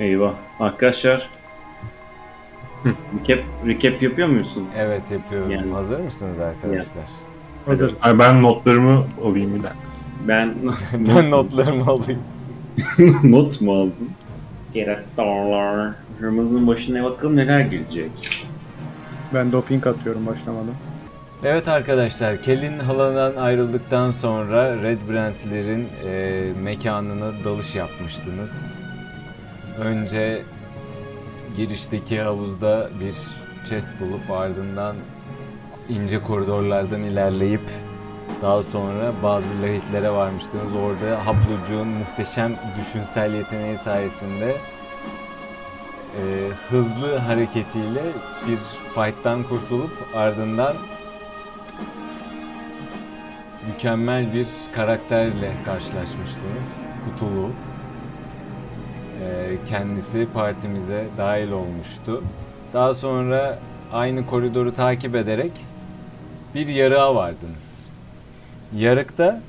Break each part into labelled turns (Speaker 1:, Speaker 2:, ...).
Speaker 1: Eyvah. Arkadaşlar. recap, recap yapıyor musun?
Speaker 2: Evet yapıyorum.
Speaker 1: Yani.
Speaker 2: Hazır mısınız arkadaşlar?
Speaker 1: Hazırız.
Speaker 3: Ay ben notlarımı alayım bir dakika.
Speaker 1: Ben
Speaker 2: Ben notlarımı alayım.
Speaker 1: not mu aldın? Gerektarlar. Ramazan'ın başına bakalım neler gelecek.
Speaker 4: Ben doping atıyorum başlamadan.
Speaker 2: Evet arkadaşlar, Kelin halandan ayrıldıktan sonra Red Brand'lerin e, mekanına dalış yapmıştınız. Önce girişteki havuzda bir chest bulup ardından ince koridorlardan ilerleyip daha sonra bazı lahitlere varmıştınız. Orada Haplucuğun muhteşem düşünsel yeteneği sayesinde e, hızlı hareketiyle bir fight'tan kurtulup ardından mükemmel bir karakterle karşılaşmıştınız. Kutulu. Ee, kendisi partimize dahil olmuştu. Daha sonra aynı koridoru takip ederek bir yarığa vardınız. Yarıkta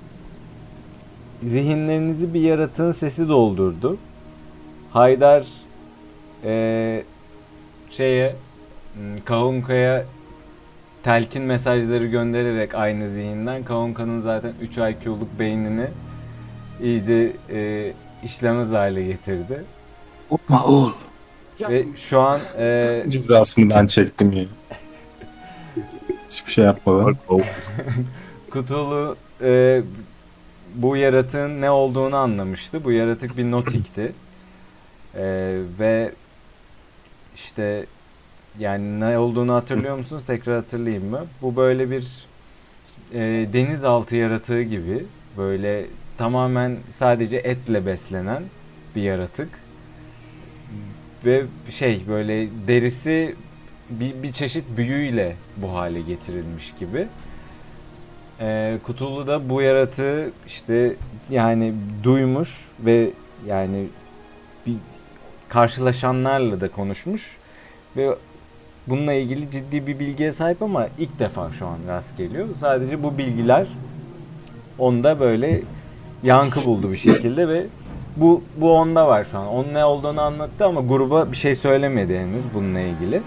Speaker 2: zihinlerinizi bir yaratığın sesi doldurdu. Haydar ee, şeye m, Kahunka'ya telkin mesajları göndererek aynı zihinden Kaonka'nın zaten 3 IQ'luk beynini iyice e, işlemez hale getirdi.
Speaker 5: Yapma oğul.
Speaker 2: Ve şu an e,
Speaker 3: Cezasını ben çektim ya. Hiçbir şey yapmadan.
Speaker 2: Kutulu e, bu yaratığın ne olduğunu anlamıştı. Bu yaratık bir notikti. E, ve işte yani ne olduğunu hatırlıyor musunuz? Tekrar hatırlayayım mı? Bu böyle bir e, denizaltı yaratığı gibi böyle tamamen sadece etle beslenen bir yaratık. Ve şey böyle derisi bir, bir çeşit büyüyle bu hale getirilmiş gibi. Ee, Kutulu da bu yaratığı işte yani duymuş ve yani bir karşılaşanlarla da konuşmuş ve bununla ilgili ciddi bir bilgiye sahip ama ilk defa şu an rast geliyor. Sadece bu bilgiler onda böyle yankı buldu bir şekilde ve bu bu onda var şu an. Onun ne olduğunu anlattı ama gruba bir şey söylemedi henüz bununla ilgili.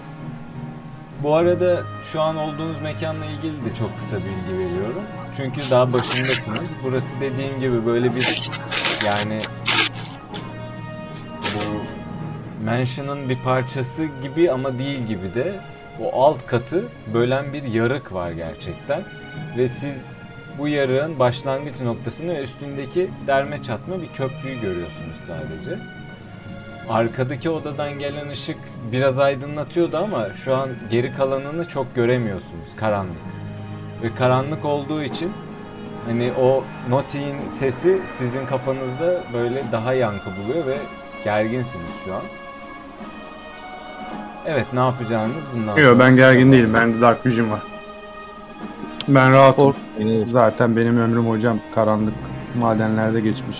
Speaker 2: Bu arada şu an olduğunuz mekanla ilgili de çok kısa bilgi veriyorum. Çünkü daha başındasınız. Burası dediğim gibi böyle bir yani bu mansion'ın bir parçası gibi ama değil gibi de o alt katı bölen bir yarık var gerçekten. Ve siz bu yarığın başlangıç noktasını ve üstündeki derme çatma bir köprüyü görüyorsunuz sadece. Arkadaki odadan gelen ışık biraz aydınlatıyordu ama şu an geri kalanını çok göremiyorsunuz. Karanlık. Ve karanlık olduğu için hani o notin sesi sizin kafanızda böyle daha yankı buluyor ve gerginsiniz şu an. Evet ne yapacağınız bundan
Speaker 4: Yok ben
Speaker 2: sonrası
Speaker 4: gergin
Speaker 2: tamam.
Speaker 4: değilim. Bende Dark Vision var. Ben rahatım.
Speaker 3: Kork-
Speaker 4: Zaten benim ömrüm hocam karanlık madenlerde geçmiş.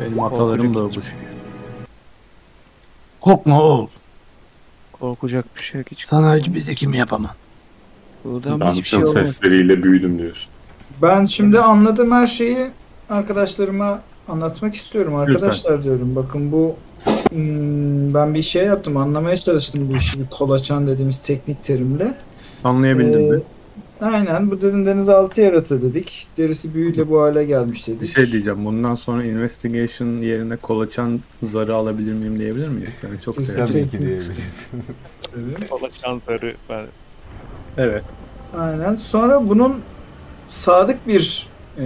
Speaker 4: Benim atalarım da bu şey.
Speaker 5: Korkma oğul.
Speaker 6: Korkacak bir şey yok hiç.
Speaker 5: Sana hiçbir zekimi yapamam.
Speaker 6: Buradan
Speaker 3: Ben
Speaker 6: hiçbir şey olmaz.
Speaker 3: sesleriyle büyüdüm diyorsun.
Speaker 7: Ben şimdi anladığım her şeyi arkadaşlarıma anlatmak istiyorum. Arkadaşlar diyorum bakın bu hmm, ben bir şey yaptım anlamaya çalıştım bu işi bir kolaçan dediğimiz teknik terimle.
Speaker 4: Anlayabildim mi?
Speaker 7: Ee, aynen bu dedim denizaltı yaratı dedik. Derisi büyüyle bu hale gelmiş
Speaker 4: Bir
Speaker 7: dedik.
Speaker 4: şey diyeceğim. Bundan sonra investigation yerine kolaçan zarı alabilir miyim diyebilir miyiz? Ben çok
Speaker 7: Kesin.
Speaker 4: severim.
Speaker 2: Tabii ki diyebilirsin.
Speaker 7: Tabii.
Speaker 6: Kolaçantarı ben.
Speaker 4: Evet.
Speaker 7: Aynen sonra bunun sadık bir e,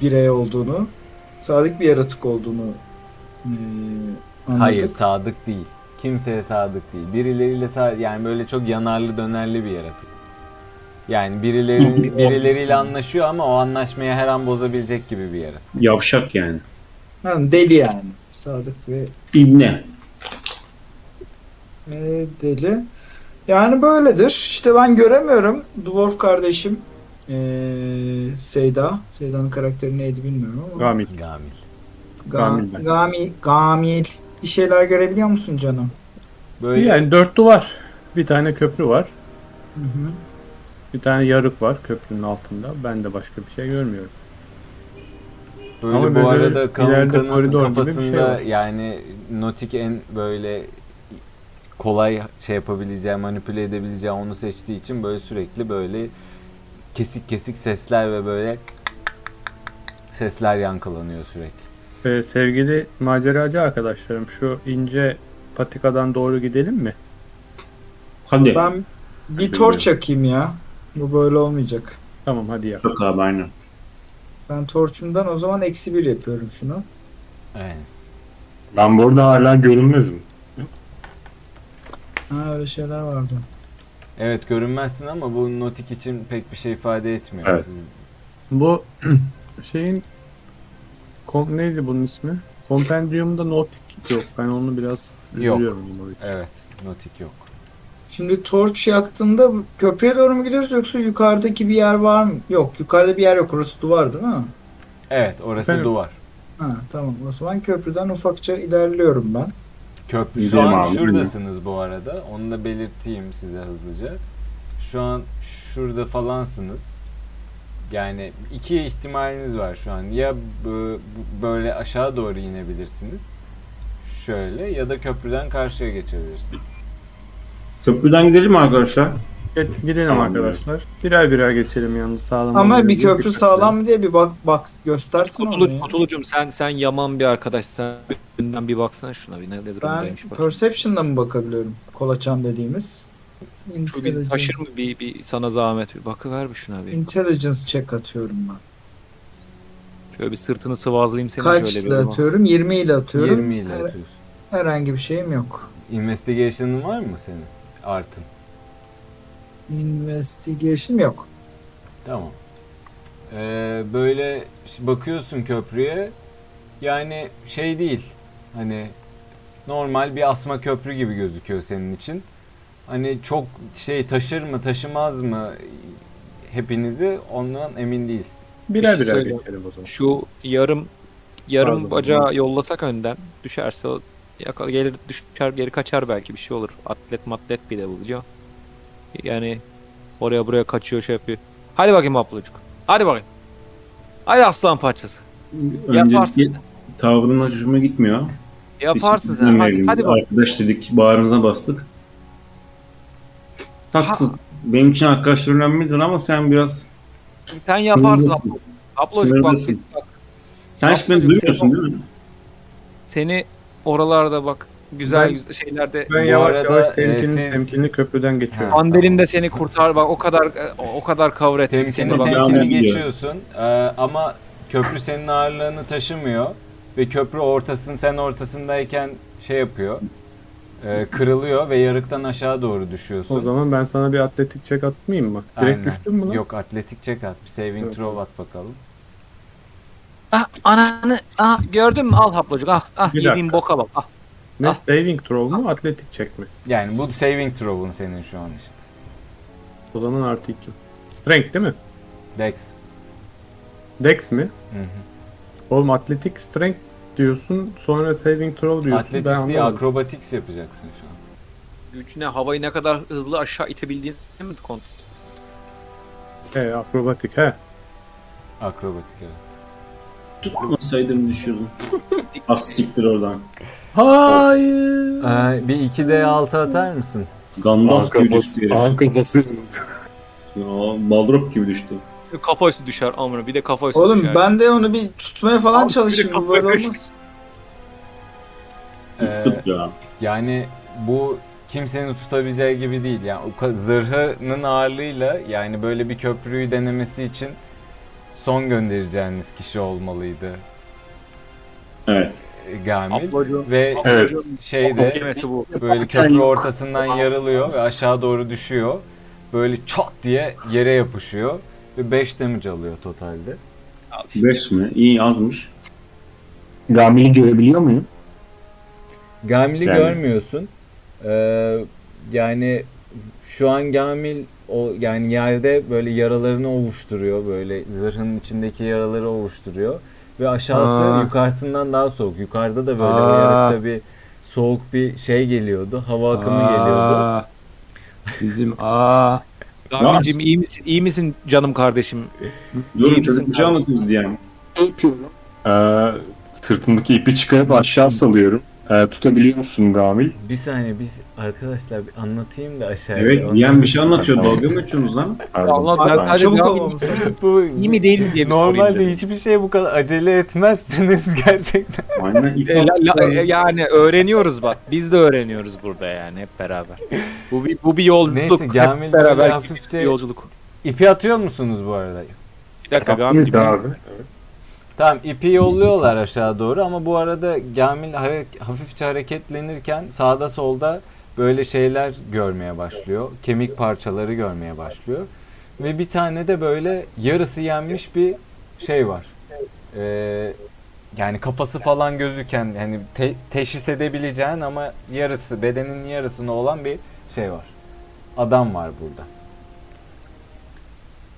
Speaker 7: birey olduğunu, sadık bir yaratık olduğunu e, anladık.
Speaker 2: Hayır sadık değil. Kimseye sadık değil. Birileriyle sa- yani böyle çok yanarlı dönerli bir yaratık. Yani birileri, birileriyle anlaşıyor ama o anlaşmayı her an bozabilecek gibi bir yaratık.
Speaker 1: Yavşak yani.
Speaker 7: Yani deli yani. Sadık ve
Speaker 1: İbne.
Speaker 7: Ee, deli. Yani böyledir. İşte ben göremiyorum. Dwarf kardeşim ee, Seyda. Seyda'nın karakteri neydi bilmiyorum ama.
Speaker 4: Gamil.
Speaker 2: Gamil.
Speaker 4: Gamil ben.
Speaker 7: Ga- Gamil. Gamil. Bir şeyler görebiliyor musun canım?
Speaker 2: Böyle
Speaker 4: Yani dört duvar. Bir tane köprü var.
Speaker 7: Hı hı.
Speaker 4: Bir tane yarık var köprünün altında. Ben de başka bir şey görmüyorum.
Speaker 2: Böyle
Speaker 4: Ama
Speaker 2: bu
Speaker 4: böyle
Speaker 2: arada
Speaker 4: ileride
Speaker 2: Kanka'nın
Speaker 4: koridor gibi bir şey
Speaker 2: kafasında
Speaker 4: var.
Speaker 2: yani Notik en böyle kolay şey yapabileceği, manipüle edebileceği onu seçtiği için böyle sürekli böyle kesik kesik sesler ve böyle sesler yankılanıyor sürekli.
Speaker 4: Ee, sevgili maceracı arkadaşlarım şu ince patikadan doğru gidelim mi?
Speaker 1: Hadi.
Speaker 7: Ben bir torç yakayım ya. Bu böyle olmayacak.
Speaker 4: Tamam hadi ya.
Speaker 1: Çok abi aynen.
Speaker 7: Ben torçumdan o zaman eksi bir yapıyorum şunu.
Speaker 2: Aynen.
Speaker 8: Ben burada hala görünmezim.
Speaker 7: Ha öyle şeyler vardı.
Speaker 2: Evet görünmezsin ama bu Notik için pek bir şey ifade etmiyor.
Speaker 8: Evet.
Speaker 2: Siz-
Speaker 4: Bu şeyin kon, neydi bunun ismi? Kompendium'da notik yok. Ben onu biraz
Speaker 2: Yok.
Speaker 4: üzülüyorum bunun için.
Speaker 2: Evet Notik yok.
Speaker 7: Şimdi torç yaktığımda köprüye doğru mu gidiyoruz yoksa yukarıdaki bir yer var mı? Yok yukarıda bir yer yok. Orası duvar değil mi?
Speaker 2: Evet orası
Speaker 4: Efendim?
Speaker 2: duvar.
Speaker 7: Ha tamam. O zaman köprüden ufakça ilerliyorum ben.
Speaker 2: Köprü. Şu
Speaker 8: Gidelim
Speaker 2: an
Speaker 8: abi,
Speaker 2: şuradasınız bu arada. Onu da belirteyim size hızlıca. Şu an şurada falansınız. Yani iki ihtimaliniz var şu an. Ya bö- böyle aşağı doğru inebilirsiniz. Şöyle ya da köprüden karşıya geçebilirsiniz.
Speaker 1: Köprüden gidelim mi arkadaşlar.
Speaker 4: Evet, gidelim
Speaker 1: Tamam,
Speaker 4: arkadaşlar. Birer birer geçelim yalnız sağlam.
Speaker 7: Ama
Speaker 4: olmayı
Speaker 7: bir
Speaker 4: dikkat
Speaker 7: köprü
Speaker 4: edelim.
Speaker 7: sağlam mı diye bir bak bak göstersin onu
Speaker 9: Kutulu,
Speaker 7: ya.
Speaker 9: Kutulucum sen sen yaman bir arkadaş. Sen önden bir baksana şuna bir ne, ne
Speaker 7: Ben
Speaker 9: durumdaymış. bak.
Speaker 7: Perception'la mı bakabiliyorum? Kolaçan dediğimiz.
Speaker 9: Şu bir
Speaker 7: Intelligence,
Speaker 9: taşır mı bir, bir sana zahmet bir bakıver bir şuna bir.
Speaker 7: intelligence check atıyorum ben.
Speaker 9: Şöyle bir sırtını sıvazlayayım senin
Speaker 7: Kaç
Speaker 9: şöyle
Speaker 7: ile
Speaker 9: bir. ama.
Speaker 7: atıyorum? 20 ile atıyorum.
Speaker 2: 20 ile
Speaker 7: Her-
Speaker 2: atıyorsun.
Speaker 7: herhangi bir şeyim yok.
Speaker 2: Investigation'ın var mı senin? Artın.
Speaker 7: Investigation yok.
Speaker 2: Tamam. Ee, böyle ş- bakıyorsun köprüye. Yani şey değil. Hani normal bir asma köprü gibi gözüküyor senin için. Hani çok şey taşır mı taşımaz mı hepinizi ondan emin değilsin.
Speaker 4: Birer
Speaker 9: Bir şey
Speaker 4: birer
Speaker 9: söyle.
Speaker 4: geçelim o zaman.
Speaker 9: Şu yarım yarım
Speaker 4: Pardon.
Speaker 9: bacağı yollasak önden düşerse o yakala, gelir düşer geri kaçar belki bir şey olur. Atlet matlet bir de bu biliyor. Yani oraya buraya kaçıyor şey yapıyor. Hadi bakayım Aplucuk. Hadi bakayım. Hadi aslan parçası.
Speaker 1: Öncelikle
Speaker 9: Yaparsın.
Speaker 1: tavrın hoşuma gitmiyor.
Speaker 9: Yaparsın
Speaker 1: Hiç
Speaker 9: sen. Hadi,
Speaker 1: dinlemeyelim
Speaker 9: hadi
Speaker 1: biz.
Speaker 9: bak.
Speaker 1: Arkadaş dedik bağrımıza bastık. Tatsız. Benim için arkadaşlar önemlidir ama sen biraz
Speaker 9: Sen yaparsın.
Speaker 1: sınırlısın.
Speaker 9: Aplucuk. Aplucuk bak,
Speaker 1: Sınırlısın.
Speaker 9: bak.
Speaker 1: Sen hiç beni
Speaker 9: Yapmacık,
Speaker 1: duymuyorsun değil mi?
Speaker 9: Seni oralarda bak güzel
Speaker 4: Ben-
Speaker 9: güzel şeylerde
Speaker 4: Ben
Speaker 2: Bu
Speaker 4: yavaş
Speaker 2: arada,
Speaker 4: yavaş
Speaker 2: e,
Speaker 4: temkinli
Speaker 2: siz-
Speaker 4: temkinli köprüden geçiyorum.
Speaker 9: Anderin
Speaker 2: tamam.
Speaker 9: de seni kurtar bak o kadar e, o kadar cover ettik
Speaker 2: Temkinli
Speaker 9: seni bak.
Speaker 1: temkinli
Speaker 2: temkinli
Speaker 1: gidiyor.
Speaker 2: geçiyorsun Ee, ama köprü senin ağırlığını taşımıyor ve köprü ortasın sen ortasındayken şey yapıyor. Ee, kırılıyor ve yarıktan aşağı doğru düşüyorsun.
Speaker 4: O zaman ben sana bir atletik çek atmayayım mı? Direkt
Speaker 2: Aynen.
Speaker 4: düştün mü lan?
Speaker 2: Yok atletik check at. Bir saving
Speaker 4: Yok.
Speaker 2: throw at bakalım.
Speaker 9: Ah ananı ah gördün mü al haplacık ah ah
Speaker 4: Bir
Speaker 9: yediğin boka bak ah.
Speaker 4: Ne
Speaker 9: Ah.
Speaker 4: saving throw mu atletik çek mi?
Speaker 2: Yani bu saving throw'un senin şu an işte.
Speaker 4: O zaman artı 2. Strength değil mi?
Speaker 2: Dex.
Speaker 4: Dex mi?
Speaker 2: Hı hı.
Speaker 4: Oğlum atletik strength diyorsun sonra saving throw diyorsun. ben
Speaker 2: Athletics değil
Speaker 4: anlamadım.
Speaker 2: acrobatics yapacaksın şu an.
Speaker 9: Gücüne havayı ne kadar hızlı aşağı itebildiğini mi kontrol?
Speaker 4: He, akrobatik he.
Speaker 2: Akrobatik evet.
Speaker 1: Tutmasaydım düşüyordum. Az siktir oradan.
Speaker 4: Hayır.
Speaker 2: Ee, bir 2D6 atar mısın?
Speaker 1: Gandalf gibi düştü.
Speaker 8: Ankara
Speaker 1: yere.
Speaker 8: Anka basıyor.
Speaker 1: Ya, Balrog gibi düştü.
Speaker 9: Kafa üstü düşer amına bir şey de kafa üstü
Speaker 7: Oğlum
Speaker 9: düşer.
Speaker 7: ben de onu bir tutmaya falan
Speaker 9: Abi,
Speaker 7: çalışayım.
Speaker 9: sürekli
Speaker 7: Bu böyle
Speaker 9: kafaya
Speaker 7: olmaz.
Speaker 2: Ee,
Speaker 1: Tut ya.
Speaker 2: yani bu kimsenin tutabileceği gibi değil. Yani o ka- zırhının ağırlığıyla yani böyle bir köprüyü denemesi için son göndereceğiniz kişi olmalıydı
Speaker 1: Evet.
Speaker 2: e, Gamil.
Speaker 9: Aplacık.
Speaker 2: Ve
Speaker 8: Evet.
Speaker 2: şeyde
Speaker 9: Yemesi bu.
Speaker 2: Böyle köprü ortasından yarılıyor ve aşağı doğru düşüyor. Böyle çat diye yere yapışıyor. Ve 5 damage alıyor totalde.
Speaker 1: 5 mi? İyi azmış.
Speaker 8: Gamil'i görebiliyor muyum?
Speaker 2: Gamil'i
Speaker 8: Yani-
Speaker 2: görmüyorsun. Ee, yani şu an Gamil o yani yerde böyle yaralarını ovuşturuyor. Böyle zırhın içindeki yaraları ovuşturuyor. Ve aşağısı
Speaker 4: Aa.
Speaker 2: yukarısından daha soğuk. Yukarıda da böyle o
Speaker 4: Aa.
Speaker 2: yarıkta bir soğuk bir şey geliyordu. Hava akımı geliyordu.
Speaker 4: Aa, Bizim aa.
Speaker 9: Gamil'cim iyi misin? İyi misin canım kardeşim?
Speaker 1: Yorum
Speaker 9: İyi misin
Speaker 1: çocuk bir şey
Speaker 9: abi?
Speaker 1: anlatıyordu yani.
Speaker 8: Ne yapıyorum? Ee, sırtımdaki ipi çıkarıp aşağı salıyorum. Ee, tutabiliyor musun Gamil?
Speaker 2: Bir saniye biz arkadaşlar bir anlatayım da aşağıya.
Speaker 1: Evet diyen bir şey anlatıyor. Dalga mı geçiyorsunuz lan?
Speaker 8: Pardon.
Speaker 9: Allah
Speaker 7: Abi,
Speaker 9: ben sadece
Speaker 7: çabuk
Speaker 9: Gamil-
Speaker 7: olmamız lazım.
Speaker 2: Bu
Speaker 9: İyi mi değil mi diye bir sorayım
Speaker 2: normalde
Speaker 9: dedim.
Speaker 2: hiçbir şey bu kadar acele etmezsiniz gerçekten.
Speaker 1: Aynen ip
Speaker 9: E, la- la- e, yani öğreniyoruz bak. Biz de öğreniyoruz burada yani hep beraber. Bu bir, bu bir yolculuk.
Speaker 2: Neyse Gamil
Speaker 9: hep
Speaker 2: böyle
Speaker 9: beraber gittiğimiz bir
Speaker 2: hafifçe
Speaker 9: yolculuk.
Speaker 2: ipi atıyor musunuz bu arada?
Speaker 9: Bir dakika Gamil.
Speaker 8: Gamil abi.
Speaker 2: Tamam ipi yolluyorlar aşağı doğru ama bu arada Gamil hare- hafifçe hareketlenirken sağda solda böyle şeyler görmeye başlıyor. Kemik parçaları görmeye başlıyor. Ve bir tane de böyle yarısı yenmiş bir şey var. Ee, yani kafası falan gözüken hani te- teşhis edebileceğin ama yarısı bedenin yarısına olan bir şey var. Adam var burada.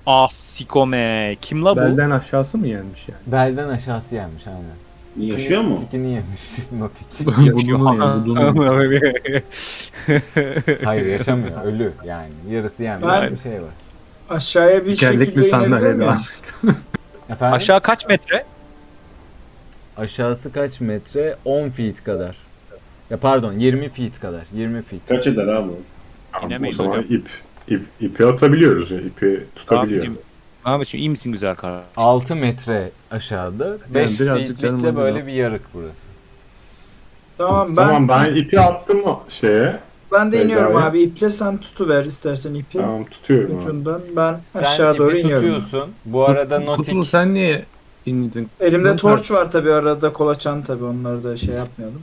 Speaker 9: Ah sikome. Kim la bu?
Speaker 4: Belden aşağısı mı yenmiş yani?
Speaker 2: Belden aşağısı yenmiş aynen.
Speaker 1: yaşıyor mu?
Speaker 2: Sikini yemiş. Notik.
Speaker 4: budunu yani budunu.
Speaker 2: Hayır yaşamıyor. Ölü yani. Yarısı yenmiş
Speaker 7: Ben-
Speaker 2: bir şey var.
Speaker 7: Aşağıya bir
Speaker 4: Tekerlekli
Speaker 7: şekilde inebilir
Speaker 4: sandalye
Speaker 7: miyim?
Speaker 4: var.
Speaker 2: Efendim?
Speaker 9: Aşağı kaç metre?
Speaker 2: Aşağısı kaç metre? 10 feet kadar. Ya pardon 20 feet kadar. 20 feet.
Speaker 1: Kaç eder abi?
Speaker 8: Tamam, o
Speaker 9: İnemeyiz
Speaker 8: zaman
Speaker 9: hocam.
Speaker 8: ip, ip, ipi atabiliyoruz. ya, ipi tutabiliyor.
Speaker 9: Abicim. Ahmetciğim iyi misin güzel kardeşim?
Speaker 2: 6 metre aşağıda. 5
Speaker 4: birazcık canım
Speaker 2: feetlikte
Speaker 4: acıdı.
Speaker 2: böyle bir yarık burası.
Speaker 7: Tamam ben
Speaker 8: Tamam ben ipi attım o şeye.
Speaker 7: ben de iniyorum
Speaker 8: Beyza'ya.
Speaker 7: abi. İple sen tutuver istersen ipi.
Speaker 8: Tamam tutuyorum abi.
Speaker 7: Ucundan ben
Speaker 2: Sen
Speaker 7: aşağı
Speaker 2: ipi
Speaker 7: doğru iniyorum.
Speaker 2: tutuyorsun. Bu arada
Speaker 4: Kutlu
Speaker 2: notik
Speaker 4: sen niye indin?
Speaker 7: Elimde
Speaker 4: Bunun
Speaker 7: torç var tabii arada kolaçan tabii onları da şey yapmayalım.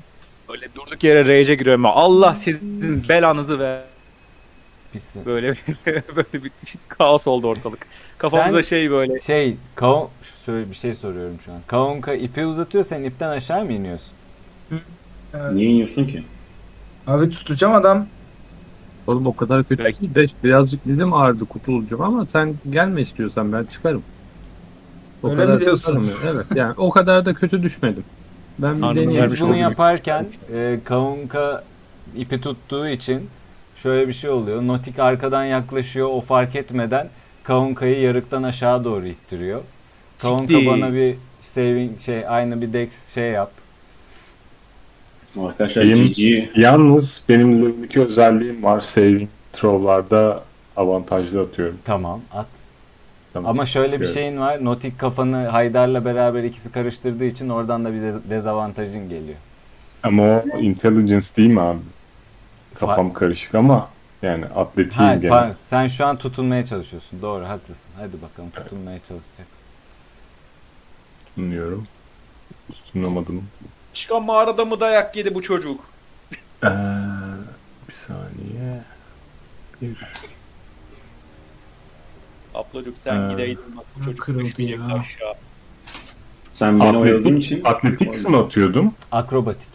Speaker 9: Böyle durduk yere rage'e giriyorum. ya. Allah sizin belanızı ver.
Speaker 2: pisi.
Speaker 9: Böyle böyle bir kaos oldu ortalık. Kafamıza
Speaker 2: Sen-
Speaker 9: şey böyle.
Speaker 2: Şey, kaon... Şöyle bir şey soruyorum şu an. Kaonka ipi uzatıyor, sen ipten aşağı mı iniyorsun?
Speaker 7: Evet.
Speaker 1: Niye iniyorsun ki?
Speaker 7: Abi tutacağım adam.
Speaker 4: Oğlum o kadar kötü
Speaker 9: Belki-
Speaker 4: değil de birazcık dizim ağrıdı Kutlucuğum ama sen gelme istiyorsan ben çıkarım. O
Speaker 7: Öyle mi diyorsun?
Speaker 4: çıkarım yani. Evet yani o kadar da kötü düşmedim. Ben bir
Speaker 9: Anladım,
Speaker 4: deneyeyim.
Speaker 9: vermiş
Speaker 2: Biz bunu
Speaker 9: olduk.
Speaker 2: yaparken e, Kaunka ipi tuttuğu için şöyle bir şey oluyor. Notik arkadan yaklaşıyor o fark etmeden Kaunka'yı yarıktan aşağı doğru ittiriyor. Kaunka
Speaker 9: Siktir.
Speaker 2: bana bir saving şey aynı bir dex şey yap.
Speaker 1: Arkadaşlar
Speaker 8: Benim-
Speaker 1: GG.
Speaker 8: Yalnız benim LoL'deki özelliğim var. Saving throw'larda avantajlı atıyorum.
Speaker 2: Tamam at.
Speaker 8: Tamam.
Speaker 2: Ama şöyle bir şey-
Speaker 8: Evet.
Speaker 2: şeyin var. Notik kafanı Haydar'la beraber ikisi karıştırdığı için oradan da bir de- dezavantajın geliyor.
Speaker 8: Ama o intelligence değil mi abi? Kafam karışık ama yani
Speaker 2: Ha,
Speaker 8: atletiyim gene.
Speaker 2: pardon, sen şu an tutunmaya çalışıyorsun. Doğru haklısın. Hadi bakalım tutunmaya çalışacaksın.
Speaker 8: Tutunuyorum. Tutunamadım.
Speaker 9: Çıkan mağarada mı dayak yedi bu çocuk?
Speaker 8: Ee, bir saniye. Bir.
Speaker 9: Ablacık
Speaker 8: sen Ee, gideydin
Speaker 9: bak
Speaker 7: bu çocuk Kırıldı düşmeyecekti ya.
Speaker 9: aşağı.
Speaker 1: Sen beni oyaladığın için.
Speaker 8: Atletik, atletik mi atıyordum?
Speaker 2: Akrobatik.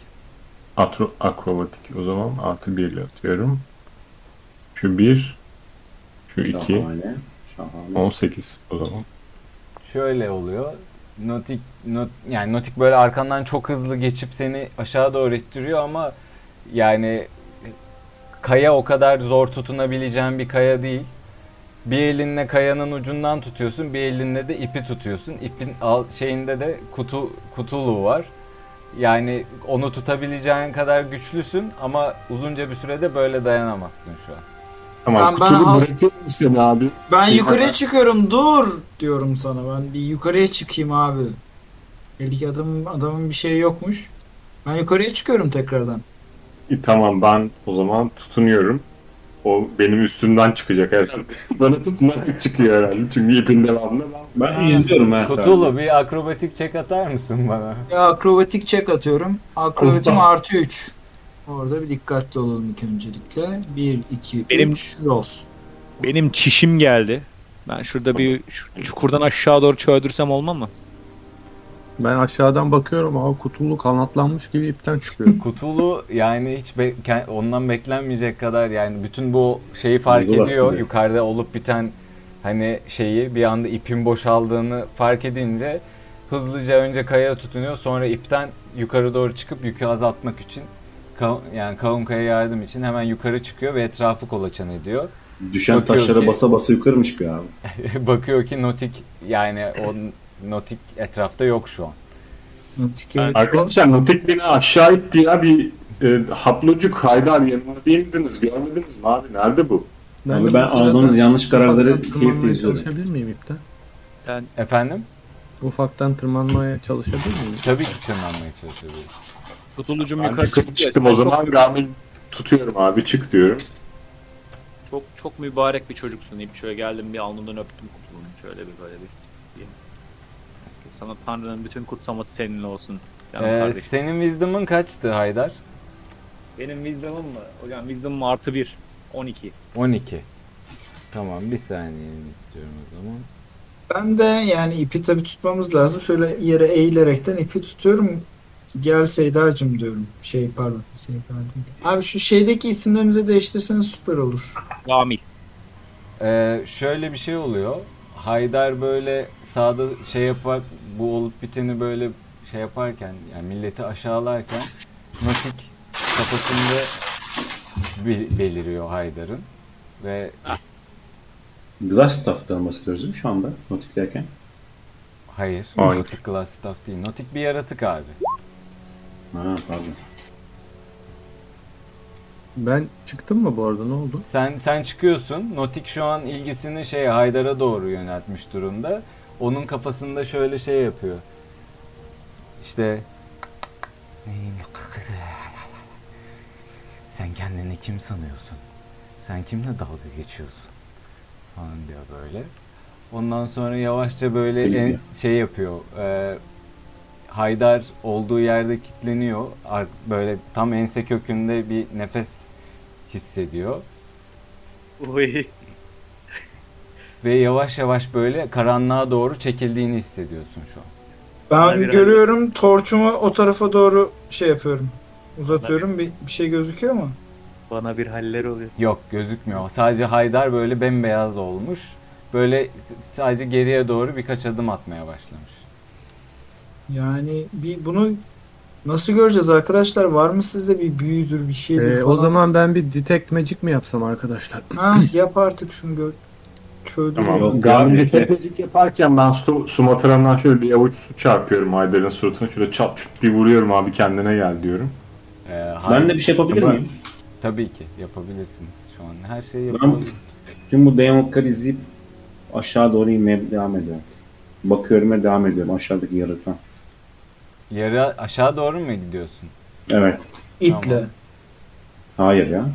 Speaker 8: Atro, akrobatik. O zaman artı bir ile atıyorum. Şu bir. Şu iki.
Speaker 1: Şahane. Şahane.
Speaker 8: 18 o zaman.
Speaker 2: Şöyle oluyor. Notik not, yani Notik böyle arkandan çok hızlı geçip seni aşağı doğru ittiriyor ama yani kaya o kadar zor tutunabileceğin bir kaya değil. Bir elinle kayanın ucundan tutuyorsun, bir elinle de ipi tutuyorsun. İpin al, şeyinde de kutu kutuluğu var. Yani onu tutabileceğin kadar güçlüsün ama uzunca bir sürede böyle dayanamazsın şu an.
Speaker 8: Tamam
Speaker 7: Ben- ben
Speaker 8: kutulu
Speaker 7: al-
Speaker 8: bırakıyorum seni abi. Şey
Speaker 7: Ben
Speaker 8: İyi
Speaker 7: yukarıya
Speaker 8: bak.
Speaker 7: çıkıyorum dur diyorum sana ben bir yukarıya çıkayım abi. Belki adam, adamın bir şeyi yokmuş. Ben yukarıya çıkıyorum tekrardan.
Speaker 8: E, tamam ben o zaman tutunuyorum. O benim üstümden çıkacak herhalde. Bana tutunarak çıkıyor herhalde. Çünkü ipin devamında ben
Speaker 1: Ben izliyorum her saniye.
Speaker 2: Kutulu bir akrobatik çek atar mısın bana?
Speaker 7: Ya akrobatik check atıyorum. Akrobatim artı 3. Orada bir dikkatli olalım ilk öncelikle. 1, 2,
Speaker 9: Benim-
Speaker 7: 3, roll.
Speaker 9: Benim çişim geldi. Ben şurada bir şu çukurdan aşağı doğru çöldürsem olmam mı?
Speaker 4: Ben aşağıdan bakıyorum aha kutulu kanatlanmış gibi ipten çıkıyor.
Speaker 2: Kutulu yani hiç be- ke- ondan beklenmeyecek kadar yani bütün bu şeyi fark
Speaker 1: Duygular
Speaker 2: ediyor.
Speaker 1: sızıyor.
Speaker 2: Yukarıda olup biten hani şeyi bir anda ipin boşaldığını fark edince hızlıca önce kayaya tutunuyor. Sonra ipten yukarı doğru çıkıp yükü azaltmak için ka- yani Kaunka'ya yardım için hemen yukarı çıkıyor ve etrafı kolaçan ediyor.
Speaker 1: Düşen
Speaker 2: Bakıyorum
Speaker 1: taşlara
Speaker 2: ki-
Speaker 1: basa basa yukarı mı çıkıyor abi?
Speaker 2: Bakıyor ki Notik yani o Notik etrafta yok şu an.
Speaker 7: Notik'e
Speaker 8: Arkadaşlar notik beni aşağı itti ya bir e, haplocuk Haydar yanıma değildiniz görmediniz mi abi nerede bu?
Speaker 1: Abi ben aldığımız yanlış kararları
Speaker 4: Ufaktan
Speaker 1: keyifle
Speaker 4: tırmanmaya
Speaker 1: izliyorum.
Speaker 4: çalışabilir miyim ipten?
Speaker 2: Efendim?
Speaker 4: Ufaktan tırmanmaya çalışabilir miyim?
Speaker 2: Tabii ki tırmanmaya çalışabiliriz.
Speaker 9: Kutulucum
Speaker 8: Ben
Speaker 9: yukarı
Speaker 8: yukarı
Speaker 9: çıktı.
Speaker 8: çıktım o zaman Garmin tutuyorum abi çık diyorum.
Speaker 9: Çok çok mübarek bir çocuksun İp. Şöyle geldim bir alnından öptüm kutulunu. Şöyle bir böyle bir. bir- Sana Tanrı'nın bütün kutsaması seninle olsun. Canım
Speaker 2: Ee,
Speaker 9: kardeşim.
Speaker 2: senin wisdom'ın kaçtı Haydar?
Speaker 9: Benim wisdom'ım mı? Hocam wisdom'ım artı 1. 12.
Speaker 2: 12. Tamam bir saniye istiyorum o zaman.
Speaker 7: Ben de yani ipi tabii tutmamız lazım. Şöyle yere eğilerekten ipi tutuyorum. Gel Seyda'cığım diyorum. Şey pardon Seyda değil. Abi şu şeydeki isimlerinizi değiştirseniz süper olur.
Speaker 9: Gamil.
Speaker 2: Ee, şöyle bir şey oluyor. Haydar böyle sağda şey yapar, bu olup biteni böyle şey yaparken, yani milleti aşağılarken Notik kafasında bel- beliriyor Haydar'ın. Ve
Speaker 1: Glass staff'tan bahsediyoruz değil mi şu anda notik derken?
Speaker 2: hayır,
Speaker 8: Hayır.
Speaker 2: Notik Glass Staff değil. Notik bir yaratık abi.
Speaker 1: Ha pardon.
Speaker 4: Ben çıktım mı bu arada ne oldu?
Speaker 2: Sen sen çıkıyorsun. Notik şu an ilgisini şey Haydar'a doğru yöneltmiş durumda. Onun kafasında şöyle şey yapıyor. İşte Neyim yok. Sen kendini kim sanıyorsun? Sen kimle dalga geçiyorsun? Falan diyor böyle. Ondan sonra yavaşça böyle
Speaker 1: Film
Speaker 2: en-
Speaker 1: ya.
Speaker 2: şey yapıyor. e, Haydar olduğu yerde kilitleniyor. Ar- Böyle tam ense kökünde bir nefes hissediyor.
Speaker 9: Uy.
Speaker 2: Ve yavaş yavaş böyle karanlığa doğru çekildiğini hissediyorsun şu an.
Speaker 7: Ben
Speaker 9: Bana biraz-
Speaker 7: görüyorum torçumu o tarafa doğru şey yapıyorum. Uzatıyorum. Bir, bir şey gözüküyor mu?
Speaker 6: Bana bir haller oluyor.
Speaker 2: Yok gözükmüyor. Sadece Haydar böyle bembeyaz olmuş. Böyle sadece geriye doğru birkaç adım atmaya başlamış.
Speaker 7: Yani bir bunu nasıl göreceğiz arkadaşlar? Var mı sizde bir büyüdür bir şeydir
Speaker 4: Ee, o
Speaker 7: falan?
Speaker 4: zaman ben bir detect magic mi yapsam arkadaşlar?
Speaker 7: Ha, yap artık şunu gör. Çöldür.
Speaker 1: Yok,
Speaker 8: Tamam.
Speaker 1: yani-
Speaker 8: Garmin tepecik yaparken ben su, Sumatra'dan şöyle bir avuç su çarpıyorum Haydar'ın suratına. Şöyle çat çut bir vuruyorum abi kendine gel diyorum.
Speaker 2: Ee,
Speaker 1: Ben
Speaker 2: Haydar-
Speaker 1: de bir şey yapabilir
Speaker 8: Ben-
Speaker 1: miyim?
Speaker 2: Tabii ki yapabilirsiniz şu an. Her şey şeyi yapabilirsiniz.
Speaker 1: Tüm bu Demokları izleyip aşağı doğru inmeye devam ediyorum. Bakıyorum ve devam ediyorum aşağıdaki yaratığa.
Speaker 2: Yarı aşağı doğru mu gidiyorsun?
Speaker 1: Evet.
Speaker 7: İple.
Speaker 2: Tamam.
Speaker 1: Hayır ya.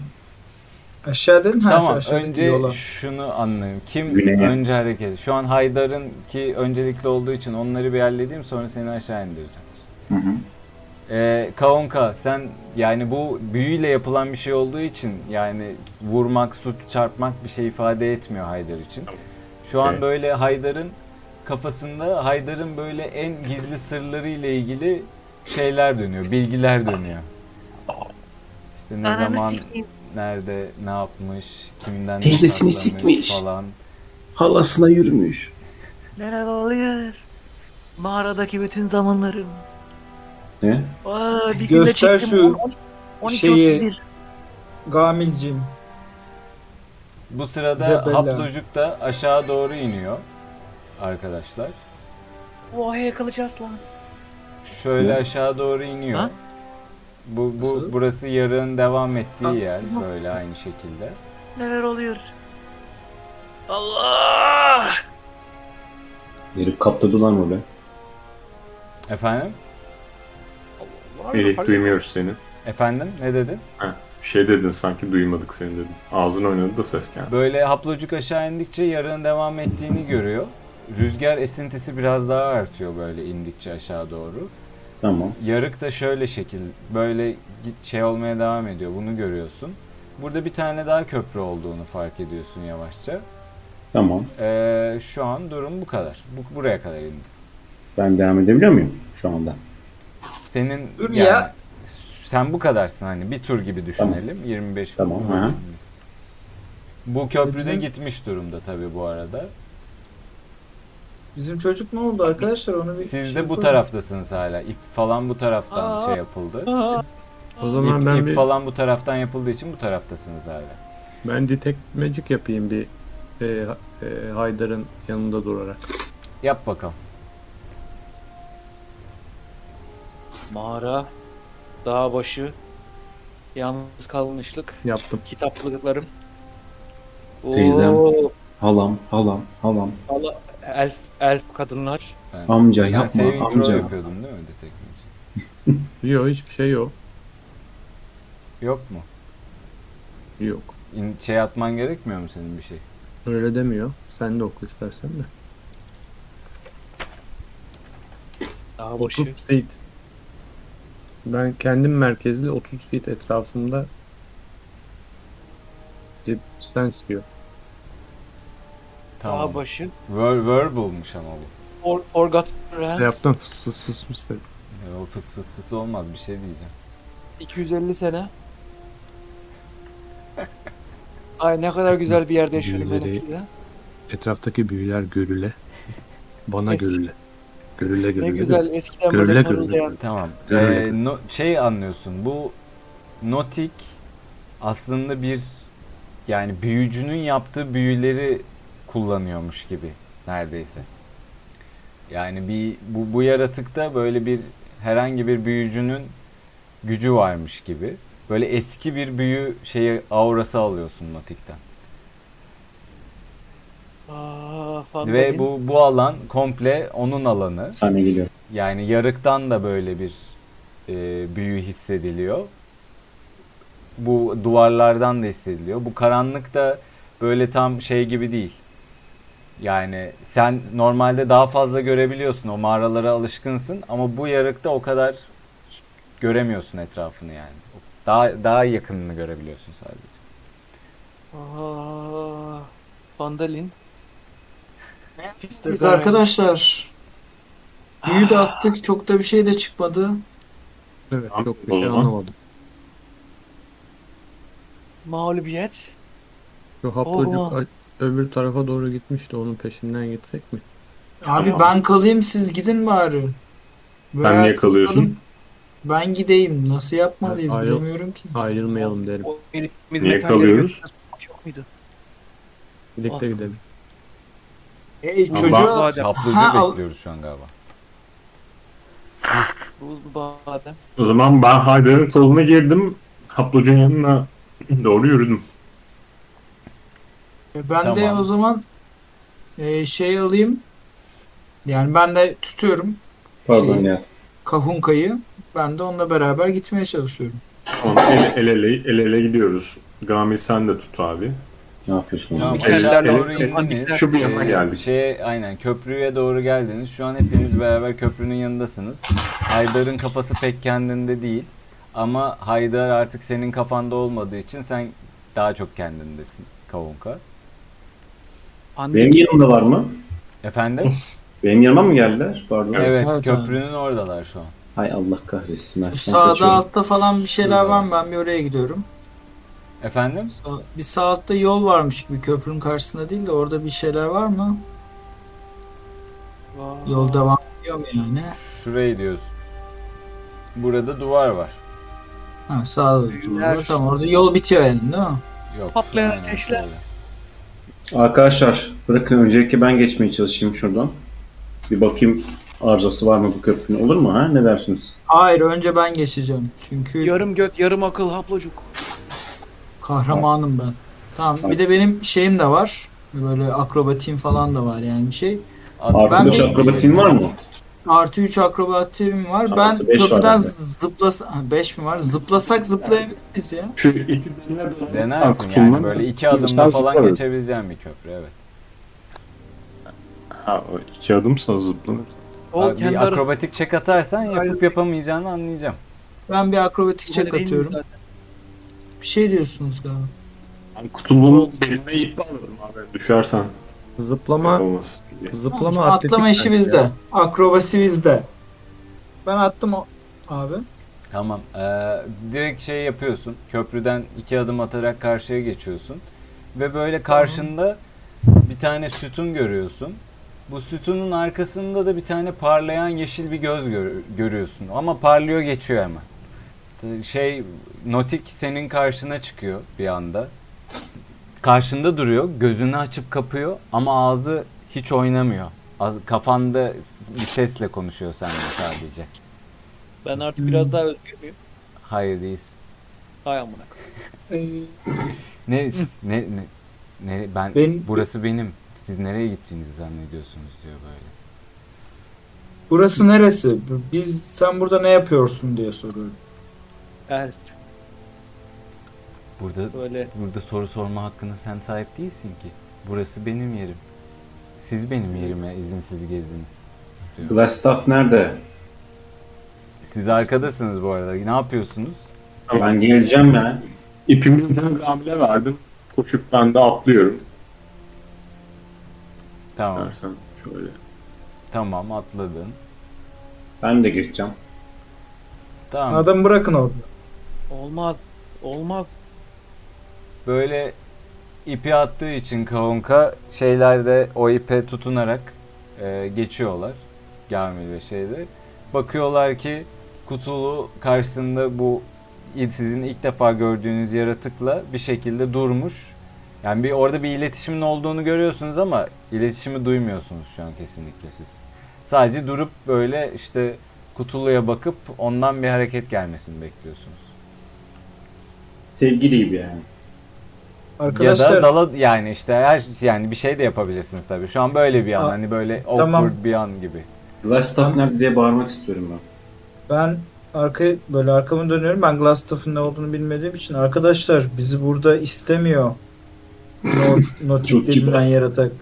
Speaker 7: Aşağı dedin ha şu
Speaker 2: tamam
Speaker 7: şey aşağıdaki
Speaker 2: önce
Speaker 7: yola.
Speaker 2: şunu anlayayım. Kim
Speaker 1: Güneye.
Speaker 2: önce hareket? Şu an Haydar'ın ki öncelikli olduğu için onları bir halledeyim sonra seni aşağı indireceğim.
Speaker 1: Hı hı.
Speaker 2: Ee, Kaonka sen yani bu büyüyle yapılan bir şey olduğu için yani vurmak, su çarpmak bir şey ifade etmiyor Haydar için. Şu an
Speaker 8: Evet.
Speaker 2: böyle Haydar'ın kafasında Haydar'ın böyle en gizli sırları ile ilgili şeyler dönüyor, bilgiler dönüyor. İşte ne zaman, nerede, ne yapmış, kimden
Speaker 5: Teyzesini
Speaker 2: saklanmış
Speaker 5: sikmiş.
Speaker 2: falan.
Speaker 1: Halasına yürümüş.
Speaker 10: Neler oluyor? Mağaradaki bütün zamanlarım.
Speaker 1: Ne?
Speaker 10: Aa, bir
Speaker 7: Göster
Speaker 10: günde çektim.
Speaker 7: şu
Speaker 10: 12
Speaker 7: şeyi.
Speaker 10: 31.
Speaker 7: Gamilcim.
Speaker 2: Bu sırada
Speaker 7: Zebella.
Speaker 2: Haplocuk da aşağı doğru iniyor arkadaşlar.
Speaker 10: Oha yakalayacağız lan.
Speaker 2: Şöyle
Speaker 1: Ne?
Speaker 2: aşağı doğru iniyor.
Speaker 10: Ha?
Speaker 2: Bu, bu
Speaker 7: Nasıl?
Speaker 2: burası yarın devam ettiği
Speaker 7: Ha,
Speaker 2: yer
Speaker 10: tamam.
Speaker 2: böyle aynı şekilde.
Speaker 10: Neler oluyor? Allah!
Speaker 1: Herif kaptadı lan orada.
Speaker 2: Efendim?
Speaker 8: Melih duymuyoruz seni.
Speaker 2: Efendim ne dedin?
Speaker 8: Bir şey dedin sanki duymadık seni dedin. Ağzın oynadı da ses geldi.
Speaker 2: Böyle haplocuk aşağı indikçe yarın devam ettiğini görüyor. Rüzgar esintisi biraz daha artıyor böyle indikçe aşağı doğru.
Speaker 1: Tamam.
Speaker 2: Yarık da şöyle şekil böyle git- şey olmaya devam ediyor. Bunu görüyorsun. Burada bir tane daha köprü olduğunu fark ediyorsun yavaşça.
Speaker 1: Tamam.
Speaker 2: Ee, şu an durum bu kadar. Bu, buraya kadar indi.
Speaker 1: Ben devam edebiliyor muyum şu anda?
Speaker 2: Senin
Speaker 7: Dur
Speaker 2: yani
Speaker 7: ya.
Speaker 2: sen bu kadarsın hani bir tur gibi düşünelim. 25
Speaker 1: Tamam,
Speaker 2: tur.
Speaker 1: aha.
Speaker 2: Bu köprüde
Speaker 7: Bizim-
Speaker 2: gitmiş durumda tabii bu arada.
Speaker 7: Bizim çocuk ne oldu arkadaşlar onu bir
Speaker 2: Siz
Speaker 7: şey
Speaker 2: de bu
Speaker 7: yapalım.
Speaker 2: taraftasınız hala. İp falan bu taraftan şey yapıldı.
Speaker 4: O zaman
Speaker 2: İp,
Speaker 4: ben
Speaker 2: ip
Speaker 4: bir
Speaker 2: falan bu taraftan yapıldığı için bu taraftasınız hala.
Speaker 4: ben detect magic yapayım bir e, e, Haydar'ın yanında durarak.
Speaker 2: Yap bakalım.
Speaker 6: Mağara, dağ başı, yalnız kalmışlık,
Speaker 4: Yaptım.
Speaker 6: kitaplıklarım.
Speaker 1: Teyzem.
Speaker 6: Oo,
Speaker 1: Halam, halam, halam.
Speaker 6: Allah, elf, elf kadınlar.
Speaker 1: Amca
Speaker 2: Ben
Speaker 1: yapma,
Speaker 2: saving throw
Speaker 1: amca.
Speaker 2: yapıyordum değil mi detect magic?
Speaker 4: Yok hiçbir şey yok.
Speaker 2: Yok mu?
Speaker 4: Yok.
Speaker 2: İn- şey atman gerekmiyor mu senin bir şey?
Speaker 4: Öyle demiyor. Sen de oku istersen de.
Speaker 6: Dağ
Speaker 4: 30
Speaker 6: başı.
Speaker 4: feet. Ben kendim merkezli 30 feet etrafımda sen istiyor.
Speaker 2: Tamam.
Speaker 6: Dağ başı.
Speaker 2: Ver, verbal'mış ama bu.
Speaker 6: For, forgotten Realms.
Speaker 4: Yaptım fıs fıs fıs fıs dedi.
Speaker 2: E, O fıs fıs fıs olmaz bir şey diyeceğim.
Speaker 6: 250 sene. Ay ne kadar güzel bir yerde yaşıyorum ben
Speaker 3: Birileri-
Speaker 6: eskiden.
Speaker 3: Etraftaki büyüler görüle. Bana
Speaker 6: Eski-
Speaker 3: görüle. Görüle görüle.
Speaker 6: Ne güzel eskiden
Speaker 3: Görüle
Speaker 6: böyle
Speaker 3: görüle.
Speaker 6: parıldayan
Speaker 2: Tamam.
Speaker 3: Görüyorum.
Speaker 2: E, no- şey anlıyorsun bu notik aslında bir yani büyücünün yaptığı büyüleri kullanıyormuş gibi neredeyse. Yani bir bu, bu yaratıkta böyle bir herhangi bir büyücünün gücü varmış gibi. Böyle eski bir büyü şeyi aurası alıyorsun notikten.
Speaker 6: Aa, falan
Speaker 2: Ve
Speaker 6: dedim.
Speaker 2: bu bu alan komple onun alanı.
Speaker 1: Sahne geliyor.
Speaker 2: Yani yarıktan da böyle bir e, büyü hissediliyor. Bu duvarlardan da hissediliyor. Bu karanlık da böyle tam şey gibi değil. Yani sen normalde daha fazla görebiliyorsun. O mağaralara alışkınsın ama bu yarıkta o kadar göremiyorsun etrafını yani. Daha daha yakınını görebiliyorsun sadece.
Speaker 6: Aa, Vandalin. Sister
Speaker 7: Biz
Speaker 6: Diana.
Speaker 7: arkadaşlar büyü de attık çok da bir şey de çıkmadı.
Speaker 4: Evet
Speaker 8: Tamam,
Speaker 4: çok bir
Speaker 8: o
Speaker 4: şey
Speaker 8: zaman.
Speaker 4: anlamadım.
Speaker 6: Mağlubiyet.
Speaker 4: Şu haplocuk
Speaker 6: Oha.
Speaker 4: a- öbür tarafa doğru gitmişti onun peşinden gitsek mi?
Speaker 7: Abi ben kalayım siz gidin bari. Veya
Speaker 8: niye
Speaker 7: siz
Speaker 8: kalıyorsun?
Speaker 7: kalın, Ben gideyim. Nasıl yapmalıyız
Speaker 4: Hayır.
Speaker 7: bilemiyorum ki.
Speaker 4: Ayrılmayalım derim.
Speaker 6: O eritimiz
Speaker 8: Niye
Speaker 6: metalleri
Speaker 8: kalıyoruz?
Speaker 6: götürmek Yok muydu?
Speaker 4: Birlikte gidelim.
Speaker 7: Hey
Speaker 8: Ama
Speaker 7: çocuğa
Speaker 6: Badem.
Speaker 2: Haplıcı
Speaker 7: Ha, al-
Speaker 2: bekliyoruz şu an galiba.
Speaker 6: Buzlu badem.
Speaker 8: O zaman ben Haydar'ın koluna girdim. Haplocun yanına doğru yürüdüm.
Speaker 7: ben de
Speaker 2: Tamam.
Speaker 7: o zaman e, şey alayım. Yani ben de tutuyorum
Speaker 1: Pardon
Speaker 7: Şey-
Speaker 1: ya.
Speaker 7: kahunkayı. Ben de onunla beraber gitmeye çalışıyorum.
Speaker 8: Tamam, el, el, ele, el ele gidiyoruz. Gami sen de tut abi.
Speaker 1: Ne yapıyorsun?
Speaker 2: Tamam,
Speaker 8: El-
Speaker 2: eller
Speaker 8: el-
Speaker 2: doğru
Speaker 8: el-
Speaker 2: indiniz.
Speaker 8: şu bir yana
Speaker 2: Ee,
Speaker 8: geldik.
Speaker 2: Şeye, aynen köprüye doğru geldiniz. Şu an hepiniz beraber köprünün yanındasınız. Haydar'ın kafası pek kendinde değil. Ama Haydar artık senin kafanda olmadığı için sen daha çok kendindesin Kavunka.
Speaker 1: Benim yanımdalar mı?
Speaker 2: Efendim?
Speaker 1: Benim yanıma mı geldiler? Pardon.
Speaker 2: evet
Speaker 7: Evet,
Speaker 2: köprünün oradalar şu an.
Speaker 1: Hay Allah kahretsin. Ben
Speaker 7: Şu
Speaker 1: sen
Speaker 7: sağda
Speaker 1: kaçıyorum.
Speaker 7: altta falan bir şeyler var mı? Ben bir oraya gidiyorum.
Speaker 2: Efendim?
Speaker 7: Sağ- Bir sağ altta yol varmış gibi köprünün karşısında değil de orada bir şeyler var mı?
Speaker 6: Vay.
Speaker 7: Yol devam ediyor mu yani?
Speaker 2: Şurayı diyoruz. Burada duvar var.
Speaker 7: Ha, sağda da
Speaker 6: Büyüler.
Speaker 7: duruyor. Tamam orada yol bitiyor yani değil mi?
Speaker 2: Yok.
Speaker 6: Patlayan
Speaker 2: aynen
Speaker 6: ateşler.
Speaker 2: şöyle.
Speaker 1: Arkadaşlar bırakın öncelikle ben geçmeye çalışayım şuradan. Bir bakayım arızası var mı bu köprünün olur mu ha? Ne dersiniz?
Speaker 7: Hayır önce ben geçeceğim. Çünkü
Speaker 6: Yarım göt yarım akıl haplocuk.
Speaker 7: kahramanım ben. Tamam bir de benim şeyim de var. Böyle akrobatiğim falan da var yani bir şey.
Speaker 1: Artı
Speaker 7: Ben
Speaker 1: beş
Speaker 7: bir-
Speaker 1: akrobatin var mı?
Speaker 7: Artı 3 akrobatiğim var.
Speaker 1: Artı
Speaker 7: ben
Speaker 1: beş var
Speaker 7: köprüden
Speaker 1: bende.
Speaker 7: zıplasak 5 mi var? Zıplasak zıplayabiliriz ya.
Speaker 8: Şu iki dene doğru.
Speaker 2: Denersin
Speaker 8: Kutundan-
Speaker 2: yani böyle iki adımda falan
Speaker 8: Sen zıplarız.
Speaker 2: geçebileceğin bir köprü evet.
Speaker 8: Ha, o iki adımsa zıplanır.
Speaker 6: Ol
Speaker 2: Abi bir
Speaker 6: kendi arasında
Speaker 2: akrobatik çek atarsan yapıp yapamayacağını anlayacağım.
Speaker 7: Ben bir akrobatik
Speaker 6: değil
Speaker 7: çek
Speaker 6: mi
Speaker 7: atıyorum.
Speaker 6: zaten?
Speaker 7: Bir şey diyorsunuz galiba.
Speaker 8: Ben kutuluğumu beline ip alırım abi. Düşersen
Speaker 4: Zıplama
Speaker 8: olmaz.
Speaker 7: Tamam,
Speaker 4: zıplama
Speaker 7: şu atlama
Speaker 4: atletik
Speaker 7: işi
Speaker 4: bence
Speaker 7: bizde.
Speaker 4: ya.
Speaker 7: Akrobasi bizde. Ben attım o abi.
Speaker 2: Tamam. Ee, direkt şey yapıyorsun. Köprüden iki adım atarak karşıya geçiyorsun. Ve böyle karşında bir tane sütun görüyorsun. Bu sütunun arkasında da bir tane parlayan yeşil bir göz gör- görüyorsun. Ama parlıyor geçiyor hemen. T- Şey, Notik senin karşına çıkıyor bir anda. Karşında duruyor, gözünü açıp kapıyor ama ağzı hiç oynamıyor. Az- Kafanda bir sesle konuşuyor seninle sadece.
Speaker 6: Ben artık biraz daha özgür müyüm?
Speaker 2: Hayır değilsin.
Speaker 6: Hay amına. koyayım.
Speaker 7: Ee,
Speaker 2: Ne, ne, ne, ne- ben,
Speaker 7: Ben-
Speaker 2: burası benim. Siz nereye gittiğinizi zannediyorsunuz diyor böyle.
Speaker 7: burası neresi? Biz sen burada ne yapıyorsun diye soruyorum.
Speaker 6: Eğer
Speaker 2: Burada
Speaker 6: böyle
Speaker 2: burada soru sorma hakkına sen sahip değilsin ki. Burası benim yerim. Siz benim yerime izinsiz girdiniz.
Speaker 1: Glassstaff nerede?
Speaker 2: Siz arkadasınız bu arada. Ne yapıyorsunuz?
Speaker 1: Ben geleceğim ya.
Speaker 8: İpimi bir tane hamle verdim. Koşup ben de atlıyorum.
Speaker 2: Tamam.
Speaker 8: Dersen şöyle.
Speaker 2: Tamam atladın.
Speaker 1: Ben de geçeceğim.
Speaker 2: Tamam.
Speaker 7: Adam bırakın orada.
Speaker 6: olmaz. Olmaz.
Speaker 2: Böyle ipi attığı için kavunka şeyler de o ipe tutunarak e, geçiyorlar. Gamil ve şeyde. Bakıyorlar ki kutulu karşısında bu il- sizin ilk defa gördüğünüz yaratıkla bir şekilde durmuş. Yani bir orada bir iletişimin olduğunu görüyorsunuz ama iletişimi duymuyorsunuz şu an kesinlikle siz. Sadece durup böyle işte kutuluya bakıp ondan bir hareket gelmesini bekliyorsunuz.
Speaker 1: Sevgili gibi yani.
Speaker 7: Arkadaşlar
Speaker 2: Ya da dala yani işte her yani bir şey de yapabilirsiniz tabii. Şu an böyle bir an
Speaker 7: Aa,
Speaker 2: hani böyle awkward
Speaker 7: tamam.
Speaker 2: bir an gibi.
Speaker 1: Glassstaff nerede diye bağırmak istiyorum ben.
Speaker 7: ben arka böyle arkamı dönüyorum. Ben Glastaff'ın ne olduğunu bilmediğim için arkadaşlar bizi burada istemiyor. No-
Speaker 1: Çok
Speaker 7: Notik
Speaker 1: kibar.
Speaker 7: dilinden yaratık.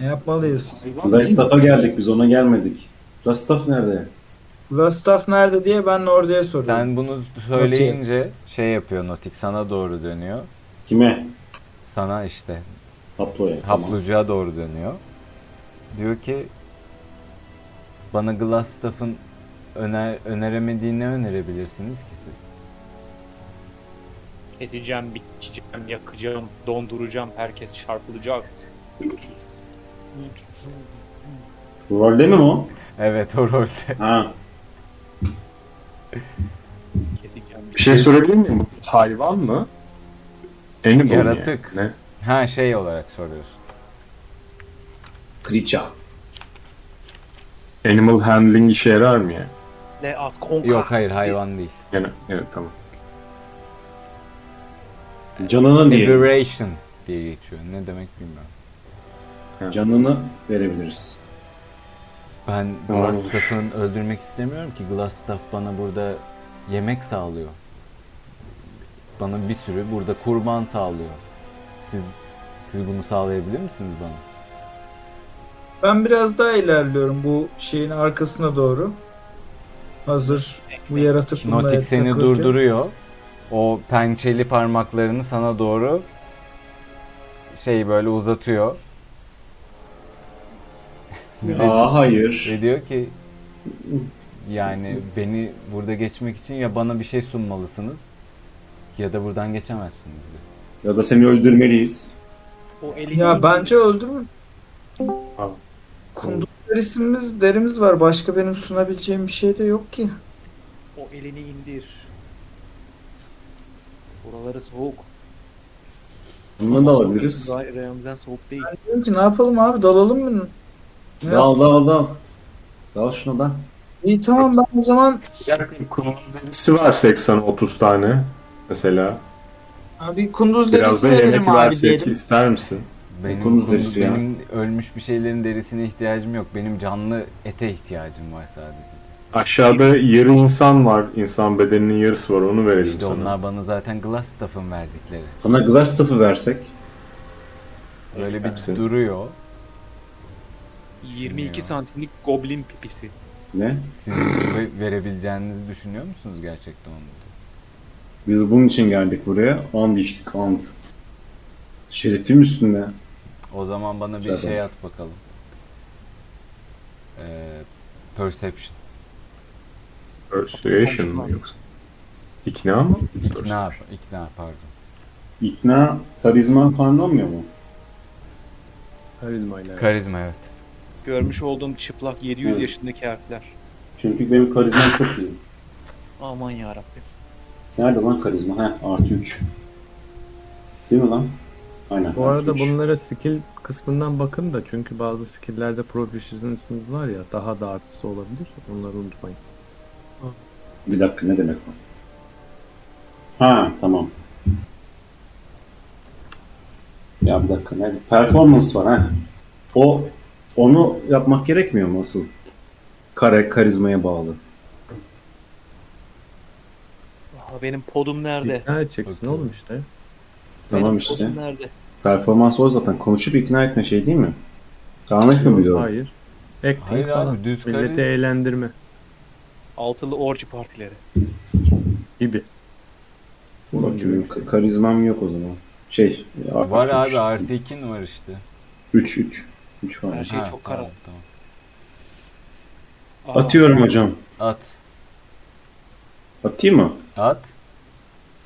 Speaker 7: Ne yapmalıyız?
Speaker 1: Glassstaff'a geldik biz ona gelmedik. Glassstaff nerede?
Speaker 7: Glastaff nerede diye ben Nordi'ye soruyorum.
Speaker 2: Sen bunu söyleyince şey yapıyor Notik sana doğru dönüyor.
Speaker 1: Kime?
Speaker 2: Sana işte
Speaker 1: Haplo'ya. Tamam.
Speaker 2: haplucuğa doğru dönüyor. Diyor ki bana Glassstaff'ın öner öneremediğini ne önerebilirsiniz ki siz?
Speaker 9: Keseceğim, biçeceğim, yakacağım, donduracağım, herkes çarpılacak.
Speaker 1: Rolde mi o?
Speaker 2: Evet o rolde.
Speaker 1: Ha.
Speaker 9: Keseceğim.
Speaker 8: Bir şey sorabilir miyim? Bu Hayvan mı? Animal
Speaker 2: Yaratık.
Speaker 8: Yani. Ne?
Speaker 2: Ha şey olarak soruyorsun.
Speaker 1: Creature.
Speaker 8: Animal handling işe yarar mı yani?
Speaker 6: Ne az konka.
Speaker 2: Yok hayır hayvan değil.
Speaker 8: Yani evet tamam.
Speaker 1: Canını diye.
Speaker 2: Liberation diye geçiyor. Ne demek bilmiyorum.
Speaker 1: Canını verebiliriz.
Speaker 2: Ben
Speaker 8: Varmış.
Speaker 2: Glassstaff'ın öldürmek istemiyorum ki Glassstaff bana burada yemek sağlıyor. Bana bir sürü burada kurban sağlıyor. Siz siz bunu sağlayabilir misiniz bana?
Speaker 7: Ben biraz daha ilerliyorum bu şeyin arkasına doğru. Hazır bu yaratık bununla
Speaker 2: Notik seni
Speaker 7: takılırken.
Speaker 2: durduruyor. O pençeli parmaklarını sana doğru şey böyle uzatıyor.
Speaker 1: Aa hayır.
Speaker 2: Ve diyor ki yani beni burada geçmek için ya bana bir şey sunmalısınız ya da buradan geçemezsiniz diyor.
Speaker 1: Ya da seni öldürmeliyiz.
Speaker 6: O elini
Speaker 7: Ya bence öldürme.
Speaker 8: Al.
Speaker 7: Kunduz derisimiz, derimiz var. Başka benim sunabileceğim bir şey de yok ki.
Speaker 6: o elini indir. Buraları soğuk.
Speaker 1: Bunu da alabiliriz.
Speaker 6: Ra- Reyhan'dan soğuk değil.
Speaker 7: Diyorum ki ne yapalım abi dalalım mı? Ne yap-
Speaker 1: Dal dal dal. Dal şuna da.
Speaker 7: İyi tamam ben o zaman
Speaker 8: Yaratık Kunduz derisi var 80-30 tane mesela.
Speaker 7: abi kunduz
Speaker 8: Biraz
Speaker 7: derisi
Speaker 8: da
Speaker 7: verelim
Speaker 8: yemek
Speaker 7: abi
Speaker 8: versek
Speaker 7: diyelim.
Speaker 8: ister misin?
Speaker 2: Benim,
Speaker 1: Dokunuz
Speaker 2: kunduz-
Speaker 1: derisi ya.
Speaker 2: benim ölmüş bir şeylerin derisine ihtiyacım yok. Benim canlı ete ihtiyacım var sadece.
Speaker 8: Aşağıda yarı insan var. İnsan bedeninin yarısı var. Onu verelim
Speaker 2: İşte
Speaker 8: sana.
Speaker 2: onlar bana zaten Glassstaff'ın verdikleri.
Speaker 1: Sana Glassstaff'ı versek.
Speaker 2: Böyle
Speaker 8: Hepsi.
Speaker 2: bir duruyor.
Speaker 6: 22
Speaker 2: Ya.
Speaker 6: santimlik goblin pipisi.
Speaker 1: Ne?
Speaker 2: Siz ve- verebileceğinizi düşünüyor musunuz gerçekten onu?
Speaker 1: Biz bunun için geldik buraya. And içtik and. Şerefim üstünde.
Speaker 2: O zaman bana bir
Speaker 1: Güzel
Speaker 2: şey
Speaker 1: oldu.
Speaker 2: at bakalım. Ee, perception.
Speaker 8: Persuasion mı yoksa? İkna mı?
Speaker 2: İkna, ikna pardon.
Speaker 1: İkna, karizma falan olmuyor mu?
Speaker 4: Karizma ile.
Speaker 2: Karizma evet.
Speaker 6: Görmüş olduğum çıplak 700
Speaker 1: Evet.
Speaker 6: yaşındaki harfler.
Speaker 1: Çünkü benim karizmam çok iyi.
Speaker 6: Aman yarabbim.
Speaker 1: Nerede lan karizma? Heh, artı 3. Değil mi lan? Aynen.
Speaker 4: Bu arada
Speaker 1: artı üç.
Speaker 4: bunlara skill kısmından bakın da çünkü bazı skill'lerde proficiency'niz var ya daha da artısı olabilir. Onları unutmayın.
Speaker 1: Bir dakika ne demek o? Ha tamam. Ya bir dakika ne? Performans var ha. O onu yapmak gerekmiyor mu asıl? Kare karizmaya bağlı.
Speaker 6: Aa, benim podum nerede?
Speaker 4: İkna edeceksin oğlum işte.
Speaker 6: Benim
Speaker 1: Tamam işte.
Speaker 6: Podum nerede?
Speaker 1: Performans o zaten. Konuşup ikna etme şey değil mi? Anlık mı biliyorum?
Speaker 4: Hayır. Acting
Speaker 2: Hayır abi,
Speaker 4: falan.
Speaker 2: düz
Speaker 4: Milleti
Speaker 2: kare-
Speaker 4: eğlendirme
Speaker 6: Altılı orji partileri.
Speaker 4: gibi.
Speaker 1: Bakayım, ka- karizmam yok o zaman. Şey,
Speaker 2: Var abi artı ikin var işte.
Speaker 1: 3 3 3 var.
Speaker 6: Her şey
Speaker 2: Ha,
Speaker 6: çok
Speaker 2: tamam,
Speaker 6: karanlık.
Speaker 2: tamam.
Speaker 6: Aa,
Speaker 1: Atıyorum hocam.
Speaker 2: At.
Speaker 1: Atayım mı?
Speaker 2: At.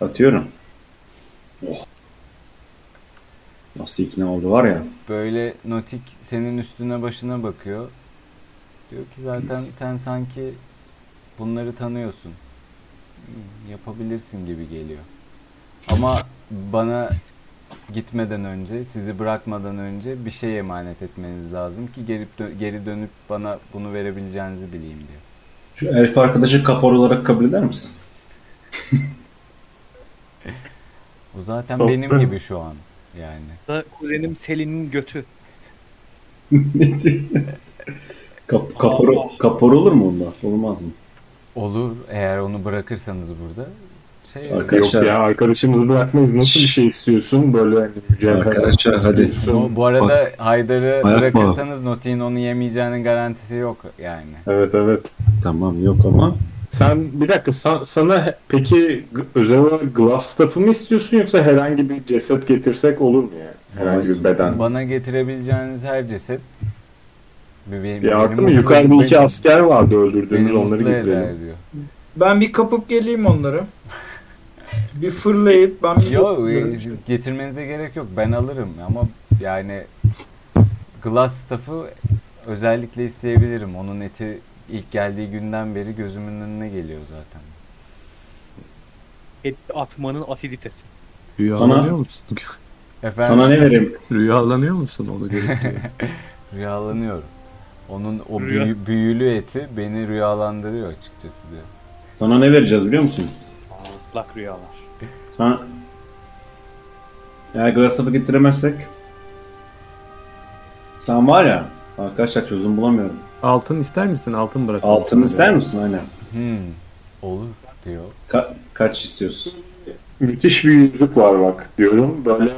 Speaker 1: Atıyorum. Oh. Nasıl ikna oldu var ya.
Speaker 2: Böyle notik senin üstüne başına bakıyor. Diyor ki zaten sen sanki bunları tanıyorsun. Hmm, Yapabilirsin gibi geliyor. Ama bana gitmeden önce, sizi bırakmadan önce bir şey emanet etmeniz lazım ki geri, dö- geri dönüp bana bunu verebileceğinizi bileyim diyor.
Speaker 1: Şu elf arkadaşı kapor olarak kabul eder misin?
Speaker 2: O zaten
Speaker 8: Saplı.
Speaker 2: benim gibi şu an yani.
Speaker 6: da kuzenim Selin'in götü.
Speaker 1: Ne diyor? Kap, kapor, kapor olur mu onda? Olmaz mı?
Speaker 2: Olur eğer onu bırakırsanız burada. Şey
Speaker 1: Arkadaşlar-
Speaker 8: Yok ya arkadaşımızı bırakmayız. Nasıl bir şey istiyorsun? Böyle hani mücevher.
Speaker 1: Arkadaşlar,
Speaker 8: nasıl
Speaker 1: hadi.
Speaker 8: istiyorsun?
Speaker 2: Bu, bu arada
Speaker 3: Bak.
Speaker 2: Haydar'ı
Speaker 3: Ayak
Speaker 2: bırakırsanız Notik'in onu yemeyeceğinin garantisi yok yani.
Speaker 8: Evet evet.
Speaker 1: Tamam yok ama.
Speaker 8: Sen bir dakika sa- sana he- peki g- özel olarak glass staff'ı mı istiyorsun yoksa herhangi bir ceset getirsek olur mu yani? Herhangi bir beden.
Speaker 2: Bana getirebileceğiniz her ceset bir, bir,
Speaker 8: Bir artı mı? Yukarıda iki asker vardı öldürdüğümüz onları getirelim.
Speaker 2: Diyor.
Speaker 7: Ben bir kapıp geleyim onları. bir fırlayıp ben bir
Speaker 2: Yok
Speaker 7: kapıp-
Speaker 2: e, getirmenize gerek yok ben alırım ama yani Glass Staff'ı özellikle isteyebilirim. Onun eti ilk geldiği günden beri gözümün önüne geliyor zaten.
Speaker 6: Et atmanın asiditesi.
Speaker 4: Rüyalanıyor
Speaker 1: Sana-
Speaker 4: musun?
Speaker 2: Efendim
Speaker 1: Sana ne vereyim?
Speaker 4: Rüyalanıyor musun onu görüntüye?
Speaker 2: rüyalanıyorum. Onun o
Speaker 6: Rüya-
Speaker 2: büyü- büyülü eti beni rüyalandırıyor açıkçası diyor.
Speaker 1: Sana ne vereceğiz biliyor musun?
Speaker 6: Aa, ıslak rüyalar.
Speaker 1: Sana... Eğer Glassstaff'ı getiremezsek... Sen var ya... Arkadaşlar çözüm bulamıyorum.
Speaker 4: Altın ister misin? Altın bırak.
Speaker 1: Altın ister misin? Aynen.
Speaker 2: Hmm, olur diyor.
Speaker 1: Ka- kaç istiyorsun?
Speaker 8: Müthiş bir yüzük var bak diyorum. Böyle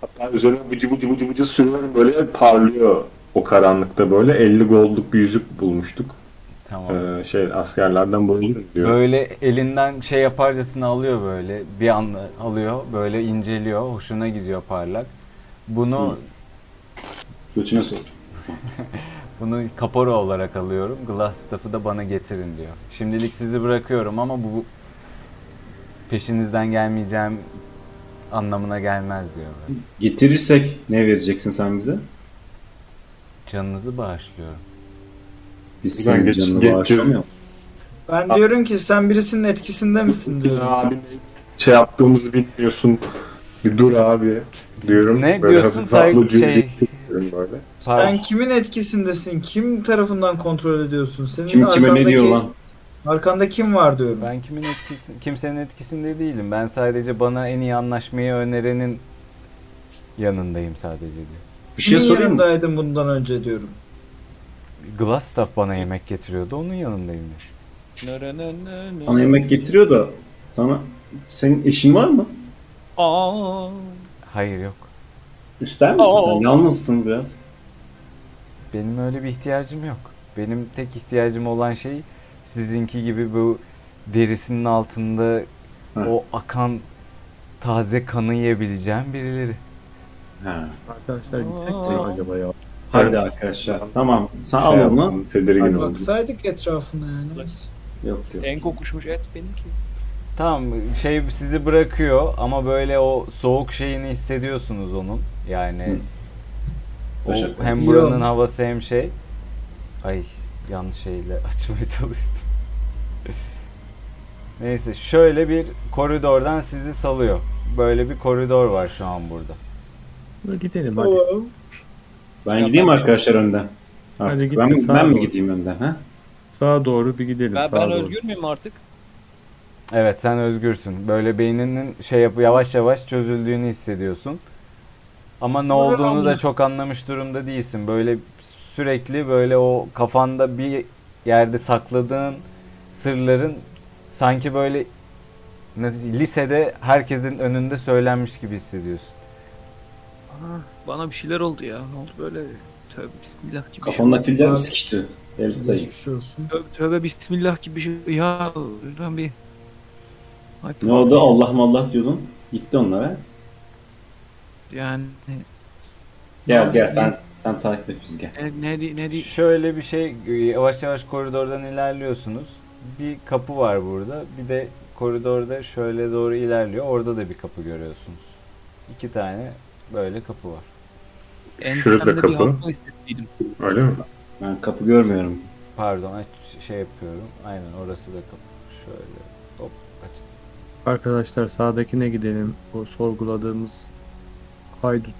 Speaker 8: hatta üzerine vıcı vıcı vıcı vıcı sürüyorum. Böyle parlıyor o karanlıkta böyle. 50 goldluk bir yüzük bulmuştuk.
Speaker 2: Tamam.
Speaker 8: Ee, şey askerlerden buldum diyor.
Speaker 2: Böyle elinden şey yaparcasına alıyor böyle bir anda alıyor böyle inceliyor hoşuna gidiyor parlak. Bunu
Speaker 1: Götüne sok.
Speaker 2: bunu kapora olarak alıyorum. Glass staff'ı da bana getirin diyor. Şimdilik sizi bırakıyorum ama bu peşinizden gelmeyeceğim anlamına gelmez diyor. böyle.
Speaker 1: Getirirsek ne vereceksin sen bize?
Speaker 2: Canınızı bağışlıyorum.
Speaker 1: Biz
Speaker 8: Ben
Speaker 1: senin
Speaker 8: geç-
Speaker 1: canını
Speaker 8: geçeceğiz.
Speaker 1: bağışlamayalım.
Speaker 7: Ben diyorum ki sen birisinin etkisinde misin diyorum.
Speaker 8: Abi şey yaptığımızı bilmiyorsun. Bir dur abi diyorum.
Speaker 2: Ne
Speaker 8: böyle
Speaker 2: diyorsun?
Speaker 8: hafif ablo
Speaker 2: Say- şey-
Speaker 8: diyorum böyle.
Speaker 7: Sen kimin etkisindesin? Kim tarafından kontrol ediyorsun? Senin
Speaker 1: Kim kime
Speaker 7: arkandaki,
Speaker 1: ne diyor lan?
Speaker 7: Arkanda kim var diyorum.
Speaker 2: Ben kimin etkisi, kimsenin etkisinde değilim. Ben sadece bana en iyi anlaşmayı önerenin yanındayım sadece diyor.
Speaker 1: Bir şey
Speaker 7: Kimin
Speaker 1: sorayım mı?
Speaker 7: yanındaydın bundan önce diyorum.
Speaker 2: Glastaff bana yemek getiriyordu. Onun yanındayım diyor.
Speaker 6: Nö, nö, nö, nö.
Speaker 1: Sana yemek getiriyor da sana senin eşin var mı?
Speaker 6: Aa,
Speaker 2: Hayır yok.
Speaker 1: İster misin
Speaker 6: Aa.
Speaker 1: sen? Yalnızsın biraz.
Speaker 2: Benim öyle bir ihtiyacım yok. Benim tek ihtiyacım olan şey sizinki gibi bu derisinin altında
Speaker 1: Heh.
Speaker 2: o akan taze kanı yiyebileceğim birileri.
Speaker 1: Ha.
Speaker 4: Arkadaşlar gitsek mi acaba ya?
Speaker 1: Hadi arkadaşlar. Tamam. Sen
Speaker 8: Şey
Speaker 1: al onu.
Speaker 8: yaptım, Tedirgin oldum.
Speaker 7: Baksaydık etrafına yani. biz.
Speaker 1: Yok yok.
Speaker 6: en kokuşmuş et benimki.
Speaker 2: Tamam şey sizi bırakıyor ama böyle o soğuk şeyini hissediyorsunuz onun. Yani o
Speaker 1: Teşekkür
Speaker 2: hem
Speaker 7: ederim. İyi
Speaker 2: buranın
Speaker 7: olmuş.
Speaker 2: havası hem şey. Ay yanlış şeyle açmaya çalıştım. Neyse şöyle bir koridordan sizi salıyor. Böyle bir koridor var şu an burada.
Speaker 4: Gidelim hadi.
Speaker 1: Ben gideyim arkadaşlar önden. Artık
Speaker 4: git de
Speaker 1: ben,
Speaker 4: sağa
Speaker 1: ben mi
Speaker 4: doğru.
Speaker 1: gideyim önden? Ha?
Speaker 4: Sağa doğru bir gidelim.
Speaker 6: Ben,
Speaker 4: sağa
Speaker 6: ben
Speaker 4: doğru.
Speaker 6: özgür müyüm artık?
Speaker 2: Evet sen özgürsün. Böyle beyninin şey yap yavaş yavaş çözüldüğünü hissediyorsun. Ama ne olduğunu da çok anlamış durumda değilsin. Böyle sürekli böyle o kafanda bir yerde sakladığın sırların sanki böyle nasıl diyeyim, lisede herkesin önünde söylenmiş gibi hissediyorsun.
Speaker 9: Aa, bana bir şeyler oldu ya. Ne oldu böyle? Tövbe bismillah gibi. bir şey
Speaker 1: Kafamda
Speaker 9: oldu.
Speaker 1: filler mi sıkıştı? Elif dayı.
Speaker 4: şey
Speaker 7: Geçmiş olsun.
Speaker 9: Tövbe, tövbe bismillah gibi bir şey. Ya lan bir. Ay,
Speaker 1: Ne oldu? Allah mallah diyordun. Gitti onlara.
Speaker 9: Yani
Speaker 1: Gel gel sen sen takip et bizi gel.
Speaker 9: ne, ne, di- ne, di-
Speaker 2: Şöyle bir şey yavaş yavaş koridordan ilerliyorsunuz. Bir kapı var burada. Bir de koridorda şöyle doğru ilerliyor. Orada da bir kapı görüyorsunuz. İki tane böyle kapı var.
Speaker 8: Şurada
Speaker 9: entremde bir
Speaker 8: kapı.
Speaker 9: halka hissettiydim.
Speaker 8: Öyle mi?
Speaker 1: Ben kapı görmüyorum.
Speaker 2: Pardon aç- şey yapıyorum. Aynen orası da kapı. Şöyle hop aç.
Speaker 4: Arkadaşlar sağdakine gidelim. O sorguladığımız haydut.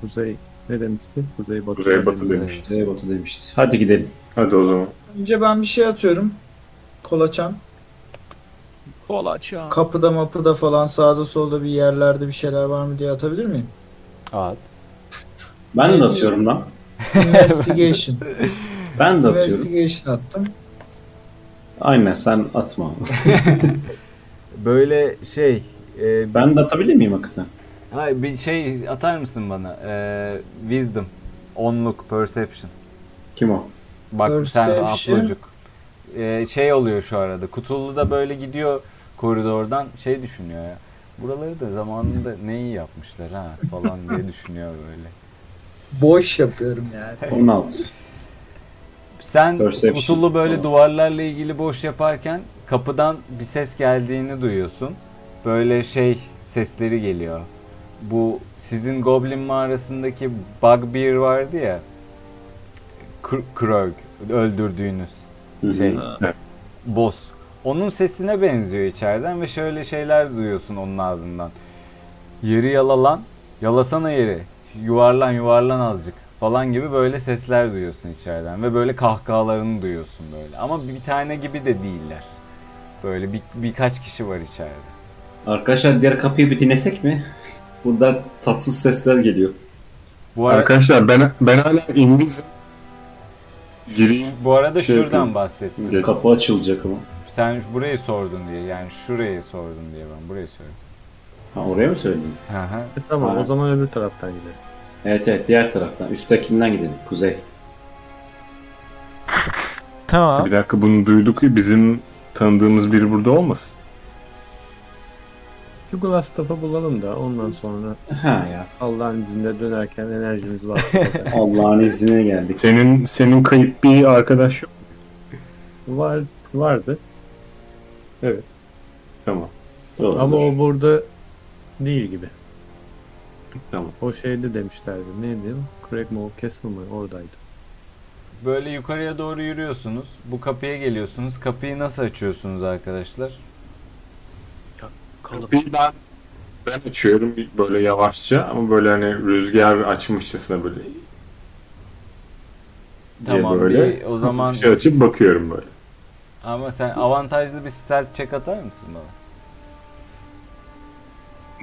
Speaker 4: Kuzey ne demişti? Kuzey batı.
Speaker 8: Kuzey
Speaker 4: demişti.
Speaker 8: batı demiş.
Speaker 1: Kuzey batı demişti. Hadi gidelim.
Speaker 8: Hadi o zaman.
Speaker 7: Önce ben bir şey atıyorum. Kolaçan.
Speaker 6: Kolaça.
Speaker 7: Kapıda mapıda falan sağda solda bir yerlerde bir şeyler var mı diye atabilir miyim?
Speaker 2: At.
Speaker 1: Ben de atıyorum lan.
Speaker 7: Investigation.
Speaker 1: Ben de atıyorum.
Speaker 7: Investigation attım.
Speaker 1: Aynen sen atma.
Speaker 2: Böyle şey e,
Speaker 1: Ben de atabilir miyim hakikaten?
Speaker 2: hayır, bir şey atar mısın bana? E, wisdom. Onluk. Perception.
Speaker 1: Kim o?
Speaker 2: Bak sen
Speaker 7: Perception.
Speaker 2: aplocuk. Ee, şey oluyor şu arada. Kutulu da böyle gidiyor koridordan şey düşünüyor ya. Buraları da zamanında ne iyi yapmışlar ha falan diye düşünüyor böyle.
Speaker 7: Boş yapıyorum yani.
Speaker 1: 16.
Speaker 2: Sen
Speaker 1: Perception.
Speaker 2: kutulu böyle
Speaker 1: Tamam.
Speaker 2: duvarlarla ilgili boş yaparken kapıdan bir ses geldiğini duyuyorsun. Böyle şey sesleri geliyor. Bu sizin Goblin mağarasındaki Bugbear vardı ya. Kr- Krog öldürdüğünüz
Speaker 1: Hı hı.
Speaker 2: şey.
Speaker 8: Evet.
Speaker 2: Boss. Onun sesine benziyor içeriden ve şöyle şeyler duyuyorsun onun ağzından. Yeri yalalan, yalasana yeri. Yuvarlan yuvarlan azıcık falan gibi böyle sesler duyuyorsun içeriden ve böyle kahkahalarını duyuyorsun böyle. Ama bir tane gibi de değiller. Böyle bir, birkaç kişi var içeride.
Speaker 1: Arkadaşlar diğer kapıyı bir dinlesek mi? Buradan tatsız sesler geliyor.
Speaker 2: Bu ara-
Speaker 8: Arkadaşlar ben ben hala İngilizim. Gireyim.
Speaker 2: bu arada
Speaker 8: şey
Speaker 2: şuradan
Speaker 8: yapayım.
Speaker 2: bahsettim.
Speaker 8: Gel.
Speaker 1: Kapı açılacak ama.
Speaker 2: Sen burayı sordun diye yani şurayı sordun diye ben burayı söyledim.
Speaker 1: Ha, oraya mı söyledin?
Speaker 2: Hı hı.
Speaker 4: E, tamam
Speaker 1: Ha.
Speaker 4: o zaman öbür taraftan gidelim.
Speaker 1: Evet evet diğer taraftan. Üsttekinden gidelim. Kuzey.
Speaker 2: Tamam.
Speaker 8: Bir dakika bunu duyduk ya bizim tanıdığımız biri burada olmasın.
Speaker 4: Şu glass top'u bulalım da ondan sonra
Speaker 1: Ha ya.
Speaker 4: Allah'ın izniyle dönerken enerjimiz varsa bakarız.
Speaker 1: Allah'ın izniyle geldik.
Speaker 8: Senin senin kayıp bir arkadaş yok.
Speaker 4: var vardı. Evet.
Speaker 8: Tamam.
Speaker 1: Doğru.
Speaker 4: Ama o burada değil gibi.
Speaker 8: Tamam.
Speaker 4: O şeyde demişlerdi. Neydi? o? Craigmore Castle mı? Oradaydı.
Speaker 2: Böyle yukarıya doğru yürüyorsunuz. Bu kapıya geliyorsunuz. Kapıyı nasıl açıyorsunuz arkadaşlar?
Speaker 8: Bir ben ben açıyorum bir böyle yavaşça ama böyle hani rüzgar açmışçasına böyle diye
Speaker 2: Tamam,
Speaker 8: böyle. şey
Speaker 2: bir o zaman-
Speaker 8: hafifçe açıp bakıyorum böyle.
Speaker 2: Ama sen avantajlı bir stealth check atar mısın bana?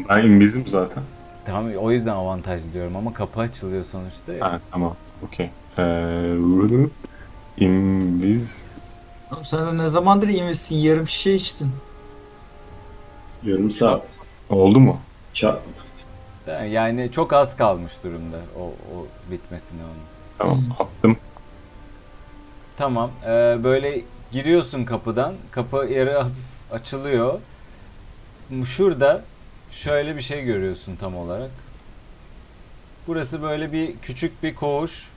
Speaker 8: Ben İngilizim zaten.
Speaker 2: Tamam o yüzden avantajlı diyorum ama kapı açılıyor sonuçta. ya.
Speaker 8: Ha tamam. Okey. Ee, İngiliz
Speaker 7: Oğlum sen ne zamandır investin? Yarım şişe içtin.
Speaker 1: Yarım saat.
Speaker 8: oldu mu?
Speaker 1: Çarpmadık.
Speaker 2: Yani çok az kalmış durumda o, o bitmesine onun.
Speaker 8: Tamam
Speaker 4: Hmm.
Speaker 8: attım.
Speaker 2: Tamam. ee, böyle giriyorsun kapıdan. Kapı yarı hafif açılıyor. Şurada şöyle bir şey görüyorsun tam olarak. Burası böyle bir küçük bir koğuş.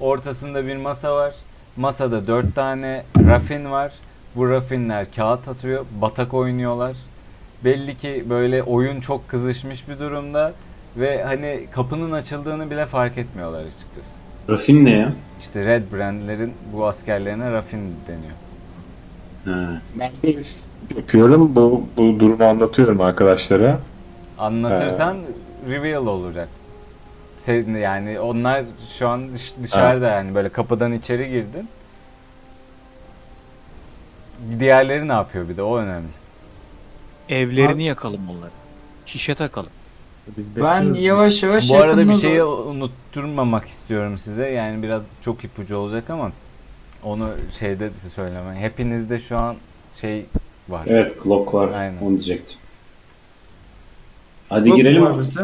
Speaker 2: Ortasında bir masa var. Masada dört tane rafin var. Bu rafinler kağıt atıyor. Batak oynuyorlar. Belli ki böyle oyun çok kızışmış bir durumda. Ve hani kapının açıldığını bile fark etmiyorlar açıkçası.
Speaker 1: Rafin ne ya?
Speaker 2: İşte Red Brand'lerin bu askerlerine Rafin deniyor.
Speaker 1: Ha.
Speaker 8: Ben bir yapıyorum. Bu, bu durumu anlatıyorum arkadaşlara.
Speaker 2: Anlatırsan reveal olacak. Senin yani onlar şu an dış- dışarıda yani böyle kapıdan içeri girdin. Diğerleri ne yapıyor bir de o önemli.
Speaker 9: Evlerini yakalım onları. Şişe takalım.
Speaker 4: Biz
Speaker 7: Ben
Speaker 4: bekliyoruz.
Speaker 7: yavaş yavaş
Speaker 2: Bu arada bir
Speaker 7: yakında
Speaker 2: şeyi
Speaker 7: doğru-
Speaker 2: unutturmamak istiyorum size. Yani biraz çok ipucu olacak ama onu şeyde de söyleme. Hepinizde şu an şey var.
Speaker 1: Evet Glock var.
Speaker 2: Aynen.
Speaker 1: Onu diyecektim. Hadi girelim.
Speaker 7: Var bizde.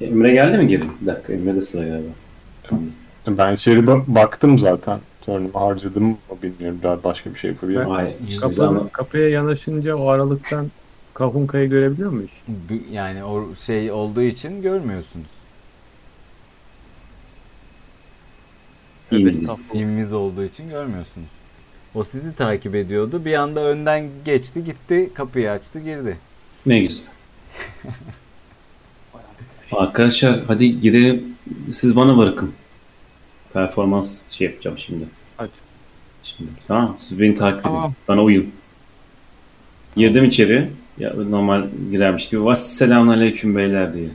Speaker 1: Emre geldi mi girin? Bir dakika Emre de sıra galiba. Tamam.
Speaker 8: Ben içeri ba- baktım zaten. Turnumu harcadım mı bilmiyorum. Daha başka bir şey yapabilir miyim?
Speaker 1: Hayır. hiçbir zaman-
Speaker 4: Kapının, kapıya yanaşınca o aralıktan Kahunka'yı görebiliyor muyuz?
Speaker 2: Bu- Yani o şey olduğu için görmüyorsunuz.
Speaker 1: İngiliz.
Speaker 2: İmimiz olduğu için görmüyorsunuz. O sizi takip ediyordu. Bir anda önden geçti gitti. Kapıyı açtı girdi.
Speaker 1: Ne güzel. Arkadaşlar hadi girelim. Siz bana bırakın. Performans şey yapacağım şimdi.
Speaker 4: Hadi.
Speaker 1: Şimdi tamam siz beni takip edin. Bana uyun. Girdim içeri. Ya normal girermiş gibi. Vasselamun aleyküm beyler diye.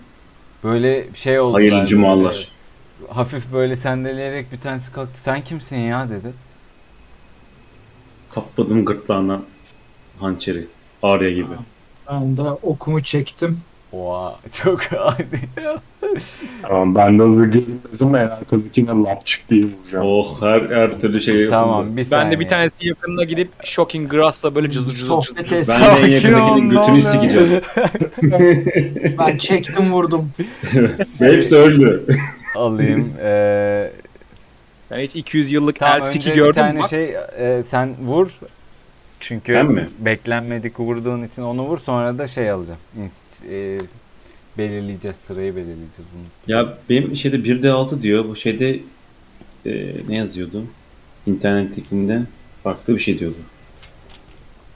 Speaker 2: Böyle şey oldu.
Speaker 1: Hayırlı cumalar.
Speaker 2: Hafif böyle sendeleyerek bir tanesi kalktı. Sen kimsin ya dedi.
Speaker 1: Kapladım gırtlağından hançeri. Ağrıya gibi.
Speaker 7: Ben de okumu çektim.
Speaker 2: Oha çok
Speaker 1: Şey
Speaker 2: adi.
Speaker 8: Tamam ben de hazır gelinmezim. En arkadakine lapçık diye vuracağım.
Speaker 1: Oh her, her türlü şey
Speaker 2: tamam bir
Speaker 9: Ben
Speaker 2: saniye.
Speaker 9: de bir tanesi yakınına gidip Shocking Grass'la böyle cızır cızır cızır.
Speaker 7: Sohbet etsin.
Speaker 1: Ben de en
Speaker 2: Sakin ol,
Speaker 1: yakındakinin
Speaker 2: ne
Speaker 1: götünü sikeceğim.
Speaker 7: Ben çektim vurdum.
Speaker 1: Ve hepsi öldü.
Speaker 2: alayım. Ee,
Speaker 9: Yani hiç 200 yıllık
Speaker 2: tamam,
Speaker 9: Elfsik'i
Speaker 2: önce bir
Speaker 9: gördün
Speaker 2: tane
Speaker 9: mü? Bak,
Speaker 2: şey e, sen vur. Çünkü
Speaker 1: Ben mi?
Speaker 2: beklenmedik vurduğun için onu vur sonra da şey alacağım. İns- e, belirleyeceğiz sırayı belirleyeceğiz bunu.
Speaker 1: Ya benim şeyde 1D 6 diyor. Bu şeyde e, ne yazıyordu? İnternettekinde farklı bir şey diyordu.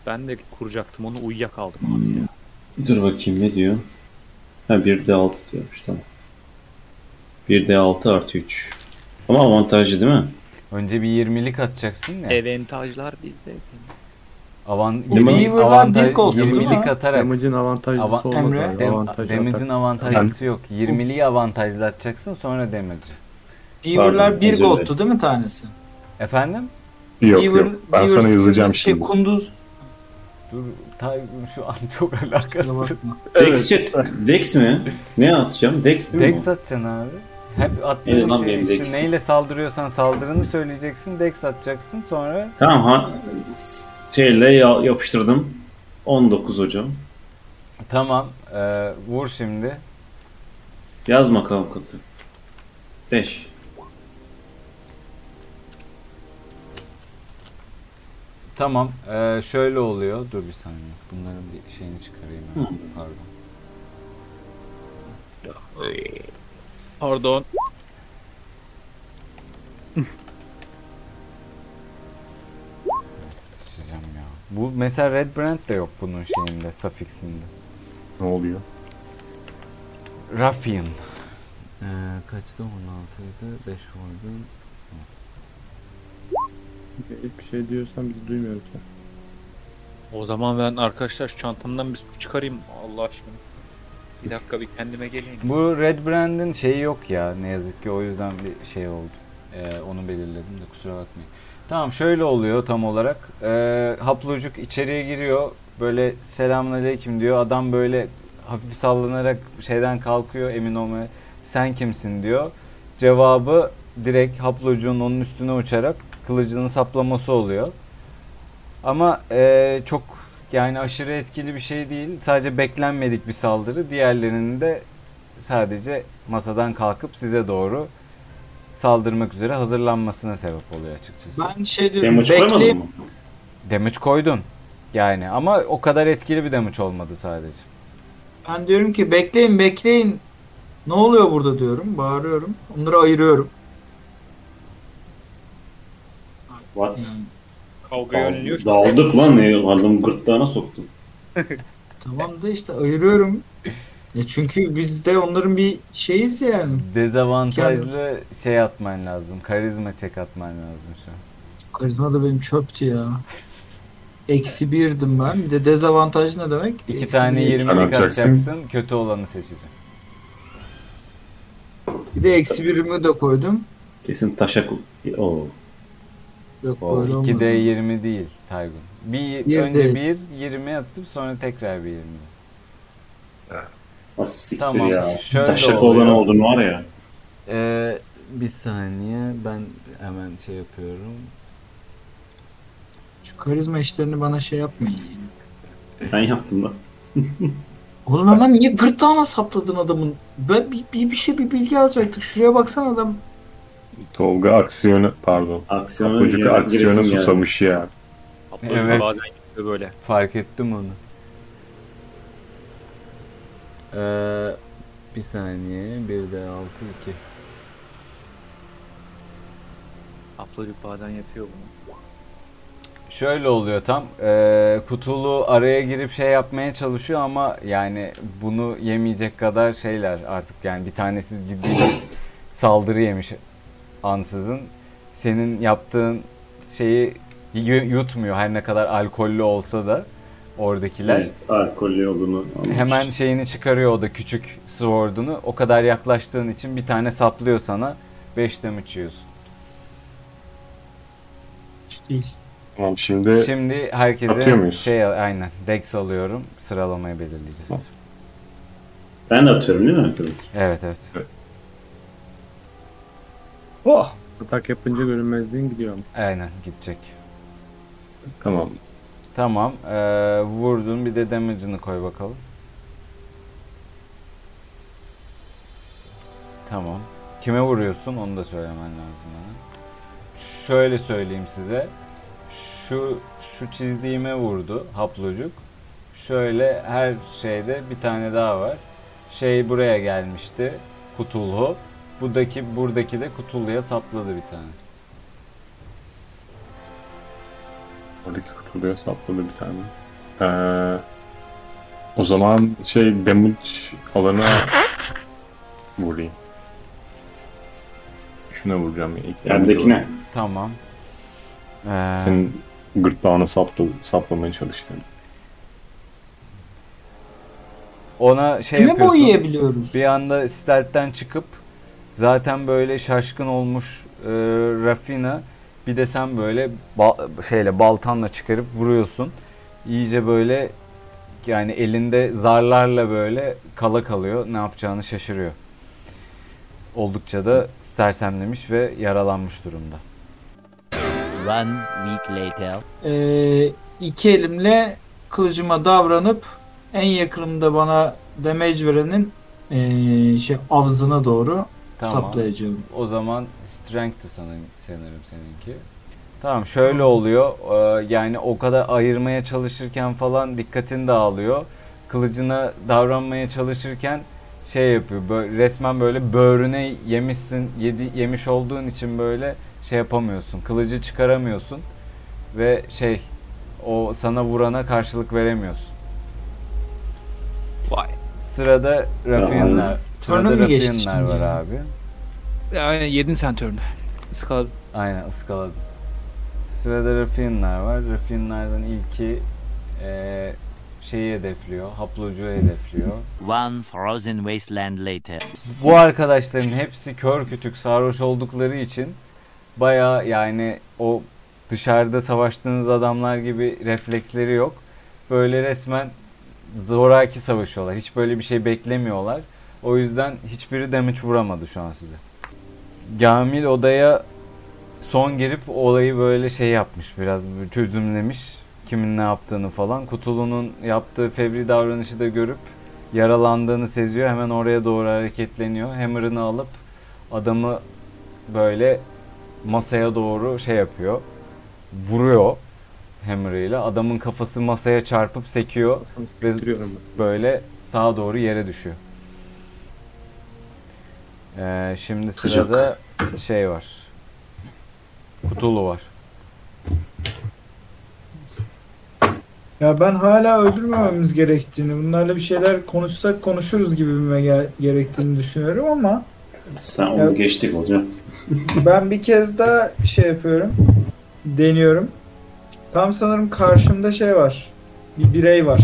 Speaker 9: Ben de kuracaktım onu uyuyakaldım.
Speaker 1: Dur bakayım ne diyor? Ha 1D 6 diyormuş tamam. 1D 6 artı 3. Ama avantajlı değil mi?
Speaker 2: Önce bir 20'lik atacaksın ya.
Speaker 9: Avantajlar bizde.
Speaker 2: Avan,
Speaker 1: Bu iyi
Speaker 7: vurdan
Speaker 2: avantaj-
Speaker 7: bir gol değil mi?
Speaker 2: 20'lik atarak.
Speaker 4: Damage'in avantajlısı
Speaker 2: Ava-
Speaker 4: olmaz.
Speaker 7: Emre?
Speaker 4: abi,
Speaker 2: Dem-
Speaker 4: avantajı
Speaker 2: damage'in
Speaker 4: atar.
Speaker 2: avantajlısı yok. 20'liyi avantajlı atacaksın sonra damage.
Speaker 1: Pardon,
Speaker 7: Beaver'lar bir
Speaker 1: özür
Speaker 7: gold'tu değil mi tanesi?
Speaker 2: Efendim?
Speaker 8: Yok
Speaker 7: Beaver-
Speaker 8: yok. Ben
Speaker 7: Beaver
Speaker 8: sana yazacağım
Speaker 7: şey,
Speaker 8: şimdi.
Speaker 7: Kunduz.
Speaker 2: Dur tay şu an çok alakasız.
Speaker 1: Dex shit. Dex mi? Ne atacağım? Dex değil mi?
Speaker 2: Dex
Speaker 1: bu?
Speaker 2: atacaksın abi. Hep
Speaker 1: Evet,
Speaker 2: attığın
Speaker 1: lan
Speaker 2: şey
Speaker 1: benim
Speaker 2: işte
Speaker 1: Dex.
Speaker 2: neyle saldırıyorsan saldırını söyleyeceksin, dex atacaksın sonra
Speaker 1: Tamam ha. Şeyle ya- yapıştırdım. 19 hocam.
Speaker 2: tamam e, vur şimdi.
Speaker 1: Yaz bakalım kutu. 5.
Speaker 2: Tamam e, şöyle oluyor. Dur bir saniye. Bunların bir şeyini çıkarayım. ben. Pardon.
Speaker 9: Pardon.
Speaker 2: Sıçacağım ya. Bu mesela Red Brand de yok bunun şeyinde, suffixinde.
Speaker 8: Ne oluyor?
Speaker 2: Ruffian. Ee, kaçtı? 16'ydı. 5 vurdum.
Speaker 4: İlk bir şey diyorsan biz duymuyoruz. ya.
Speaker 9: O zaman ben arkadaşlar şu çantamdan bir su çıkarayım Allah aşkına.
Speaker 6: Bir dakika bir kendime geleyim.
Speaker 2: Bu Red Brand'in şeyi yok ya ne yazık ki o yüzden bir şey oldu. Ee, onu belirledim de kusura bakmayın. Tamam şöyle oluyor tam olarak. Ee, haplocuk içeriye giriyor. Böyle selamünaleyküm diyor. Adam böyle hafif sallanarak şeyden kalkıyor emin olmaya. Sen kimsin diyor. Cevabı direkt haplocuğun onun üstüne uçarak kılıcının saplaması oluyor. Ama e, çok yani aşırı etkili bir şey değil. Sadece beklenmedik bir saldırı. Diğerlerinin de sadece masadan kalkıp size doğru saldırmak üzere hazırlanmasına sebep oluyor açıkçası.
Speaker 7: Ben şey diyorum.
Speaker 1: Demoç koymadın
Speaker 7: Bekleyin.
Speaker 1: mı?
Speaker 2: Damage koydun yani ama o kadar etkili bir damage olmadı sadece.
Speaker 7: Ben diyorum ki bekleyin bekleyin. Ne oluyor burada diyorum. Bağırıyorum. Onları ayırıyorum.
Speaker 1: What?
Speaker 7: Yani,
Speaker 6: Kavga yönlüyor.
Speaker 1: Dal- Daldık lan ne adamı gırtlağına soktum.
Speaker 7: tamam da işte ayırıyorum. Ya çünkü biz de onların bir şeyiz yani.
Speaker 2: Dezavantajlı şey atman lazım. Karizma çek atman lazım şu an.
Speaker 7: Karizma da benim çöptü ya. Eksi birdim ben. Bir de dezavantaj ne demek?
Speaker 2: İki
Speaker 7: Eksi
Speaker 2: tane
Speaker 7: bir.
Speaker 2: 20'lik
Speaker 8: atacaksın.
Speaker 2: atacaksın. Kötü olanı seçeceğim.
Speaker 7: Bir de eksi birimi de koydum.
Speaker 1: Kesin taşak... Oo.
Speaker 7: Yok
Speaker 2: O
Speaker 7: böyle olmadı.
Speaker 2: 2D 20 değil Taygun. Bir,
Speaker 7: Bir
Speaker 2: önce
Speaker 7: değil.
Speaker 2: 1 20 atıp sonra tekrar bir 20.
Speaker 1: Ah, siktir
Speaker 2: Tamam.
Speaker 1: ya.
Speaker 2: Şöyle
Speaker 1: Taşak
Speaker 2: oluyor.
Speaker 1: olan oldun var ya.
Speaker 2: Ee, bir saniye ben hemen şey yapıyorum.
Speaker 7: Şu karizma işlerini bana şey yapmayın.
Speaker 1: Ben yaptım da.
Speaker 7: Oğlum hemen niye gırtlağına sapladın adamın? Ben bir, bir, bir şey bir bilgi alacaktık. Şuraya baksana adam.
Speaker 8: Tolga aksiyonu pardon.
Speaker 1: Aksiyona
Speaker 8: Çocuk
Speaker 1: yine
Speaker 8: aksiyonu
Speaker 1: giresim geldi.
Speaker 8: susamış ya.
Speaker 9: Upload
Speaker 2: Evet.
Speaker 9: bazen yapıyor böyle.
Speaker 2: Fark ettim onu. Ee, bir saniye. Bir de 6 2.
Speaker 6: Upload bazen yapıyor bunu.
Speaker 2: Şöyle oluyor tam. Ee, kutulu araya girip şey yapmaya çalışıyor ama yani bunu yemeyecek kadar şeyler artık yani bir tanesi ciddi bir saldırı yemiş ansızın. Senin yaptığın şeyi yu- yutmuyor her ne kadar alkollü olsa da oradakiler.
Speaker 1: Evet, alkollü olduğunu anlamış.
Speaker 2: Hemen şeyini çıkarıyor o da küçük sword'unu. O kadar yaklaştığın için bir tane saplıyor sana. 5 damage yiyorsun.
Speaker 7: Değil.
Speaker 8: Tamam şimdi
Speaker 2: Şimdi
Speaker 8: Atıyor
Speaker 2: herkese
Speaker 8: muyuz?
Speaker 2: şey aynen dex alıyorum. Sıralamayı belirleyeceğiz.
Speaker 1: Ben de atıyorum değil mi? Tabii ki.
Speaker 2: Evet evet.
Speaker 4: Atak yapınca görünmezliğin gidiyor ama.
Speaker 2: Aynen gidecek.
Speaker 8: tamam.
Speaker 2: Tamam. Ee, vurdun bir de damage'ını koy bakalım. Tamam. Kime vuruyorsun onu da söylemen lazım bana. Şöyle söyleyeyim size. Şu şu çizdiğime vurdu haplocuk. Şöyle her şeyde bir tane daha var. Şey buraya gelmişti. Kutulhu. Buradaki buradaki de Kutulhu'ya sapladı bir tane.
Speaker 8: Oradaki kurtuluyor sapladı bir tane. Ee, o zaman şey damage alana vurayım. Şuna vuracağım. ilk damage
Speaker 1: Yerdekine.
Speaker 8: alanı.
Speaker 2: Tamam. Ee,
Speaker 8: Senin gırtlağına sapla, saplamaya çalışıyorum.
Speaker 2: ona şey
Speaker 7: Kime
Speaker 2: yapıyorsun.
Speaker 7: boyayabiliyoruz?
Speaker 2: Bir anda stealth'ten çıkıp zaten böyle şaşkın olmuş e, Rafina bir de sen böyle ba- şeyle baltanla çıkarıp vuruyorsun. İyice böyle yani elinde zarlarla böyle kala kalıyor. Ne yapacağını şaşırıyor. Oldukça da sersemlemiş ve yaralanmış durumda.
Speaker 11: One week later.
Speaker 7: Ee, iki elimle kılıcıma davranıp en yakınımda bana damage verenin ee, şey avzına doğru
Speaker 2: Tamam.
Speaker 7: saplayacağım.
Speaker 2: O zaman strength'ti sanırım, sanırım seninki. Tamam şöyle oluyor. Ee, yani o kadar ayırmaya çalışırken falan dikkatin dağılıyor. Kılıcına davranmaya çalışırken şey yapıyor. bö- resmen böyle böğrüne yemişsin, yedi, yemiş olduğun için böyle şey yapamıyorsun. Kılıcı çıkaramıyorsun ve şey o sana vurana karşılık veremiyorsun.
Speaker 9: Vay.
Speaker 2: Sırada Rafinha, sırada
Speaker 7: Turner mi geçti
Speaker 2: Rafinha'lar
Speaker 7: şimdi
Speaker 2: var
Speaker 7: ya?
Speaker 2: abi.
Speaker 9: Yani yedin sen turnu. Iskal
Speaker 2: Aynen ıskaladım. Sırada Rafinler var. Rafinlerden ilki eee şeyi hedefliyor. Haplocuğu hedefliyor.
Speaker 11: One frozen wasteland later.
Speaker 2: Bu arkadaşların hepsi kör kütük sarhoş oldukları için baya yani o dışarıda savaştığınız adamlar gibi refleksleri yok. Böyle resmen zoraki savaşıyorlar. Hiç böyle bir şey beklemiyorlar. O yüzden hiçbiri damage vuramadı şu an size. Gamil odaya son girip olayı böyle şey yapmış biraz çözümlemiş. Kimin ne yaptığını falan. Kutulu'nun yaptığı fevri davranışı da görüp yaralandığını seziyor. Hemen oraya doğru hareketleniyor. Hammer'ını alıp adamı böyle masaya doğru şey yapıyor. Vuruyor hammer'ıyla. Adamın kafası masaya çarpıp sekiyor.
Speaker 4: Sana sıkıştırıyorum ben.
Speaker 2: Böyle sağa doğru yere düşüyor. Ee, şimdi
Speaker 1: Sıcak.
Speaker 2: sırada şey var. Kutulu var.
Speaker 7: Ya ben hala öldürmememiz gerektiğini, bunlarla bir şeyler konuşsak konuşuruz gibime gel- gerektiğini düşünüyorum ama
Speaker 1: Sen onu
Speaker 7: Evet.
Speaker 1: geçtik hocam.
Speaker 7: ben bir kez daha şey yapıyorum. Deniyorum. Tam sanırım karşımda şey var. Bir birey var.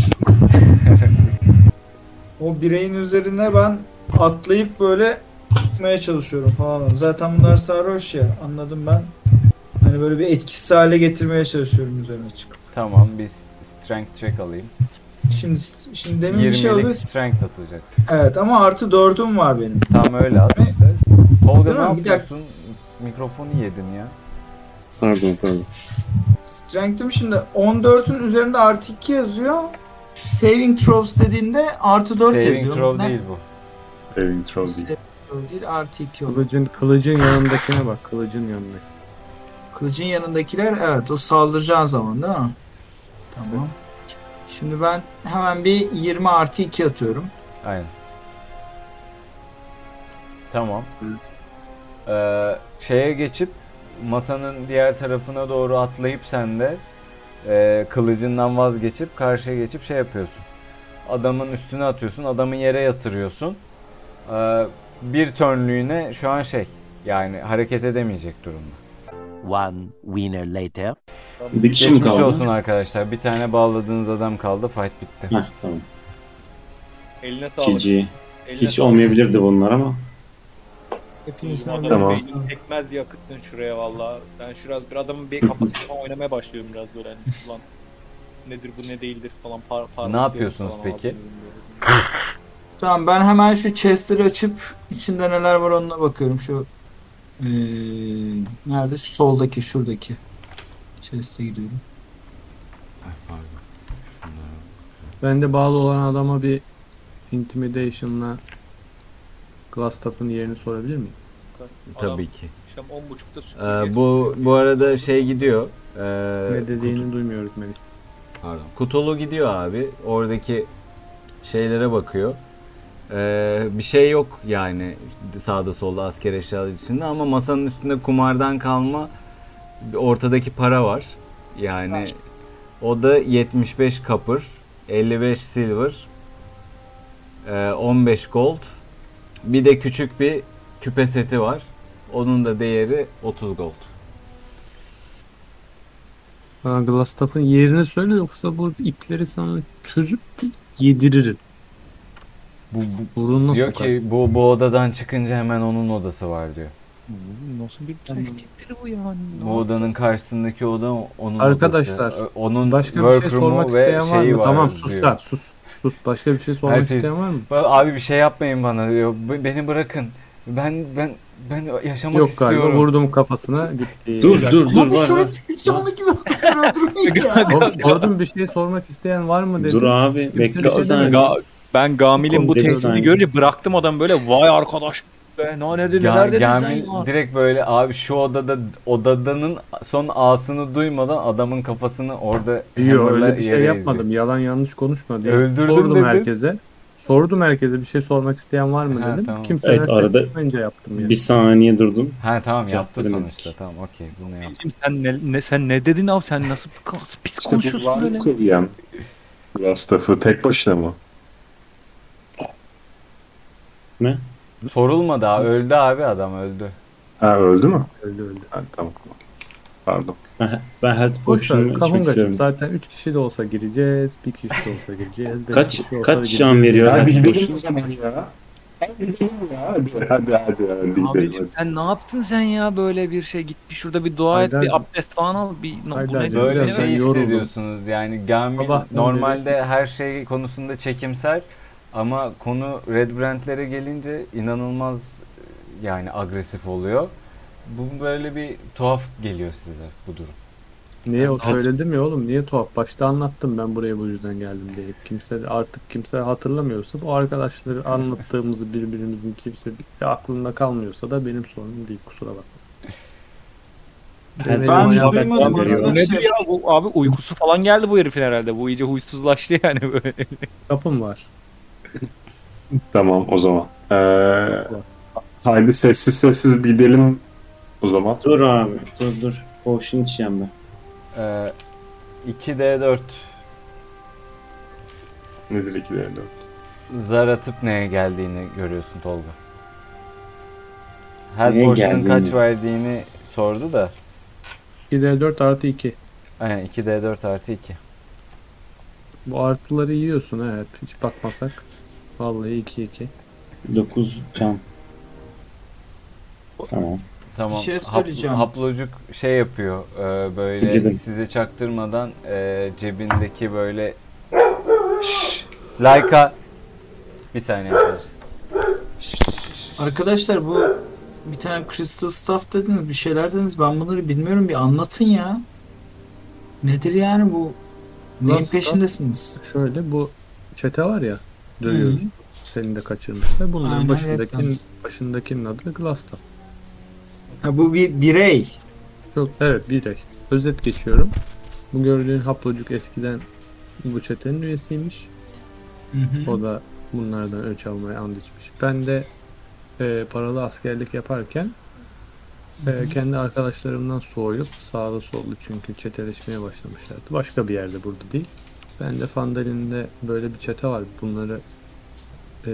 Speaker 7: o bireyin üzerine ben atlayıp böyle tutmaya çalışıyorum falan. Zaten bunlar sarhoş ya. Anladım ben. Hani Yani böyle bir etkisiz hale getirmeye çalışıyorum üzerine çıkıp.
Speaker 2: Tamam bir s- strength check alayım.
Speaker 7: Şimdi şimdi demin bir şey
Speaker 2: 20'lik
Speaker 7: oldu.
Speaker 2: strength atacaksın.
Speaker 7: Evet ama artı dördüm var benim.
Speaker 2: Tam öyle at işte.
Speaker 7: Değil
Speaker 2: Tolga ne
Speaker 7: mi? Bir dakika.
Speaker 2: yapıyorsun? Mikrofonu yedin ya.
Speaker 1: Pardon pardon.
Speaker 7: Strength'im şimdi 14'ün üzerinde artı 2 yazıyor. Saving throws dediğinde artı 4
Speaker 2: Saving
Speaker 7: yazıyor.
Speaker 2: throw
Speaker 7: Ne?
Speaker 2: değil bu.
Speaker 8: Saving throw değil.
Speaker 7: Throw değil artı 2 oluyor.
Speaker 4: Kılıcın, kılıcın yanındakine bak. Kılıcın yanındaki.
Speaker 7: Kılıcın yanındakiler evet o saldıracağı zaman değil mi? Tamam. Şimdi ben hemen bir 20 artı 2 atıyorum.
Speaker 2: Aynen. Tamam. Ee, şeye geçip masanın diğer tarafına doğru atlayıp sen de e, kılıcından vazgeçip karşıya geçip şey yapıyorsun. Adamın üstüne atıyorsun, adamı yere yatırıyorsun. Ee, bir turnlüğüne şu an şey yani hareket edemeyecek durumda.
Speaker 11: One winner later.
Speaker 1: Bir kişi mi
Speaker 2: Geçmiş
Speaker 1: kaldı?
Speaker 2: olsun arkadaşlar. Bir tane bağladığınız adam kaldı. Fight bitti.
Speaker 1: Heh, tamam.
Speaker 9: Eline sağlık.
Speaker 1: GG.
Speaker 9: Eline
Speaker 1: Hiç
Speaker 9: sağlık.
Speaker 1: olmayabilirdi bunlar ama.
Speaker 7: Hepinizin
Speaker 9: Adamın
Speaker 1: Tamam.
Speaker 9: beynini pekmez diye akıttın şuraya valla. Ben şu biraz bir adamın bir kafası falan oynamaya başlıyorum biraz böyle hani ulan nedir bu ne değildir falan par par.
Speaker 2: Ne yapıyorsunuz peki?
Speaker 7: Tamam ben hemen şu chest'leri açıp içinde neler var onuna bakıyorum. Şu eee, nerede? Şu soldaki şuradaki chest'e gidiyorum.
Speaker 4: Ben de bağlı olan adama bir intimidation'la Glastaff'ın yerini sorabilir miyim?
Speaker 2: Tabii ki.
Speaker 9: Akşam 10.30'da
Speaker 2: Ee, bu bu arada şey gidiyor. Ee,
Speaker 4: Ne dediğini duymuyoruz Melih.
Speaker 2: Pardon. Kutulu gidiyor abi. Oradaki şeylere bakıyor. Ee, bir şey yok yani sağda solda asker eşyaları içinde ama masanın üstünde kumardan kalma bir ortadaki para var. Yani o da 75 kapır, 55 silver, ee, 15 gold. Bir de küçük bir küpe seti var. Onun da değeri 30 gold.
Speaker 4: Ha, Glastaff'ın yerini söyle yoksa bu ipleri sana çözüp yediririm.
Speaker 2: Bu,
Speaker 4: Burunla
Speaker 2: diyor
Speaker 4: sokar.
Speaker 2: ki bu, bu odadan çıkınca hemen onun odası var diyor.
Speaker 9: Nasıl bir taktiktir bu yani?
Speaker 2: Bu odanın karşısındaki oda onun
Speaker 4: Arkadaşlar,
Speaker 2: odası. Ö- onun
Speaker 4: Başka bir şey
Speaker 2: workroomu
Speaker 4: sormak
Speaker 2: ve
Speaker 4: isteyen var
Speaker 2: şeyi
Speaker 4: mı? Tamam sus
Speaker 2: diyor.
Speaker 4: lan sus. Sus. Başka bir şey
Speaker 2: Her
Speaker 4: sormak
Speaker 2: şey-
Speaker 4: isteyen var mı?
Speaker 2: Abi bir şey yapmayın bana diyor. "B- Beni bırakın. Ben ben ben yaşamak
Speaker 4: Yok
Speaker 2: istiyorum.
Speaker 4: galiba vurdum kafasına gitti.
Speaker 1: Dur, dur, dur,
Speaker 7: Bu
Speaker 1: var,
Speaker 7: şu
Speaker 1: var.
Speaker 7: canlı gibi öldürmeyin ya.
Speaker 4: Oğlum, sordum bir şey sormak isteyen var mı dedim.
Speaker 1: Dur abi,
Speaker 4: Kimse
Speaker 1: bekle
Speaker 4: bir şey
Speaker 1: sen-
Speaker 4: demedi.
Speaker 1: Ga-
Speaker 9: ben Gamil'in bu
Speaker 1: Oğlum, deli
Speaker 9: tehdidi
Speaker 1: sen.
Speaker 9: görünce bıraktım adam böyle vay arkadaş be ne nedir
Speaker 2: Ga-
Speaker 9: neler dedin sen
Speaker 2: Gamil
Speaker 9: ya?"
Speaker 2: direkt böyle abi şu odada odadanın son ağasını duymadan adamın kafasını orada
Speaker 4: Yok
Speaker 2: hammerla
Speaker 4: öyle bir şey
Speaker 2: yere
Speaker 4: yapmadım.
Speaker 2: eziyor.
Speaker 4: Yalan yanlış konuşma diye.
Speaker 2: Öldürdüm
Speaker 4: Sordum
Speaker 2: dedin.
Speaker 4: herkese. Sordum herkese bir şey sormak isteyen var mı
Speaker 2: Ha,
Speaker 4: dedim.
Speaker 2: tamam.
Speaker 4: Kimseden
Speaker 1: Evet,
Speaker 4: ses
Speaker 1: arada
Speaker 4: çıkmayınca yaptım yani.
Speaker 1: Bir saniye durdum.
Speaker 2: Ha tamam yaptı
Speaker 1: Yaptıramadık.
Speaker 2: sonuçta. Tamam okey bunu yaptı.
Speaker 9: Bildiğim sen ne, ne sen ne dedin abi sen nasıl nasıl pis
Speaker 8: İşte bu
Speaker 9: konuşuyorsun böyle?
Speaker 8: varlık övüyen Rastaf'ı tek başına mı?
Speaker 2: Sorulmadı abi. Öldü abi adam öldü.
Speaker 8: Ha öldü mü?
Speaker 4: Öldü öldü.
Speaker 8: Ha, tamam. Pardon.
Speaker 1: Ben health
Speaker 4: Boş
Speaker 1: potion'u
Speaker 4: ver
Speaker 1: içmek
Speaker 4: kafam kaçıp
Speaker 1: istiyorum.
Speaker 4: zaten 3 kişi de olsa gireceğiz. 1 kişi de olsa gireceğiz. beş
Speaker 1: Kaç-
Speaker 4: kişi şey olsa
Speaker 1: kaç
Speaker 4: gireceğiz.
Speaker 1: can veriyor?
Speaker 8: Ya
Speaker 1: Hadi
Speaker 8: bildirim
Speaker 1: boşuna-
Speaker 8: o zaman ya. Hadi bildirim ya. Hadi hadi hadi. hadi,
Speaker 9: Abicim
Speaker 8: gidelim.
Speaker 9: sen ne yaptın sen ya böyle bir şey git bir şurada bir dua et bir
Speaker 4: Haydar'cığım.
Speaker 9: abdest falan al bir bu
Speaker 4: Haydar'cığım,
Speaker 9: nedir?
Speaker 2: Böyle
Speaker 4: Evet.
Speaker 2: şey
Speaker 4: Ben yoruldum.
Speaker 2: hissediyorsunuz yani Gamil
Speaker 4: Sabahtan
Speaker 2: normalde her şey konusunda çekimser ama konu Red Brand'lere gelince inanılmaz e, yani agresif oluyor. Bu böyle bir tuhaf geliyor size bu durum.
Speaker 4: Niye o söyledim ya oğlum niye tuhaf başta anlattım ben buraya bu yüzden geldim diye kimse de- artık kimse hatırlamıyorsa bu arkadaşları anlattığımızı birbirimizin kimse bir- aklında kalmıyorsa da benim sorunum değil kusura bakma.
Speaker 1: Ben
Speaker 4: Benim
Speaker 7: Ben
Speaker 4: hayatım-
Speaker 7: duymadım
Speaker 1: veriyorum.
Speaker 9: Bu nedir
Speaker 7: arkadaşlar. Şey,
Speaker 9: ya bu abi uykusu falan geldi bu herifin herhalde bu iyice huysuzlaştı yani böyle.
Speaker 4: Kapım var.
Speaker 8: Tamam o zaman. Ee, haydi sessiz sessiz gidelim o zaman.
Speaker 1: Dur abi dur dur. Potion içeceğim ben.
Speaker 2: Ee, 2D4
Speaker 8: Nedir ikilerinde?
Speaker 2: zar atıp neye geldiğini görüyorsun Tolga. Her
Speaker 1: Neye
Speaker 2: portion'un kaç
Speaker 1: geldiğini.
Speaker 2: verdiğini sordu da.
Speaker 4: 2D4 artı 2.
Speaker 2: Aynen 2D4 artı 2.
Speaker 4: Bu artıları yiyorsun evet hiç bakmasak. Vallahi 2-2.
Speaker 1: 9 can. Tamam.
Speaker 2: Tamam.
Speaker 7: Bir şey
Speaker 2: hap-
Speaker 7: söyleyeceğim.
Speaker 2: haplocuk şey yapıyor e, böyle
Speaker 7: Gidelim.
Speaker 2: size çaktırmadan e, cebindeki böyle Şşş! Laika bir saniye arkadaşlar.
Speaker 7: Arkadaşlar bu bir tane crystal staff dediniz bir şeyler dediniz ben bunları bilmiyorum bir anlatın ya. Nedir yani bu? Neyin
Speaker 4: Nasıl?
Speaker 7: peşindesiniz?
Speaker 4: Şöyle bu çete var ya dövüyoruz. Seni de kaçırmışlar. Bunların
Speaker 7: Aynen,
Speaker 4: başındakinin,
Speaker 7: evet.
Speaker 4: başındakinin adı Glass'tan.
Speaker 7: Ha, bu bir birey.
Speaker 4: Çok, evet birey. Özet geçiyorum. Bu gördüğün haplocuk eskiden bu çetenin üyesiymiş.
Speaker 7: Hı hı.
Speaker 4: O da bunlardan ölç almaya and içmiş. Ben de e, paralı askerlik yaparken e,
Speaker 7: Hı hı.
Speaker 4: kendi arkadaşlarımdan soğuyup sağda solda çünkü çeteleşmeye başlamışlardı. Başka bir yerde burada değil. Ben de Fandalin'de böyle bir çete var. Bunları e,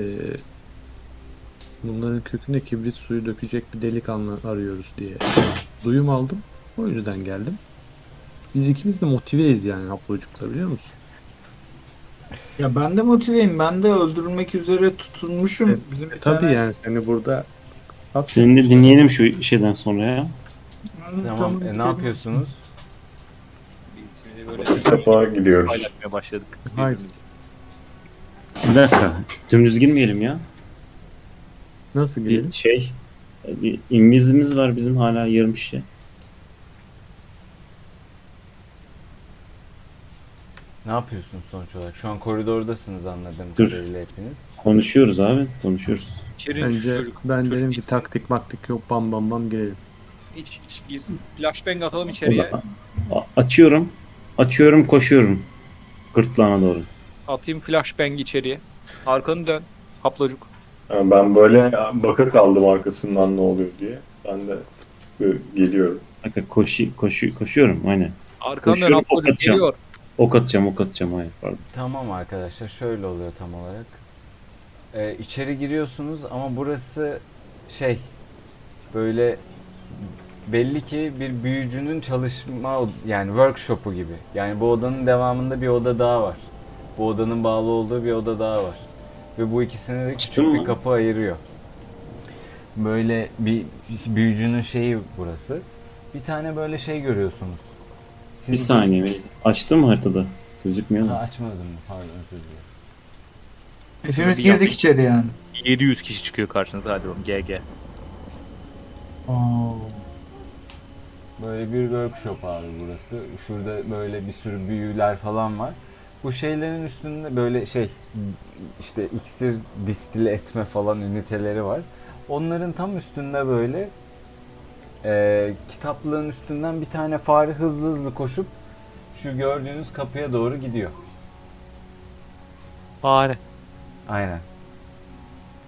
Speaker 4: bunların köküne kibrit suyu dökecek bir delikanlı arıyoruz diye duyum aldım. O yüzden geldim. Biz ikimiz de motiveyiz yani Ablacık'la biliyor musun?
Speaker 7: Ya ben de motiveyim. Ben de öldürülmek üzere tutulmuşum. Bizim bir
Speaker 4: e, Tabii
Speaker 7: tane-
Speaker 4: yani seni burada
Speaker 1: Seni de dinleyelim şu şeyden sonra ya.
Speaker 2: Tamam,
Speaker 7: Tamam,
Speaker 2: e, ne
Speaker 7: gidelim.
Speaker 2: yapıyorsunuz?
Speaker 8: Safa gidiyoruz.
Speaker 9: Paylaşmaya başladık.
Speaker 4: Haydi.
Speaker 1: Bir dakika. Dümdüz girmeyelim ya.
Speaker 4: Nasıl
Speaker 1: girelim? Bir şey. Bir invizimiz var bizim hala yarım şişe.
Speaker 2: Ne yapıyorsunuz sonuç olarak? Şu an koridordasınız anladığım
Speaker 1: Dur.
Speaker 2: kadarıyla hepiniz.
Speaker 1: Konuşuyoruz abi. Konuşuyoruz.
Speaker 4: Bence ben dedim ki taktik maktik yok bam bam bam girelim.
Speaker 9: İç, iç girsin. Flashbang atalım
Speaker 1: O
Speaker 9: içeriye.
Speaker 1: zaman a- açıyorum. Açıyorum koşuyorum. Gırtlağına doğru.
Speaker 9: Atayım flashbang içeriye. Arkanı dön. Haplacuk.
Speaker 8: Yani Ee, ben böyle baka kaldım arkasından ne oluyor diye. Ben de böyle geliyorum.
Speaker 1: Dakika koşu, koşu, koşuyorum aynen.
Speaker 9: Arkandan
Speaker 1: ok
Speaker 9: Abdülcüm
Speaker 1: atacağım.
Speaker 9: geliyor.
Speaker 1: Ok atacağım, ok atacağım. Hayır pardon.
Speaker 2: Tamam arkadaşlar şöyle oluyor tam olarak. Ee, içeri giriyorsunuz ama burası şey böyle belli ki bir büyücünün çalışma od- yani workshop'u gibi. Yani bu odanın devamında bir oda daha var. Bu odanın bağlı olduğu bir oda daha var. Ve bu ikisini de küçük bir kapı ayırıyor. Böyle bir büyücünün şeyi burası. Bir tane böyle şey görüyorsunuz.
Speaker 1: Bir
Speaker 2: Siz-
Speaker 1: saniye. beni- Açtın mı haritada? Gözükmüyor
Speaker 2: Ha,
Speaker 1: mu?
Speaker 2: açmadım pardon özür dilerim.
Speaker 7: Hepimiz girdik içeri yani.
Speaker 6: 700 kişi çıkıyor karşınıza hadi oğlum GG.
Speaker 7: Oo.
Speaker 2: Böyle bir workshop abi burası. Şurada böyle bir sürü büyüler falan var. Bu şeylerin üstünde böyle şey işte iksir distile etme falan üniteleri var. Onların tam üstünde böyle e, kitaplığın üstünden bir tane fare hızlı hızlı koşup şu gördüğünüz kapıya doğru gidiyor.
Speaker 9: Fare.
Speaker 2: Aynen.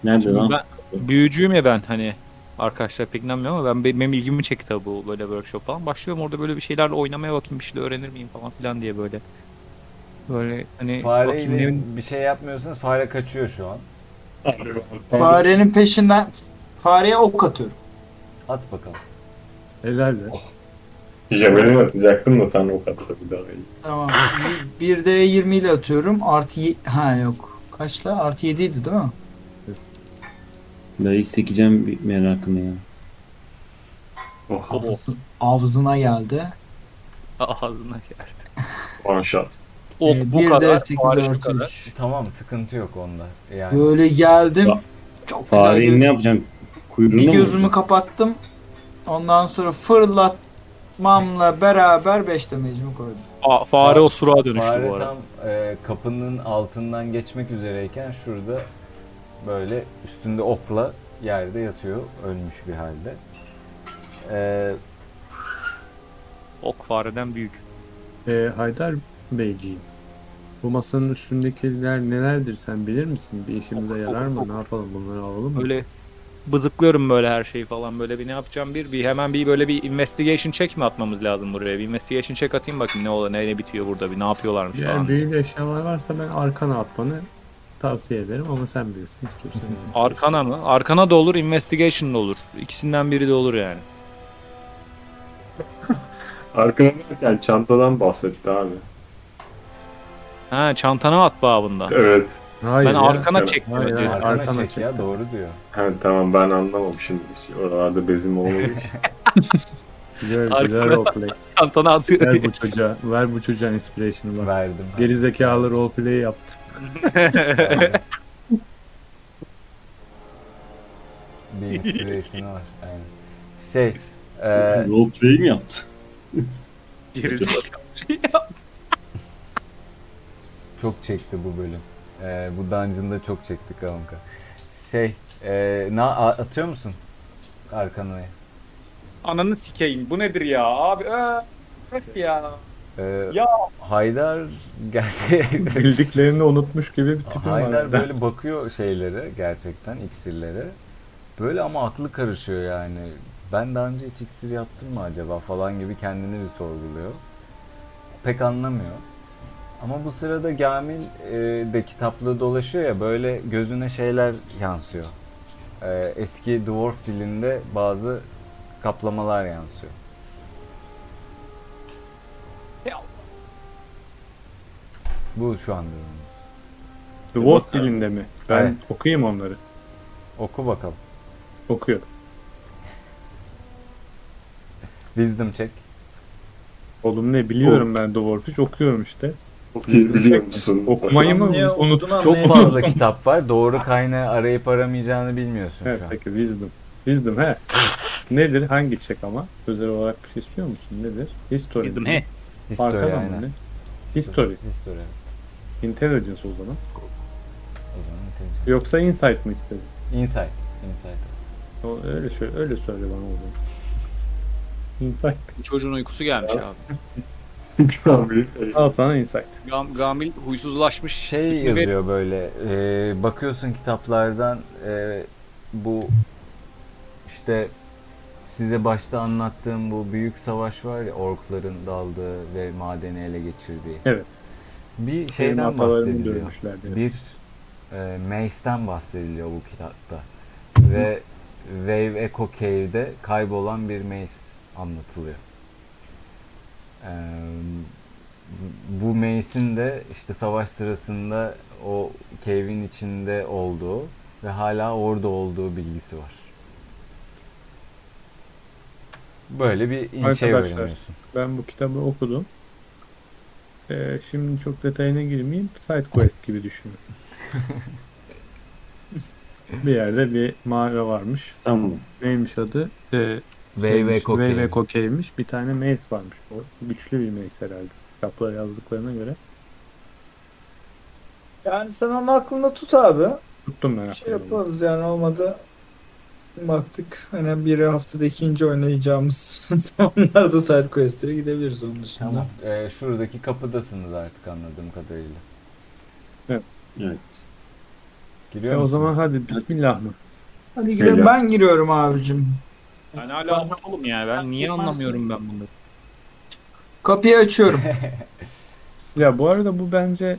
Speaker 1: Nerede
Speaker 9: Şimdi
Speaker 1: lan?
Speaker 9: Ben büyücüyüm ya ben hani arkadaşlar pek inanmıyor ama ben benim ilgimi çekti tabii bu böyle workshop falan. Başlıyorum orada böyle bir şeylerle oynamaya bakayım bir şeyler öğrenir miyim falan filan diye böyle. Böyle hani bakayım
Speaker 2: Fareyle
Speaker 9: ne-
Speaker 2: bir şey yapmıyorsanız fare kaçıyor şu an.
Speaker 7: Farenin peşinden fareye ok atıyorum.
Speaker 2: At bakalım.
Speaker 4: Helal be.
Speaker 9: Oh.
Speaker 8: Javelin atacaktım da sen o kadar bir daha iyi.
Speaker 7: Tamam. 1 de 20 ile atıyorum. Artı ye- ha yok. Kaçla? Artı 7 idi değil mi?
Speaker 1: Dayı sekeceğim bir merakımı ya.
Speaker 7: Ağzı- Avzına geldi.
Speaker 9: ağzına geldi.
Speaker 8: One shot.
Speaker 9: Ok
Speaker 7: Ee,
Speaker 9: Oh, bu
Speaker 7: bir
Speaker 9: kadar,
Speaker 7: de sekiz
Speaker 9: fare bu
Speaker 7: artı
Speaker 9: kadar.
Speaker 2: Tamam sıkıntı yok onda. Yani.
Speaker 7: Böyle geldim. Çok güzel.
Speaker 1: Fareyi ne
Speaker 7: görünüyor.
Speaker 1: yapacağım? Kuyruğunu
Speaker 7: Bir
Speaker 1: mu
Speaker 7: gözümü
Speaker 1: vuracağım?
Speaker 7: kapattım. Ondan sonra fırlatmamla beraber 5 damage'imi koydum.
Speaker 9: Aa, fare o sura dönüştü
Speaker 2: Fare
Speaker 9: bu arada.
Speaker 2: tam e, kapının altından geçmek üzereyken şurada böyle üstünde okla yerde yatıyor ölmüş bir halde. E,
Speaker 9: Ok fareden büyük.
Speaker 4: E, Haydar Beyciğim. Bu masanın üstündekiler nelerdir sen bilir misin? Bir işimize yarar mı? Ne yapalım bunları alalım mı?
Speaker 9: Böyle bızıklıyorum böyle her şeyi falan böyle bir ne yapacağım bir bir hemen bir böyle bir investigation check mi atmamız lazım buraya? Bir investigation check atayım bakayım ne olur ne, ne bitiyor burada bir şey ne yapıyorlarmış
Speaker 4: Eğer
Speaker 9: falan.
Speaker 4: büyülü eşyalar varsa ben arkana atmanı tavsiye ederim ama sen bilirsin istiyorsan. bilirsin.
Speaker 9: Arkana mı? Arkana da olur, investigation da olur. İkisinden biri de olur yani.
Speaker 8: Arkana derken çantadan bahsetti abi.
Speaker 9: Ha çantana at babında.
Speaker 8: Evet.
Speaker 4: Hayır
Speaker 9: ben
Speaker 4: ya.
Speaker 9: arkana
Speaker 8: Evet.
Speaker 9: çektim.
Speaker 4: Hayır,
Speaker 9: önce.
Speaker 4: hayır,
Speaker 2: Arkana
Speaker 4: arkana
Speaker 2: çek ya doğru diyor.
Speaker 8: Evet tamam ben anlamam şimdi. Oralarda bezim olmadı.
Speaker 4: Güzel, güzel
Speaker 9: Arkana-
Speaker 4: roleplay.
Speaker 9: Tantana atıyor.
Speaker 4: Ver bu çocuğa, ver bu çocuğa inspiration'ı bak.
Speaker 2: Verdim.
Speaker 4: Gerizekalı roleplay yaptı.
Speaker 2: Bir inspiration var. Aynen. Şey, e,
Speaker 1: Roleplay mi yaptı?
Speaker 2: çok çekti bu bölüm. E, bu dungeon'da çok çekti kanka. Şey, e, na, a- atıyor musun arkanaya?
Speaker 6: Ananı sikeyim. Bu nedir ya abi? Ee, öf ya.
Speaker 2: E,
Speaker 6: Ya.
Speaker 2: Haydar gerçi
Speaker 4: Bildiklerini unutmuş gibi bir tipim
Speaker 2: Haydar
Speaker 4: var.
Speaker 2: böyle bakıyor şeylere gerçekten iksirlere. Böyle ama aklı karışıyor yani. Ben daha önce hiç iksir yaptım mı acaba falan gibi kendini bir sorguluyor. Pek anlamıyor. Ama bu sırada Gamil e, de kitaplığı dolaşıyor ya böyle gözüne şeyler yansıyor. E, eski dwarf dilinde bazı kaplamalar yansıyor. Bu şu an durum.
Speaker 4: Dwarf dilinde mi? Ben
Speaker 2: Evet.
Speaker 4: okuyayım onları.
Speaker 2: Oku bakalım.
Speaker 4: Okuyorum.
Speaker 2: Wisdom check.
Speaker 4: Oğlum ne biliyorum ben Dwarf'ı hiç okuyorum işte.
Speaker 8: Okuyayım, biliyor musun?
Speaker 4: Okumayı mı
Speaker 7: Niye okuduğunu
Speaker 4: unuttum?
Speaker 2: Çok
Speaker 7: anlayamıyorum.
Speaker 2: fazla kitap var. Doğru kaynağı arayıp aramayacağını bilmiyorsun
Speaker 4: Evet
Speaker 2: şu an.
Speaker 4: peki wisdom. Wisdom he. Nedir? Hangi çek ama? Özel olarak bir şey istiyor musun? Nedir? History.
Speaker 6: Bildim
Speaker 4: mi?
Speaker 6: he.
Speaker 2: History
Speaker 4: Arkadan mı
Speaker 2: aynen.
Speaker 4: ne? History.
Speaker 2: History.
Speaker 4: Intelligence o zaman.
Speaker 2: O zaman intelligence.
Speaker 4: Yoksa insight mı istedin?
Speaker 2: Insight. Insight.
Speaker 4: O, öyle şöyle öyle söyle bana o zaman. Insight.
Speaker 12: Çocuğun uykusu gelmiş abi.
Speaker 8: Abi,
Speaker 4: Al sana insight.
Speaker 12: Gam, gamil huysuzlaşmış.
Speaker 2: Şey
Speaker 12: Sürekli bir-
Speaker 2: yazıyor böyle. e, bakıyorsun kitaplardan e, bu işte size başta anlattığım bu büyük savaş var ya orkların daldığı ve madeni ele geçirdiği.
Speaker 4: Evet.
Speaker 2: Bir
Speaker 4: Benim
Speaker 2: şeyden
Speaker 4: hatalarımı
Speaker 2: bahsediliyor.
Speaker 4: görmüşler diye.
Speaker 2: bir e, Mace'den bahsediliyor bu kitapta. Ve Wave Echo Cave'de kaybolan bir Mace anlatılıyor. E, bu Mace'in de işte savaş sırasında o cave'in içinde olduğu ve hala orada olduğu bilgisi var. Böyle bir in- şey
Speaker 4: Arkadaşlar.
Speaker 2: öğreniyorsun.
Speaker 4: Ben bu kitabı okudum. Ee, şimdi çok detayına girmeyeyim. Side quest gibi düşünün. bir yerde bir mağara varmış.
Speaker 1: Tamam.
Speaker 4: Neymiş adı? Ee,
Speaker 2: Wave Echo
Speaker 4: Wave
Speaker 2: Cave.
Speaker 4: Echo Cave'miş. Bir tane mace varmış. O güçlü bir mace herhalde. Kitaplara yazdıklarına göre.
Speaker 7: Yani sen onu aklında tut abi.
Speaker 4: Tuttum ben
Speaker 7: Bir şey
Speaker 4: aklımda.
Speaker 7: yaparız yani olmadı. Baktık hani bir haftada ikinci oynayacağımız zamanlarda side quest'lere gidebiliriz onun dışında.
Speaker 2: Tamam. E, şuradaki kapıdasınız artık anladığım kadarıyla.
Speaker 1: Evet.
Speaker 2: Giriyor
Speaker 4: E, o
Speaker 2: musunuz?
Speaker 4: zaman hadi bismillah mı?
Speaker 7: Hadi
Speaker 8: Söyle.
Speaker 7: girelim. Ben giriyorum abicim.
Speaker 6: Ben hala anlamadım ya. Ben niye anlamıyorum ben bunları?
Speaker 7: Kapıyı açıyorum.
Speaker 4: Ya bu arada bu bence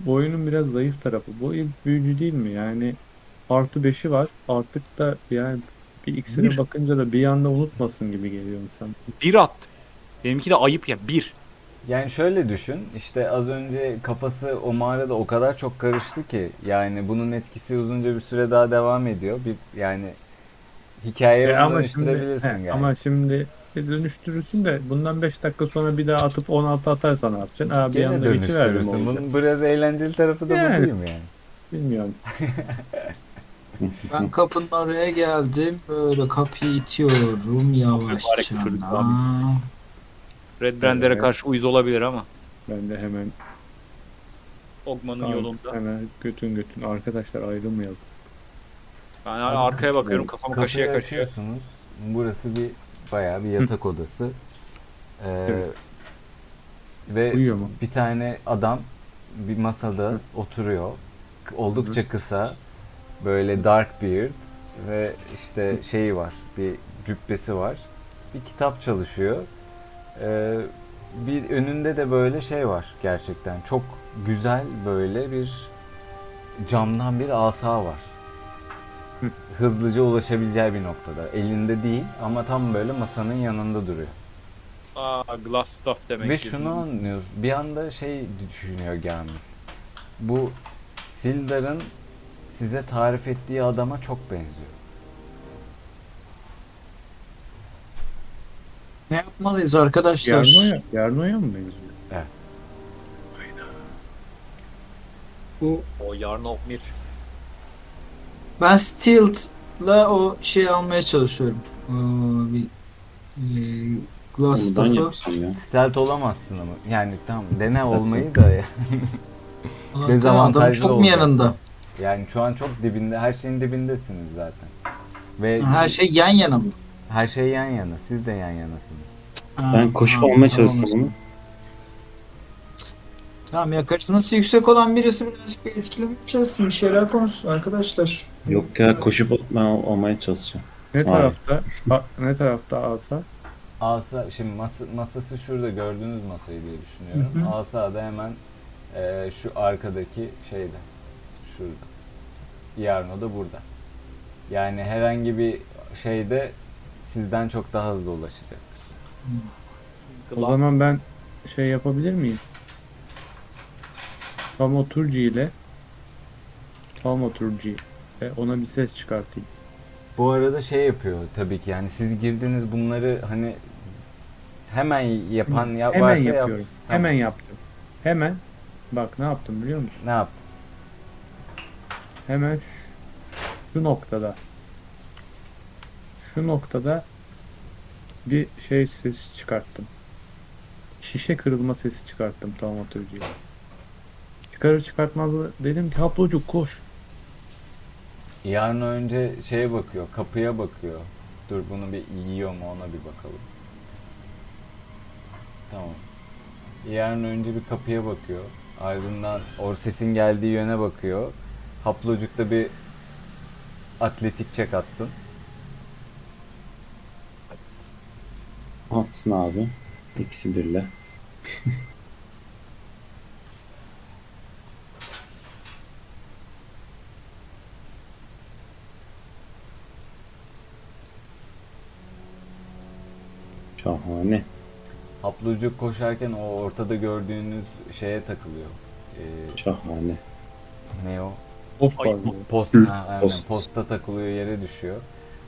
Speaker 4: bu oyunun biraz zayıf tarafı. Bu ilk büyücü değil mi? Yani artı 5'i var. Artık da yani bir iksire
Speaker 6: Bir.
Speaker 4: bakınca da bir anda unutmasın gibi geliyor insan.
Speaker 6: Bir at. Benimki de ayıp ya. Bir.
Speaker 2: Yani şöyle düşün, işte az önce kafası o mağarada o kadar çok karıştı ki yani bunun etkisi uzunca bir süre daha devam ediyor. Bir yani hikayeye
Speaker 4: E
Speaker 2: bunu
Speaker 4: ama şimdi
Speaker 2: dönüştürebilirsin
Speaker 4: he,
Speaker 2: yani.
Speaker 4: ama şimdi bir dönüştürürsün de bundan 5 dakika sonra bir daha atıp 16 atarsan ne yapacaksın? Aa, bir
Speaker 2: Gene
Speaker 4: anda geçiverdim
Speaker 2: dönüştürürsün.
Speaker 4: olacak.
Speaker 2: Bunun biraz eğlenceli tarafı da bu
Speaker 4: Yani.
Speaker 2: değil mi yani?
Speaker 4: Bilmiyorum.
Speaker 7: Ben kapının oraya geldim. Böyle kapıyı itiyorum yavaşça.
Speaker 6: çocuk Red Brander'e
Speaker 4: Evet.
Speaker 6: karşı uyuz olabilir ama.
Speaker 4: Ben de hemen
Speaker 6: Ogman'ın yolunda.
Speaker 4: hemen götün götün arkadaşlar ayrılmayalım.
Speaker 6: Ben hala arkaya bakıyorum. Kafamı
Speaker 2: Kapıyı
Speaker 6: kaşıya kaşıya.
Speaker 2: açıyorsunuz. Burası bir bayağı bir yatak odası. Ee,
Speaker 4: Evet.
Speaker 2: ve
Speaker 4: Uyuyor mu?
Speaker 2: bir tane adam bir masada oturuyor. K- Oldukça kısa. Böyle dark beard ve işte şeyi var. Bir cübbesi var. Bir kitap çalışıyor. Ee, bir önünde de böyle şey var gerçekten. Çok güzel böyle bir camdan bir asa var. Hızlıca ulaşabileceği bir noktada. Elinde değil ama tam böyle masanın yanında duruyor.
Speaker 6: Aa glass stuff demek
Speaker 2: Ve
Speaker 6: ki.
Speaker 2: şunu anlıyoruz. Bir anda şey düşünüyor Gamil. Bu Sildar'ın size tarif ettiği adama çok benziyor.
Speaker 5: Ne yapmalıyız arkadaşlar?
Speaker 3: Yarnoya, Yarnoya mı benziyor?
Speaker 2: Evet.
Speaker 7: Bu
Speaker 9: O yarın Ofmir.
Speaker 5: Ben Stilt'la o şeyi almaya çalışıyorum. Ee, bir e, Glass
Speaker 2: Ondan
Speaker 5: staff'ı.
Speaker 2: yapsın Stealth olamazsın ama. Yani tam dene
Speaker 5: Stealth
Speaker 2: olmayı
Speaker 5: yok.
Speaker 2: da ya.
Speaker 5: Ulan
Speaker 2: Dezavantajlı
Speaker 5: adam çok mu
Speaker 2: olacak.
Speaker 5: yanında?
Speaker 2: Yani şu an çok dibinde, her şeyin dibindesiniz zaten. Ve
Speaker 5: Her şey yan yana mı?
Speaker 2: her şey yan yana, siz de yan yanasınız.
Speaker 1: Ben koşup almaya çalışsam onu.
Speaker 7: Tamam ya karizması yüksek olan birisi birazcık bir etkilemeye çalışsın. Bir şeyler konuşsun arkadaşlar.
Speaker 1: Yok ya koşup ben al- almaya çalışacağım.
Speaker 4: Ne
Speaker 1: Abi.
Speaker 4: tarafta? Ba- ne tarafta Asa?
Speaker 2: Asa, şimdi masa- masası şurada gördüğünüz masayı diye düşünüyorum.
Speaker 4: Hı hı.
Speaker 2: Asa da hemen e, şu arkadaki şeyde. Şurada. Yarno da burada. Yani herhangi bir şeyde sizden çok daha hızlı ulaşacaktır.
Speaker 4: O zaman ben şey yapabilir miyim? Palmaturji ile Palmaturji ve ona bir ses çıkartayım.
Speaker 2: Bu arada şey yapıyor tabii ki yani siz girdiniz bunları hani hemen yapan ya,
Speaker 4: Hemen
Speaker 2: varsa yap-
Speaker 4: yapıyorum.
Speaker 2: Tamam.
Speaker 4: Hemen yaptım. Hemen bak ne yaptım biliyor musun?
Speaker 2: Ne yaptın?
Speaker 4: Hemen şu, şu noktada. Şu noktada bir şey sesi çıkarttım. Şişe kırılma sesi çıkarttım tam oturucuya. Çıkarır çıkartmaz da dedim ki haplocuk koş.
Speaker 2: Yarın önce şeye bakıyor, kapıya bakıyor. Dur bunu bir yiyor mu ona bir bakalım. Tamam. Yarın önce bir kapıya bakıyor. Ardından or sesin geldiği yöne bakıyor. Haplocuk da bir atletik çek atsın.
Speaker 1: Atsın abi. Eksi birle. Şahane.
Speaker 2: Haplocuk koşarken o ortada gördüğünüz şeye takılıyor. Ee,
Speaker 1: Şahane.
Speaker 2: Ne o?
Speaker 1: Post
Speaker 2: Ay,
Speaker 1: var mı?
Speaker 2: Post.
Speaker 1: Hı,
Speaker 2: Ha, aynen.
Speaker 1: post.
Speaker 2: Posta takılıyor yere düşüyor.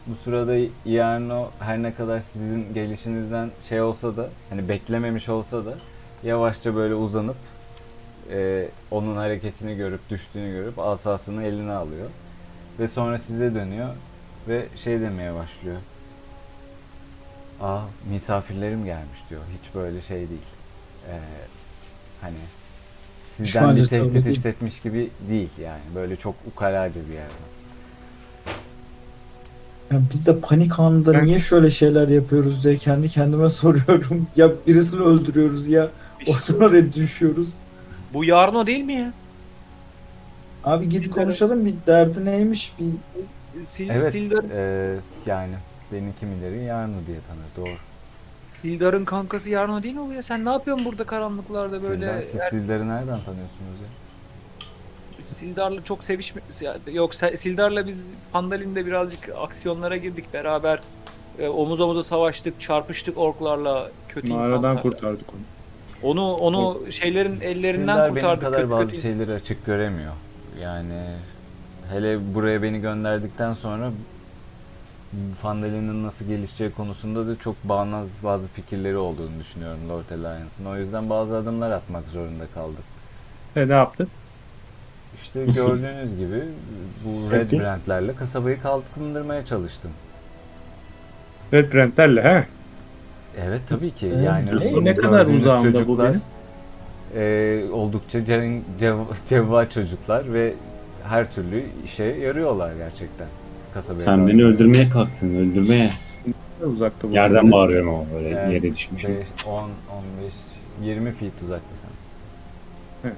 Speaker 2: Bu sırada Iarno her ne kadar sizin gelişinizden şey olsa da hani beklememiş olsa da yavaşça böyle uzanıp e, onun hareketini görüp düştüğünü görüp asasını eline alıyor. Ve sonra size dönüyor ve şey demeye başlıyor. Aa misafirlerim gelmiş diyor. Hiç böyle şey değil. Ee, hani sizden bir
Speaker 5: halde tabii
Speaker 2: tehdit
Speaker 5: değil.
Speaker 2: hissetmiş gibi değil yani. Böyle çok ukalaca bir yerden.
Speaker 7: Ya biz de panik anında niye şöyle şeyler yapıyoruz diye kendi kendime soruyorum. Ya birisini öldürüyoruz ya oradan oraya düşüyoruz.
Speaker 9: Bu yarın o değil mi ya?
Speaker 7: Abi git konuşalım bir derdi neymiş bir
Speaker 2: Evet e, yani beni kimileri Yarno diye tanır. Doğru.
Speaker 9: Sildar'ın kankası Yarno değil mi bu ya? Sen ne yapıyorsun burada karanlıklarda böyle?
Speaker 2: Sildar, siz
Speaker 9: Er-
Speaker 2: Sildar'ı nereden tanıyorsunuz ya?
Speaker 9: Sildar'la çok sevişme... ya- Yok Se- Sildar'la biz Pandalin'de birazcık aksiyonlara girdik beraber. E, omuz omuza savaştık, çarpıştık orklarla kötü
Speaker 4: Mağaradan
Speaker 9: insanlarla.
Speaker 4: kurtardık onu.
Speaker 9: Onu onu şeylerin ellerinden
Speaker 2: Sildar benim
Speaker 9: kurtardık.
Speaker 2: kadar şey-
Speaker 9: kötü
Speaker 2: bazı
Speaker 9: kötü-
Speaker 2: şeyleri açık göremiyor. Yani hele buraya beni gönderdikten sonra Fandalin'in nasıl gelişeceği konusunda da çok bağnaz bazı fikirleri olduğunu düşünüyorum Lord Alliance'ın. O yüzden bazı adımlar atmak zorunda kaldık.
Speaker 4: E ne yaptın?
Speaker 2: İşte gördüğünüz gibi bu Red
Speaker 4: Peki.
Speaker 2: Brand'lerle kasabayı kalkındırmaya çalıştım.
Speaker 4: Red Brent'lerle he?
Speaker 2: Evet tabii ki.
Speaker 4: Evet.
Speaker 2: Yani
Speaker 4: Ne-
Speaker 2: bu
Speaker 4: ne kadar
Speaker 2: gördüğünüz
Speaker 4: uzağımda bu benim?
Speaker 2: e, oldukça cevva çocuklar ve her türlü işe yarıyorlar gerçekten. Kasabaya
Speaker 1: Sen
Speaker 2: dair.
Speaker 1: beni öldürmeye kalktın. Öldürmeye.
Speaker 4: Uzakta bu.
Speaker 1: Yerden bağırıyorum ama böyle
Speaker 2: Yani
Speaker 1: yere düşmüşüm.
Speaker 2: beş, 10, 15, 20 feet uzakta sen.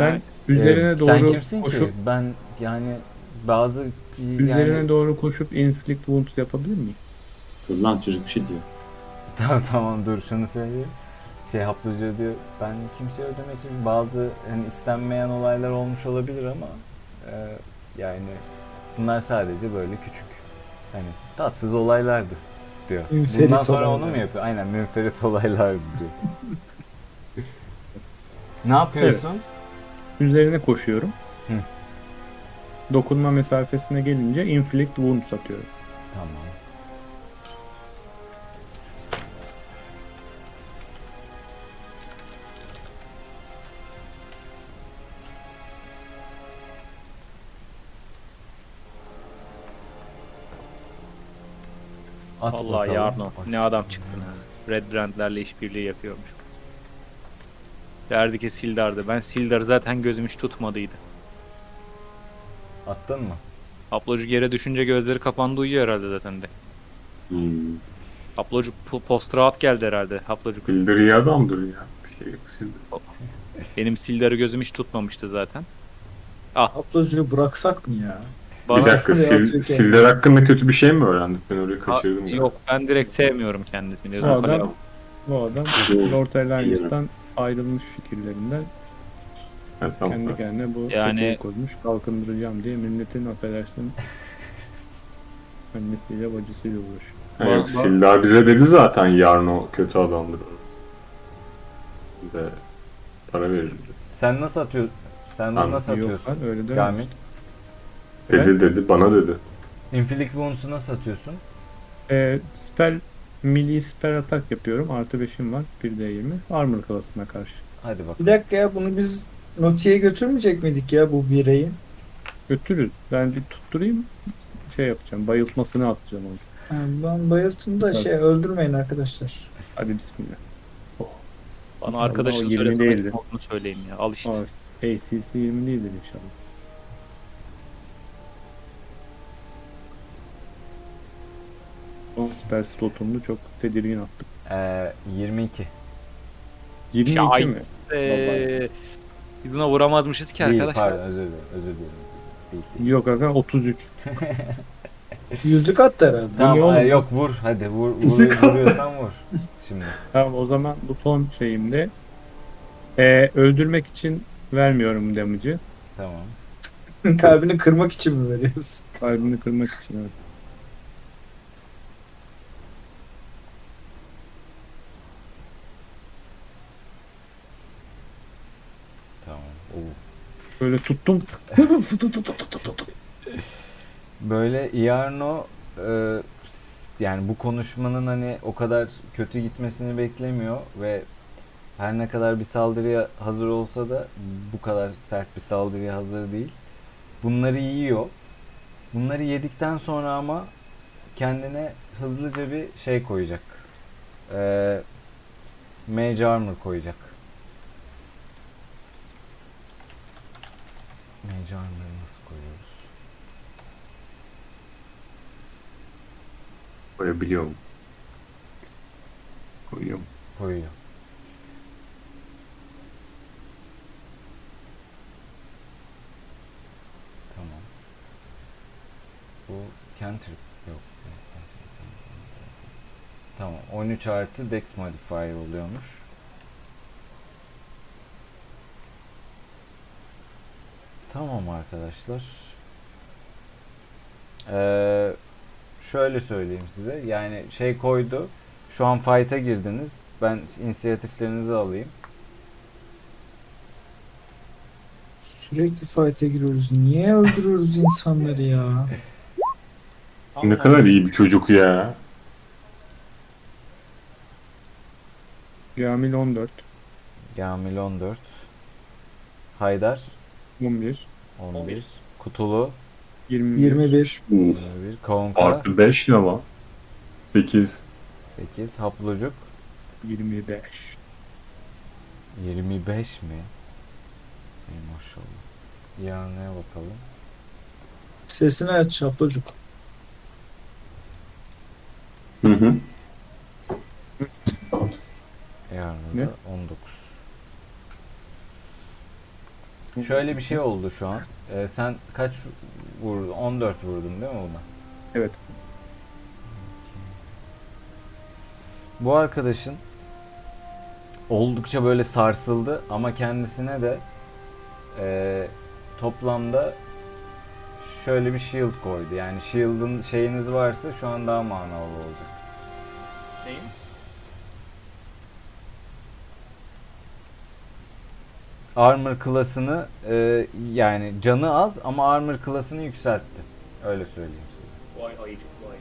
Speaker 4: Ben üzerine
Speaker 2: e, sen
Speaker 4: doğru
Speaker 2: kimsin
Speaker 4: koşup-
Speaker 2: ki? Ben yani bazı yani
Speaker 4: Üzerine doğru koşup inflict wounds yapabilir miyim?
Speaker 1: Dur lan çocuk bir şey diyor.
Speaker 2: Tamam tamam dur şunu söyleyeyim. Şey haplıca diyor ben kimseye ödemek için bazı hani istenmeyen olaylar olmuş olabilir ama e, yani bunlar sadece böyle küçük hani tatsız olaylardı diyor.
Speaker 5: Münferit
Speaker 2: Bundan sonra onu mu
Speaker 5: olaylar.
Speaker 2: yapıyor? Aynen münferit olaylardı diyor. ne yapıyorsun?
Speaker 4: Üzerine koşuyorum.
Speaker 2: Hı.
Speaker 4: Dokunma mesafesine gelince inflict wound satıyorum.
Speaker 2: Tamam. At
Speaker 12: Allah
Speaker 2: bakalım.
Speaker 12: yarno. Ne adam çıktın ha. Red Brand'lerle işbirliği yapıyormuş. Derdi ki Sildar'dı. Ben Sildar'ı zaten gözüm hiç tutmadıydı.
Speaker 2: Attın mı?
Speaker 12: Aplocuk yere düşünce gözleri kapandı uyuyor herhalde zaten de.
Speaker 8: Hmm.
Speaker 12: Aplocuk po- post rahat geldi herhalde. Aplocuk.
Speaker 2: Hmm.
Speaker 8: Sildir iyi adamdır ya. Bir şey yok. Sildir.
Speaker 12: Benim Sildar'ı gözüm hiç tutmamıştı zaten. Ah.
Speaker 5: Aplocuğu bıraksak mı ya?
Speaker 12: Bana-
Speaker 8: bir dakika sil, Sildar hakkında kötü bir şey mi öğrendik? Ben orayı
Speaker 12: Ha,
Speaker 8: kaçırdım. ya.
Speaker 12: Yok ben direkt sevmiyorum kendisini.
Speaker 4: Bu adam,
Speaker 12: Zopaleo.
Speaker 4: bu adam
Speaker 8: Doğru.
Speaker 4: Lord Alliance'dan ayrılmış fikirlerinden
Speaker 8: Ha, tamam.
Speaker 4: kendi kendine bu
Speaker 12: Yani-
Speaker 4: yani... koymuş. Kalkındıracağım diye milletin affedersin annesiyle bacısıyla uğraşıyor.
Speaker 8: Ha, yok Sildar bize dedi zaten Yarno kötü adamdır. Bize para verir.
Speaker 2: Sen nasıl atıyorsun? Sen bunu
Speaker 8: Tamam.
Speaker 2: nasıl
Speaker 4: Yok
Speaker 2: atıyorsun?
Speaker 4: lan, öyle
Speaker 2: Kamil?
Speaker 4: dememiştim.
Speaker 8: Dedi
Speaker 2: Evet.
Speaker 8: dedi bana dedi.
Speaker 2: Infinite Wounds'u nasıl atıyorsun?
Speaker 4: Ee, spell, melee spell atak yapıyorum. Artı 5'im var. 1d20. Armor klasına karşı.
Speaker 2: Hadi bak.
Speaker 7: Bir dakika ya bunu biz Noti'ye götürmeyecek miydik ya bu bireyi?
Speaker 4: Götürürüz. Ben bir tutturayım. Şey yapacağım. Bayıltmasını atacağım onu.
Speaker 7: Ha, Ben bayıltın da şey öldürmeyin arkadaşlar.
Speaker 4: Hadi bismillah.
Speaker 12: Bana
Speaker 4: İnşallah o
Speaker 12: arkadaşın
Speaker 4: 20
Speaker 12: söylesene.
Speaker 4: değildir.
Speaker 12: Onu söyleyeyim ya. Al işte.
Speaker 4: Aa, ACC 20 değildir inşallah. O spell slotunu çok tedirgin attım.
Speaker 2: Ee, 22.
Speaker 4: 22 mi?
Speaker 12: Ee, biz buna vuramazmışız ki
Speaker 2: Değil,
Speaker 12: arkadaşlar.
Speaker 2: pardon özür dilerim. Özür dilerim. Değil, değil.
Speaker 4: Yok aga 33.
Speaker 7: Yüzlük attı herhalde.
Speaker 2: Tamam
Speaker 4: Niye
Speaker 2: e,
Speaker 4: oğlum?
Speaker 2: yok vur hadi vur, vur
Speaker 7: Bizi kapat.
Speaker 2: vuruyorsan vur. Şimdi
Speaker 4: Tamam o zaman bu son şeyimde. Ee, öldürmek için vermiyorum damage'i.
Speaker 2: tamam.
Speaker 7: Kalbini kırmak için mi veriyorsun?
Speaker 4: Kalbini kırmak için evet.
Speaker 2: Tamam. Oo.
Speaker 4: Böyle tuttum. Tut, tut, tut, tut, tut, tut.
Speaker 2: Böyle Iarno e, s- yani bu konuşmanın hani o kadar kötü gitmesini beklemiyor ve her ne kadar bir saldırıya hazır olsa da bu kadar sert bir saldırıya hazır değil. Bunları yiyor. Bunları yedikten sonra ama kendine hızlıca bir şey koyacak. Ee, Mage Armor koyacak. Mage Armor'ı nasıl koyuyoruz?
Speaker 8: Koyabiliyorum. Koyuyorum.
Speaker 2: koyuyor. Tamam. Bu cantrip yok. Tamam. 13 artı dex modifier oluyormuş. Tamam arkadaşlar. Ee, şöyle söyleyeyim size. Yani şey koydu. Şu an fight'a girdiniz. Ben inisiyatiflerinizi alayım.
Speaker 7: Sürekli fight'e giriyoruz. Niye öldürüyoruz insanları ya?
Speaker 8: Ne kadar iyi bir çocuk ya.
Speaker 4: Gamil 14.
Speaker 2: Gamil 14. Haydar
Speaker 4: 11.
Speaker 2: 11. Kutulu
Speaker 4: 20.
Speaker 7: 21.
Speaker 2: 21. Konka
Speaker 8: Artı 5 ne lan? 8.
Speaker 2: 8. Haplucuk
Speaker 4: 25.
Speaker 2: 25 mi? Ey maşallah. Yani bakalım.
Speaker 7: Sesini aç çaplacık.
Speaker 8: Hı hı.
Speaker 2: E Yarın da 19. Şöyle bir şey oldu şu an. Ee, sen kaç vurdun? 14 vurdun değil mi buna?
Speaker 4: Evet.
Speaker 2: Bu arkadaşın oldukça böyle sarsıldı ama kendisine de eee, toplamda şöyle bir shield koydu. Yani shield'ın şeyiniz varsa şu an daha manalı olacak.
Speaker 6: Neyim?
Speaker 2: armor klasını e, yani canı az ama armor klasını yükseltti. Öyle söyleyeyim size.
Speaker 10: Vay ayıcık vay.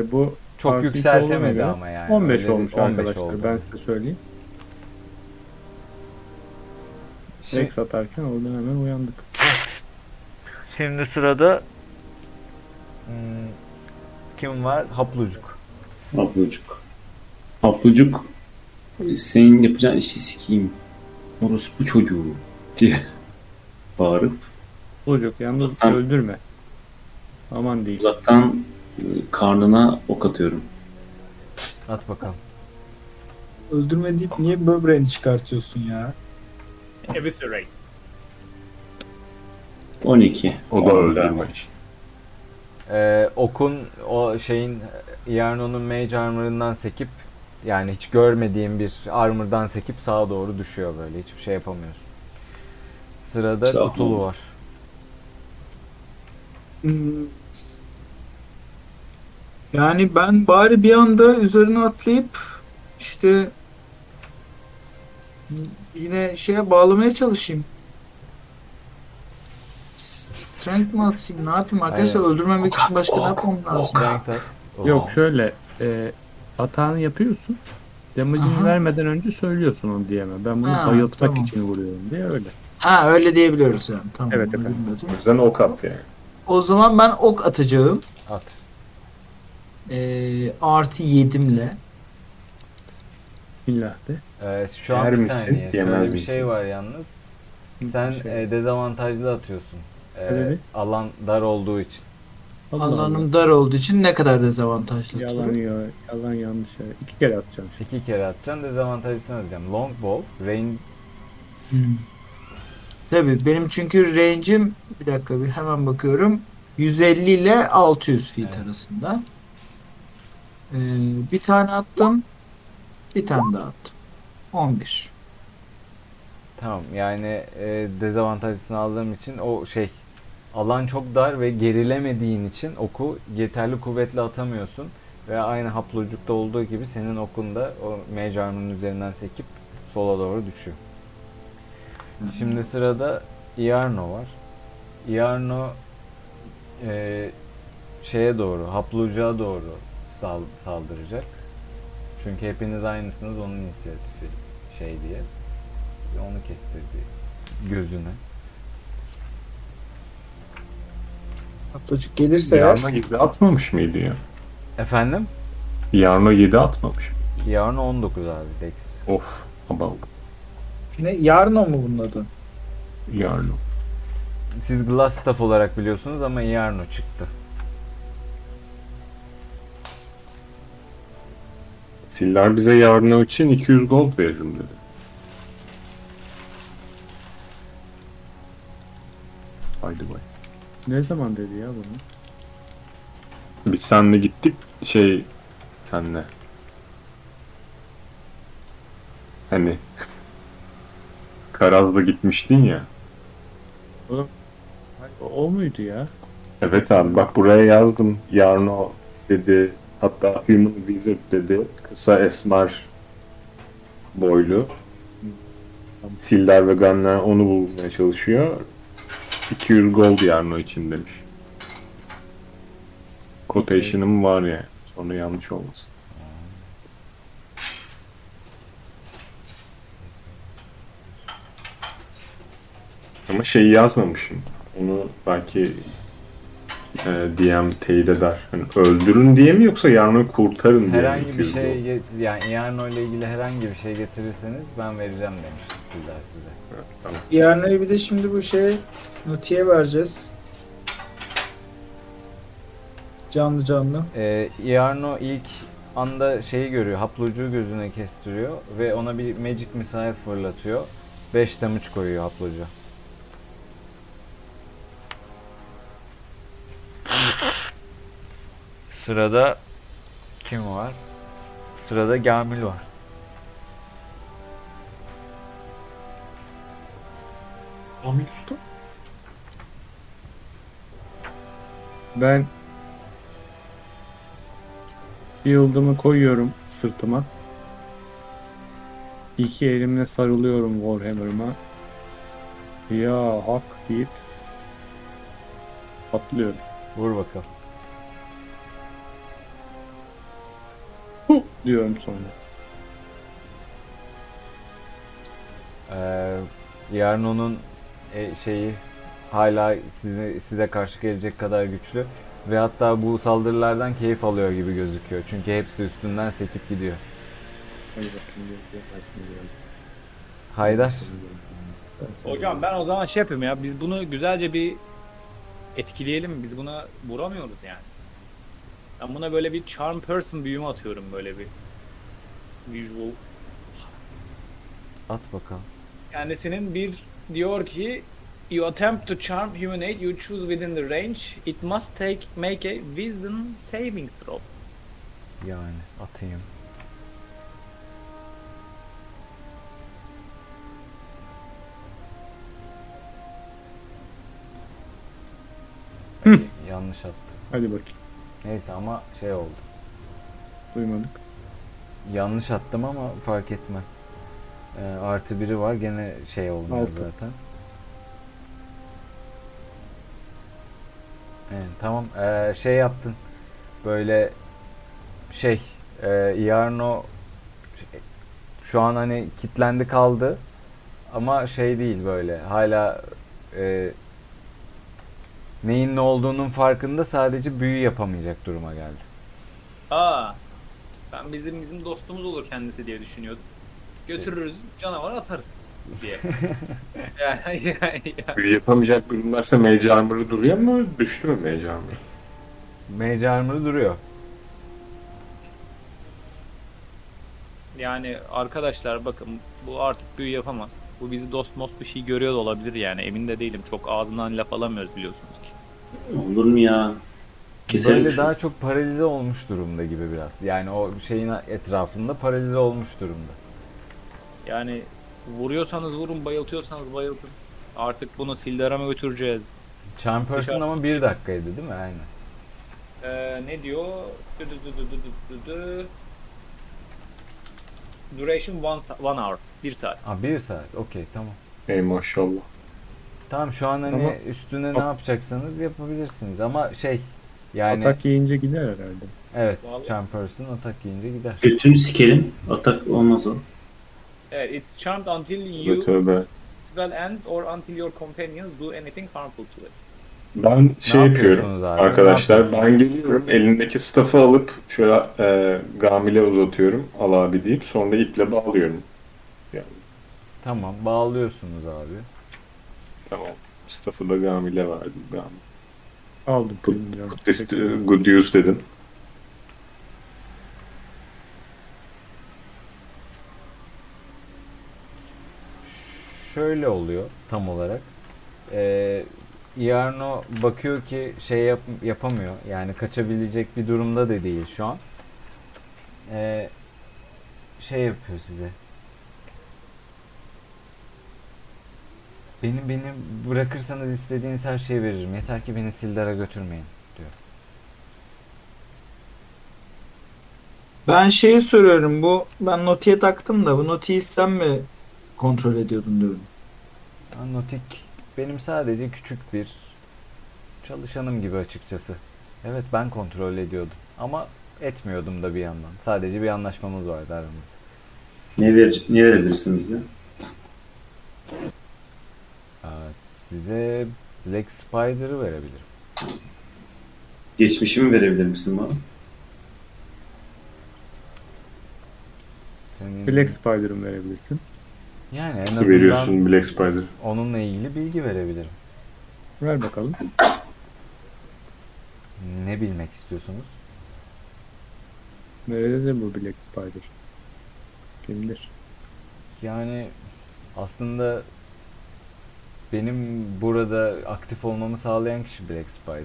Speaker 4: Ee, bu
Speaker 2: Çok
Speaker 4: artı iki
Speaker 2: yükseltemedi
Speaker 4: olduğuna göre
Speaker 2: ama yani.
Speaker 4: 15
Speaker 2: Öyle bir-
Speaker 4: olmuş
Speaker 2: 15
Speaker 4: arkadaşlar
Speaker 2: oldu.
Speaker 4: ben size söyleyeyim.
Speaker 2: Şimdi-
Speaker 4: Rex atarken oradan hemen uyandık.
Speaker 2: Şimdi sırada hmm, kim var? Haplucuk.
Speaker 1: Haplucuk. Haplucuk senin yapacağın işi sikeyim. Orospu çocuğu diye bağırıp
Speaker 4: Olacak yalnız
Speaker 1: Uzaktan-
Speaker 4: öldürme. Aman değil.
Speaker 1: uzaktan e, karnına ok atıyorum.
Speaker 2: At bakalım.
Speaker 5: Öldürme deyip niye böbreğini çıkartıyorsun ya?
Speaker 6: Eviscerate.
Speaker 1: 12.
Speaker 8: O da öldürme işte.
Speaker 2: Ee, okun o şeyin Yarno'nun mage armor'ından sekip yani hiç görmediğim bir armor'dan sekip sağa doğru düşüyor böyle. Hiçbir şey yapamıyorsun. Sırada
Speaker 1: Tamam.
Speaker 2: Kutulu var.
Speaker 7: Hmm. Yani ben bari bir anda üzerine atlayıp işte yine şeye bağlamaya çalışayım. S- Strength mi atayım? Ne yapayım arkadaşlar?
Speaker 2: Hayır.
Speaker 7: Öldürmemek için başka ne yapmam lazım?
Speaker 2: Strength at. Oh.
Speaker 4: Yok şöyle e, atağını yapıyorsun. Damage'ini
Speaker 7: Aha.
Speaker 4: vermeden önce söylüyorsun onu diyeme. Ben bunu
Speaker 7: Ha,
Speaker 4: bayıltmak
Speaker 7: tamam.
Speaker 4: için vuruyorum diye öyle.
Speaker 7: Ha öyle diyebiliyoruz yani. Tamam.
Speaker 4: Evet,
Speaker 7: bunu
Speaker 4: efendim.
Speaker 7: bilmiyordum.
Speaker 8: O yüzden ok at yani.
Speaker 7: O zaman ben ok atacağım.
Speaker 2: Oh, At.
Speaker 7: Ee, artı 7'imle.
Speaker 4: İlla de.
Speaker 2: Ee, şu an
Speaker 8: Yer
Speaker 2: bir
Speaker 8: misin,
Speaker 2: saniye. Şöyle
Speaker 8: yemez
Speaker 2: bir şey
Speaker 8: misin?
Speaker 2: var yalnız.
Speaker 4: Nasıl
Speaker 2: Sen
Speaker 4: bir şey?
Speaker 2: e, dezavantajlı atıyorsun. Ee,
Speaker 4: Sebebi?
Speaker 2: alan dar olduğu için.
Speaker 4: Allah Allah.
Speaker 7: Alanım dar olduğu için ne kadar dezavantajlı.
Speaker 4: Yalan
Speaker 7: durum.
Speaker 4: ya, yalan yanlış. Ya. İki kere atacağım işte.
Speaker 2: İki kere atacaksın dezavantajlısını atacağım. Long ball, range
Speaker 7: Hmm. Tabii benim çünkü range'im bir dakika bir hemen bakıyorum. 150 ile 600 feet arasında. Ee, bir tane attım. Bir tane daha attım. 11.
Speaker 2: Tamam yani e, dezavantajlısını aldığım için o şey alan çok dar ve gerilemediğin için oku yeterli kuvvetle atamıyorsun. Ve aynı haplucukta olduğu gibi senin okun da o mage armor'un üzerinden sekip sola doğru düşüyor. Şimdi sırada Iarno var. Iarno e, şeye doğru, haplucuğa doğru sal- saldıracak. Çünkü hepiniz aynısınız onun inisiyatifi şey diye. Onu kestirdi gözüne.
Speaker 7: Atocuk gelirse eğer
Speaker 8: Yarno 7 atmamış mıydı ya?
Speaker 2: Efendim?
Speaker 8: Yarno 7 atmamış.
Speaker 2: Yarın 19 abi Dex.
Speaker 8: Of. Ama
Speaker 7: ne Yarno mu bunun adı?
Speaker 8: Yarno.
Speaker 2: Siz Glass Staff olarak biliyorsunuz ama Yarno çıktı.
Speaker 8: Siller bize Yarno için 200 gold veririm dedi. Haydi bay.
Speaker 4: Ne zaman dedi ya bunu?
Speaker 8: Biz senle gittik şey senle. Hani Karaz'la gitmiştin ya.
Speaker 4: O, o- o muydu ya?
Speaker 8: Evet abi bak buraya yazdım. Yarno dedi. Hatta Human Wizard dedi. Kısa esmer boylu. Sildar ve Gunnar onu bulmaya çalışıyor. 200 gold Yarno için demiş. Quotation'ım var ya. Sonra yanlış olmasın. Ama şeyi yazmamışım. Onu belki e, DM teyit eder. Hani öldürün diye mi yoksa Yarno'yu kurtarın diye mi?
Speaker 2: Herhangi bir
Speaker 8: 200
Speaker 2: şey
Speaker 8: gold?
Speaker 2: get- yani Yarno ile ilgili herhangi bir şey getirirseniz ben vereceğim demiş Sildar size.
Speaker 8: Tamam.
Speaker 7: Yarno'yu bir de şimdi bu şeye notiye vereceğiz. Canlı canlı.
Speaker 2: Ee, Iarno ilk anda şeyi görüyor, haplocuğu gözüne kestiriyor ve ona bir magic missile fırlatıyor. 5 damage koyuyor haplocuğa. Sırada kim var? Sırada Gamil var.
Speaker 5: Amir Usta.
Speaker 4: Ben Shield'ımı koyuyorum sırtıma. İki elimle sarılıyorum Warhammer'ıma. Ya hak deyip atlıyorum.
Speaker 2: Vur bakalım.
Speaker 4: diyorum sonra.
Speaker 2: Ee, yarın onun e, şeyi hala size, size karşı gelecek kadar güçlü ve hatta bu saldırılardan keyif alıyor gibi gözüküyor. Çünkü hepsi üstünden sekip gidiyor.
Speaker 4: Hadi bakayım yaparsın biraz.
Speaker 2: Haydar.
Speaker 9: Hocam ben o zaman şey yapayım ya. Biz bunu güzelce bir etkileyelim. Biz buna vuramıyoruz yani. Ben buna böyle bir charm person büyümü atıyorum böyle bir. Visual.
Speaker 2: At bakalım.
Speaker 13: Kendisinin bir diyor ki You attempt to charm human aid you choose within the range. It must take make a wisdom saving throw.
Speaker 2: Yani atayım. Yanlış attım.
Speaker 4: Hadi bakayım.
Speaker 2: Neyse ama şey oldu.
Speaker 4: Duymadık.
Speaker 2: Yanlış attım ama fark etmez. Ee, artı biri var gene şey olmuyor
Speaker 4: Altı.
Speaker 2: zaten. Evet, tamam Ee, şey yaptın. Böyle şey e, Iarno şey, şu an hani kitlendi kaldı ama şey değil böyle hala e, neyin ne olduğunun farkında sadece büyü yapamayacak duruma geldi.
Speaker 9: Aa. Ben bizim bizim dostumuz olur kendisi diye düşünüyordum. Götürürüz canavara atarız diye. yani, yani, yani.
Speaker 8: Yapamayacak durumlarsa Mage Armor'ı duruyor mu? Düştü mü Mage Armor?
Speaker 2: Mage Armor'ı duruyor.
Speaker 9: Yani arkadaşlar bakın bu artık büyü yapamaz. Bu bizi dost most bir şey görüyor da olabilir yani emin de değilim. Çok ağzından laf alamıyoruz biliyorsunuz ki.
Speaker 1: Olur mu ya? Keserim
Speaker 2: Böyle
Speaker 1: şunu.
Speaker 2: daha çok paralize olmuş durumda gibi biraz. Yani o şeyin etrafında paralize olmuş durumda.
Speaker 9: Yani vuruyorsanız vurun, bayıltıyorsanız bayıltın. Artık bunu Sildar'a mı götüreceğiz?
Speaker 2: Charm Person ama bir dakikaydı değil mi? Aynen.
Speaker 9: Ee, ne diyor? Dü dü dü dü dü dü dü dü. Duration one, sa- one hour. Bir saat.
Speaker 2: Ha bir saat. Okey tamam.
Speaker 8: Ey maşallah.
Speaker 2: Tamam şu an hani
Speaker 9: Ama-
Speaker 2: üstüne ne yapacaksanız yapabilirsiniz ama şey yani
Speaker 4: Atak yiyince gider herhalde.
Speaker 2: evet Charm Person atak yiyince gider.
Speaker 1: Götünü sikerim. Atak olmaz o.
Speaker 9: Evet, it's charmed until
Speaker 8: Tövbe
Speaker 9: you
Speaker 8: tövbe.
Speaker 9: spell ends or until your companions do anything harmful to it.
Speaker 8: Ben şey
Speaker 2: yapıyorsunuz
Speaker 8: yapıyorum
Speaker 2: abi?
Speaker 8: arkadaşlar.
Speaker 2: Ne
Speaker 8: Ben geliyorum elindeki staffı alıp şöyle e, Gamil'e uzatıyorum. Al abi deyip sonra iple bağlıyorum. Yani
Speaker 2: Tamam bağlıyorsunuz abi.
Speaker 8: tamam. Staffı da Gamil'e verdim. Gamil.
Speaker 4: Aldım.
Speaker 8: Good, this- good use dedim.
Speaker 2: şöyle oluyor tam olarak. Ee, Iarno bakıyor ki şey yap- yapamıyor. Yani kaçabilecek bir durumda da değil şu an. Ee, şey yapıyor size. Beni beni bırakırsanız istediğiniz her şeyi veririm. Yeter ki beni Sildar'a götürmeyin diyor.
Speaker 7: Ben şeyi soruyorum bu ben notiye taktım da bu notiyi sen mi kontrol ediyordun diyorum.
Speaker 2: Anotik benim sadece küçük bir çalışanım gibi açıkçası. Evet ben kontrol ediyordum ama etmiyordum da bir yandan. Sadece bir anlaşmamız vardı aramızda.
Speaker 1: Ne, ver, ne verebilirsin bize?
Speaker 2: Aa, size Black Spider'ı verebilirim.
Speaker 1: Geçmişimi verebilir misin bana?
Speaker 2: Senin
Speaker 4: Black Spider'ım verebilirsin.
Speaker 2: yani en
Speaker 4: Nasıl
Speaker 2: azından
Speaker 8: veriyorsun Black Spider?
Speaker 2: Onunla ilgili bilgi verebilirim.
Speaker 4: Ver bakalım.
Speaker 2: Ne bilmek istiyorsunuz?
Speaker 4: Nerede bu Black Spider? Kimdir?
Speaker 2: Yani aslında benim burada aktif olmamı sağlayan kişi Black Spider.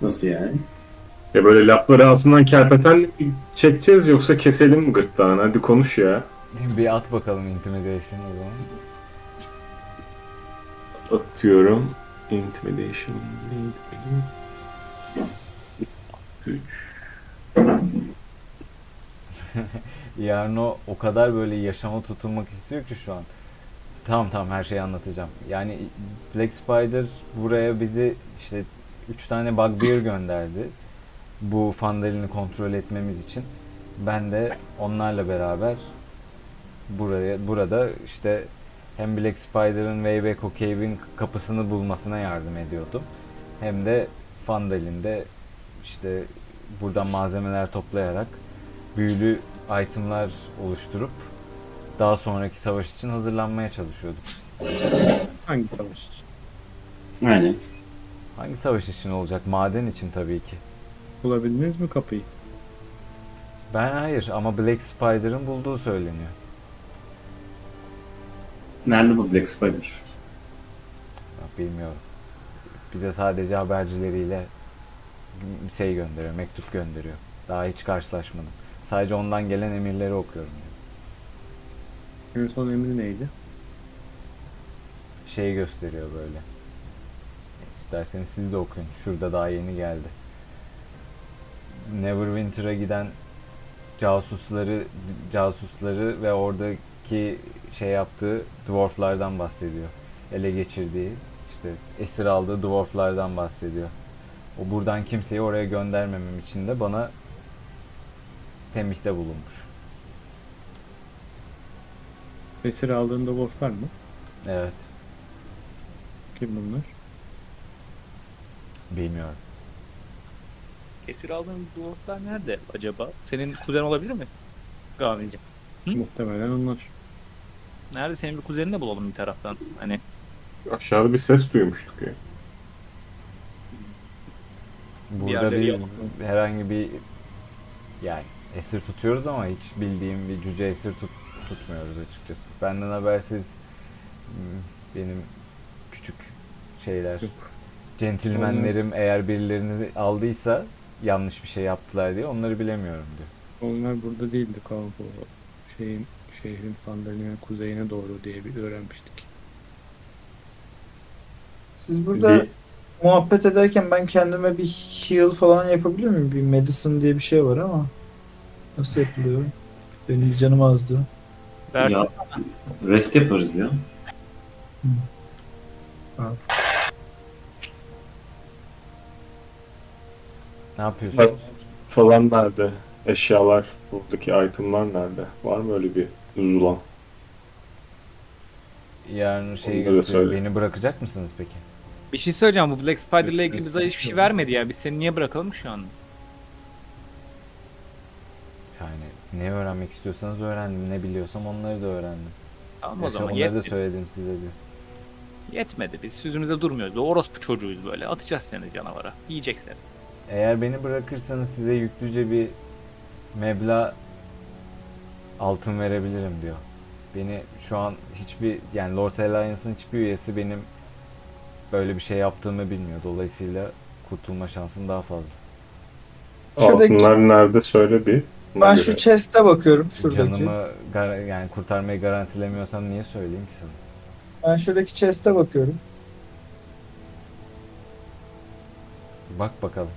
Speaker 1: Nasıl yani?
Speaker 8: Ya E böyle lapları ağzından kerpetenle mi çekeceğiz yoksa keselim mi gırtlağını? Hadi konuş ya.
Speaker 2: Bir at bakalım intimidation o zaman.
Speaker 8: Atıyorum. Intimidation. 3.
Speaker 2: Yarno o kadar böyle yaşama tutunmak istiyor ki şu an. Tamam tamam her şeyi anlatacağım. Yani Black Spider buraya bizi işte 3 tane bugbear gönderdi. Bu fandalini kontrol etmemiz için. Ben de onlarla beraber buraya burada işte hem Black Spider'ın Waybeko Cave'in kapısını bulmasına yardım ediyordum. Hem de Fandalin de işte buradan malzemeler toplayarak büyülü itemlar oluşturup daha sonraki savaş için hazırlanmaya çalışıyorduk.
Speaker 14: Hangi savaş için?
Speaker 1: Aynen.
Speaker 2: Hangi savaş için olacak? Maden için tabii ki.
Speaker 14: Bulabildiniz mi kapıyı?
Speaker 2: Ben hayır ama Black Spider'ın bulduğu söyleniyor.
Speaker 1: Nerede bu Black Spider?
Speaker 2: Ya Ah, Bilmiyorum. Bize sadece habercileriyle şey gönderiyor, mektup gönderiyor. Daha hiç karşılaşmadım. Sadece ondan gelen emirleri okuyorum.
Speaker 14: En son emri neydi?
Speaker 2: Şeyi Şey gösteriyor böyle. İsterseniz siz de okuyun. Şurada daha yeni geldi. Neverwinter'a giden casusları casusları ve oradaki şey yaptığı dwarflardan bahsediyor. Ele geçirdiği işte esir aldığı dwarflardan bahsediyor. O buradan kimseyi oraya göndermemem için de bana tembihte bulunmuş.
Speaker 14: Esir aldığında Wolf var mı?
Speaker 2: Evet,
Speaker 14: Kim bunlar?
Speaker 2: bilmiyorum.
Speaker 12: Esir aldığın dwarflar nerede acaba? Senin kuzen olabilir mi? Gamilciğim.
Speaker 14: Muhtemelen onlar.
Speaker 12: Nerede senin bir kuzenini de bulalım bir taraftan. Hani
Speaker 8: Aşağıda bir ses duymuştuk ya.
Speaker 2: Burada
Speaker 12: yerleri
Speaker 2: bir,
Speaker 12: yok.
Speaker 2: herhangi bir yani esir tutuyoruz ama hiç bildiğim bir cüce esir tut, tutmuyoruz açıkçası. Benden habersiz m, benim küçük şeyler centilmenlerim eğer birilerini aldıysa yanlış bir şey yaptılar diye onları bilemiyorum diyor.
Speaker 14: Onlar burada değildi Kavga. Şeyin, şehrin sandalyenin kuzeyine doğru diye bir öğrenmiştik.
Speaker 7: Siz burada muhabbet ederken ben kendime bir heal falan yapabiliyor muyum? Bir medicine diye bir şey var ama nasıl yapılıyor? Benim bir canım azdı.
Speaker 12: Dersin.
Speaker 1: Ya, rest yaparız ya.
Speaker 2: Ne yapıyorsun?
Speaker 8: Bak, falan nerede? Eşyalar, buradaki itemlar nerede? Var mı öyle bir zulan?
Speaker 2: Yarın şeyi
Speaker 8: Onları da
Speaker 2: gösteriyor.
Speaker 8: söyle.
Speaker 2: Beni bırakacak mısınız peki?
Speaker 12: bir şey söyleyeceğim bu Black Spider'la ilgili bize hiçbir şey vermedi ya. Biz seni niye bırakalım ki şu an?
Speaker 2: Yani ne öğrenmek istiyorsanız öğrendim. Ne biliyorsam onları da öğrendim.
Speaker 12: Tamam o
Speaker 2: Gerçi
Speaker 12: zaman,
Speaker 2: Onları da
Speaker 12: yetmedi.
Speaker 2: söyledim size diyor.
Speaker 12: Yetmedi. Biz sözümüzde durmuyoruz. Orospu çocuğuyuz böyle. Atacağız seni canavara. Yiyecek seni.
Speaker 2: Eğer beni bırakırsanız size yüklüce bir meblağ altın verebilirim diyor. Beni şu an hiçbir yani Lord Alliance'ın hiçbir üyesi benim böyle bir şey yaptığımı bilmiyor. Dolayısıyla kurtulma şansım daha fazla.
Speaker 7: Şuradaki-
Speaker 8: Altınlar nerede söyle bir.
Speaker 7: Ben şu chest'e bakıyorum şuradaki.
Speaker 2: Canımı gar- yani kurtarmayı garantilemiyorsam niye söyleyeyim ki sana?
Speaker 7: Ben şuradaki chest'e bakıyorum.
Speaker 2: Bak bakalım.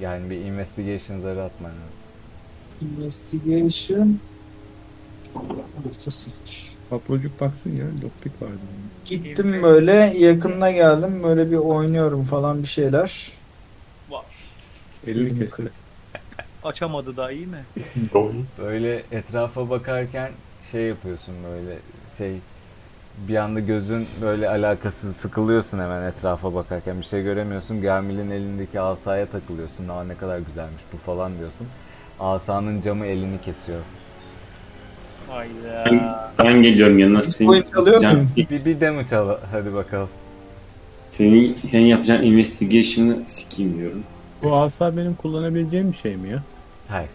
Speaker 2: Yani bir investigation zarı atman lazım.
Speaker 7: Investigation. Artı sıfır.
Speaker 14: Papucuk baksın ya. Lockpick vardı.
Speaker 7: Gittim böyle yakınına geldim. Böyle bir oynuyorum falan bir şeyler.
Speaker 14: Elini kesti.
Speaker 12: Açamadı daha iyi mi?
Speaker 2: Böyle etrafa bakarken şey yapıyorsun böyle şey bir anda gözün böyle alakasız sıkılıyorsun hemen etrafa bakarken bir şey göremiyorsun. Gamil'in elindeki asaya takılıyorsun. Aa ne kadar güzelmiş bu falan diyorsun. Asanın camı elini kesiyor.
Speaker 12: Hayda.
Speaker 1: Ben geliyorum yanına senin. yapacağın-
Speaker 2: Bir, bir demo çal hadi bakalım.
Speaker 1: Senin, senin yapacağın investigation'ı sikeyim diyorum.
Speaker 4: Bu asa benim kullanabileceğim bir şey mi ya?
Speaker 2: Hayır.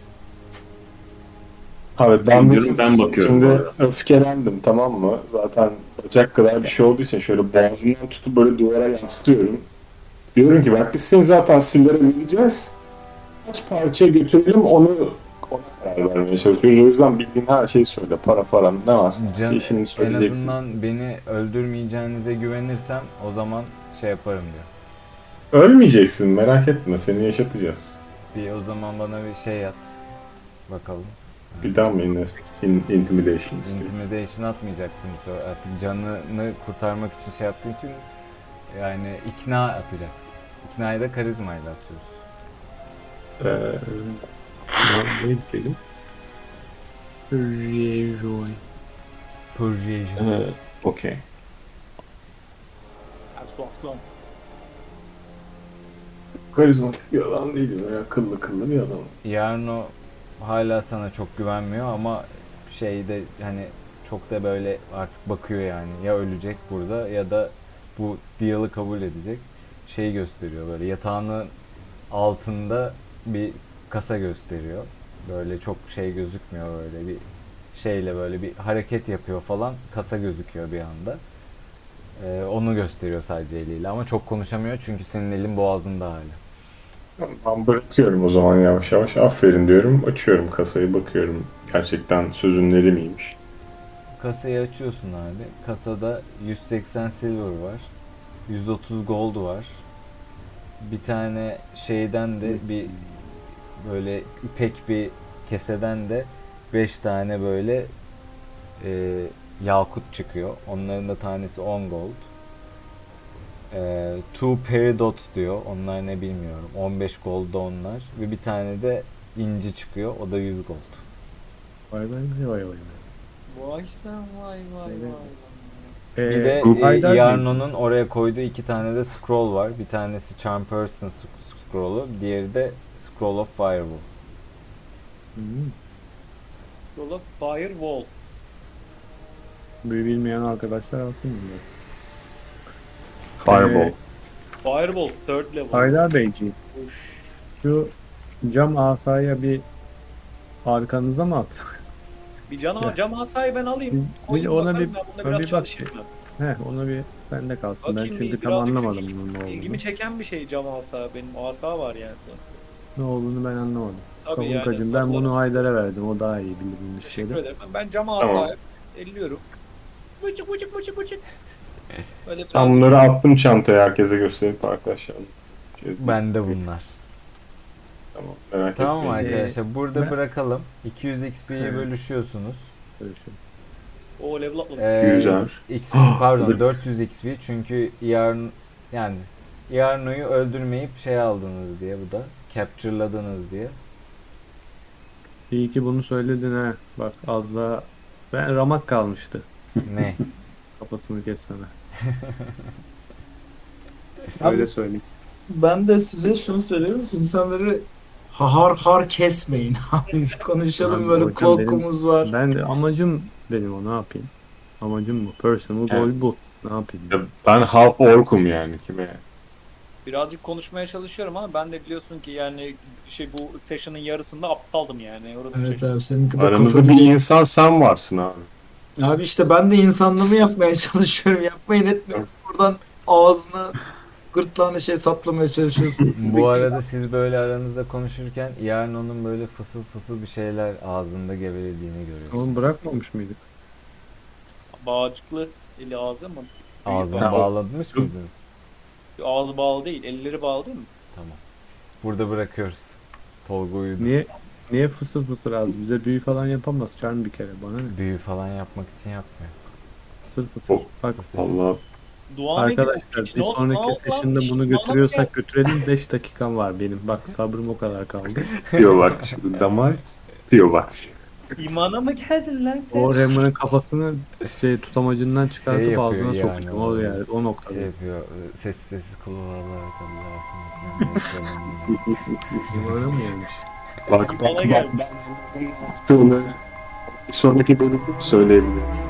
Speaker 8: Abi ben,
Speaker 1: Bilmiyorum, ben bakıyorum bu
Speaker 8: Şimdi
Speaker 1: arada.
Speaker 8: öfkelendim tamam mı? Zaten bacak kadar bir şey olduysa şöyle boğazımdan tutup böyle duvara yansıtıyorum. Diyorum ki bak biz seni zaten sillere vereceğiz. Kaç parçaya götürelim onu ona karar vermeye çalışıyoruz. O yüzden bildiğin her şeyi söyle. Para falan ne varsa.
Speaker 2: Can,
Speaker 8: şimdi
Speaker 2: en
Speaker 8: söyleyeceksin.
Speaker 2: azından beni öldürmeyeceğinize güvenirsem o zaman şey yaparım diyor.
Speaker 8: Ölmeyeceksin merak etme seni yaşatacağız.
Speaker 2: Bir o zaman bana bir şey yat. Bakalım.
Speaker 8: Bir daha mı invest- in, intimidation istiyor?
Speaker 2: Intimidation atmayacaksın bu sefer. Artık canını kurtarmak için şey yaptığın için yani ikna atacaksın. İknayı da karizmayla atıyoruz.
Speaker 14: Ee, ne diyelim?
Speaker 4: Persuasion.
Speaker 2: Persuasion.
Speaker 8: Ee, Okey.
Speaker 12: Persuasyon.
Speaker 8: Karizmatik bir adam değilim. Yani akıllı kıllı bir adam.
Speaker 2: Yarno hala sana çok güvenmiyor ama şeyde hani çok da böyle artık bakıyor yani. Ya ölecek burada ya da bu deal'ı kabul edecek. Şey gösteriyor böyle yatağının altında bir kasa gösteriyor. Böyle çok şey gözükmüyor böyle bir şeyle böyle bir hareket yapıyor falan. Kasa gözüküyor bir anda. Ee, onu gösteriyor sadece eliyle ama çok konuşamıyor çünkü senin elin boğazında hala.
Speaker 8: Ben bırakıyorum o zaman yavaş yavaş. Aferin diyorum. Açıyorum kasayı bakıyorum. Gerçekten sözün neri miymiş?
Speaker 2: Kasayı açıyorsun abi. Kasada 180 silver var. 130 gold var. Bir tane şeyden de bir böyle ipek bir keseden de 5 tane böyle e, yakut çıkıyor. Onların da tanesi 10 gold. E, two peridot diyor. Onlar ne bilmiyorum. 15 gold da onlar. Ve bir tane de inci çıkıyor. O da 100 gold.
Speaker 4: Vay vay vay vay vay.
Speaker 12: Vay sen vay vay vay.
Speaker 2: Bir
Speaker 4: Ee,
Speaker 2: de
Speaker 14: Haydar
Speaker 2: e,
Speaker 14: mıydı?
Speaker 2: Yarno'nun oraya koyduğu iki tane de scroll var. Bir tanesi Charm Person sc- scroll'u, diğeri de Scroll of Firewall.
Speaker 12: Yola firewall.
Speaker 14: Büyü bilmeyen arkadaşlar alsın bunları.
Speaker 8: Fireball.
Speaker 12: Fireball third level.
Speaker 14: Haydar Beyciğim. Şu cam asaya bir arkanıza mı at?
Speaker 12: Bir can
Speaker 14: Ya.
Speaker 12: ama cam asayı ben alayım.
Speaker 14: Bir-
Speaker 12: Koyayım
Speaker 14: ona
Speaker 12: bakalım
Speaker 14: bir-
Speaker 12: ben bunda
Speaker 14: ona
Speaker 12: biraz
Speaker 14: bir bak.
Speaker 12: çalışayım ben.
Speaker 14: He onu bir sende kalsın.
Speaker 12: Bakayım
Speaker 14: ben
Speaker 12: bir,
Speaker 14: çünkü tam
Speaker 12: birazcık
Speaker 14: anlamadım bunun ne olduğunu.
Speaker 12: İlgimi çeken bir şey cam asa. Benim asa var yani.
Speaker 14: Ne olduğunu ben anlamadım.
Speaker 12: Tabii
Speaker 14: Kavun
Speaker 12: yani,
Speaker 14: kacım ben bunu Haydar'a verdim. O daha iyi bilir bunu
Speaker 12: Teşekkür
Speaker 14: şeyleri.
Speaker 12: ederim. Ben cam asaya
Speaker 8: Tamam.
Speaker 12: elliyorum. Bıcık bıcık bıcık bıcık. Böyle biraz
Speaker 8: Ben bunları attım çantaya herkese gösterip arkadaşlar. Şey,
Speaker 2: Bende bunlar.
Speaker 8: Tamam merak
Speaker 2: Tamam
Speaker 8: etmeyin.
Speaker 2: arkadaşlar burada
Speaker 14: Ee, ben-
Speaker 2: bırakalım. 200 XP'yi
Speaker 14: Evet.
Speaker 2: bölüşüyorsunuz.
Speaker 14: şey.
Speaker 12: o level atladım.
Speaker 2: Ee,
Speaker 8: Güzel.
Speaker 2: XP, pardon 400 XP çünkü Yarn yani Yarno'yu öldürmeyip şey aldınız diye bu da capture'ladınız diye.
Speaker 4: İyi ki bunu söyledin ha. Bak az daha ben ramak kalmıştı
Speaker 2: Ne?
Speaker 4: kafasını kesmeme.
Speaker 7: Abi-
Speaker 4: Öyle söyleyeyim.
Speaker 7: Ben de size şunu söylüyorum. İnsanları har har kesmeyin. Konuşalım
Speaker 4: Abi
Speaker 7: böyle
Speaker 4: hocam benim-
Speaker 7: klokumuz var.
Speaker 4: Ben de amacım dedim o ne yapayım? Amacım bu. Personal
Speaker 8: Evet.
Speaker 4: goal bu. Ne yapayım?
Speaker 8: Ya Ben half orkum yani kime?
Speaker 12: Birazcık konuşmaya çalışıyorum ama ben de biliyorsun ki yani şey bu session'ın yarısında aptaldım yani. Orada şey,
Speaker 7: Evet abi senin de
Speaker 8: Aramızda
Speaker 7: kafanı-
Speaker 8: bir insan sen varsın abi.
Speaker 7: Abi işte ben de insanlığımı yapmaya çalışıyorum. Yapmayın etmiyorum. Buradan ağzına gırtlağına şey saplamaya çalışıyorsun.
Speaker 2: Bu arada siz böyle aranızda konuşurken yarın onun böyle fısıl fısıl bir şeyler ağzında gevelediğini görüyorsunuz.
Speaker 4: Onu bırakmamış mıydık?
Speaker 12: bağcıklı eli ağzı mı?
Speaker 2: Ağzını
Speaker 12: Ha, o-
Speaker 2: bağlamış mıydınız?
Speaker 12: Ağzı bağlı değil, elleri bağlı değil mi?
Speaker 2: Tamam. Burada bırakıyoruz. Tolga uyudu.
Speaker 4: Niye niye fısır fısır az? Bize büyü falan yapamaz. Çarm bir kere bana ne?
Speaker 2: Büyü falan yapmak için yapmıyor.
Speaker 4: Fısır
Speaker 2: Oh.
Speaker 4: fısır. Bak
Speaker 8: Allah
Speaker 12: Dua
Speaker 4: arkadaşlar bir sonraki session'da bunu götürüyorsak götürelim. 5 dakikam var benim. Bak sabrım o kadar kaldı.
Speaker 8: diyor bak şimdi damar diyor bak.
Speaker 12: İmana mı geldin lan sen?
Speaker 4: O Remmer'ın kafasını şey tutamacından çıkartıp
Speaker 2: Şey yapıyor
Speaker 4: ağzına
Speaker 2: yani
Speaker 4: sokmuştum. O
Speaker 2: orada.
Speaker 4: yani o noktada.
Speaker 2: Şey yapıyor. e, Sessiz sessiz kulağına sallar.
Speaker 4: Yumruğuna mı yemiş?
Speaker 8: Bak bak
Speaker 12: Bana
Speaker 8: bak.
Speaker 12: geldi.
Speaker 8: Yaptığını bir sonraki bölümde söyleyebilirim.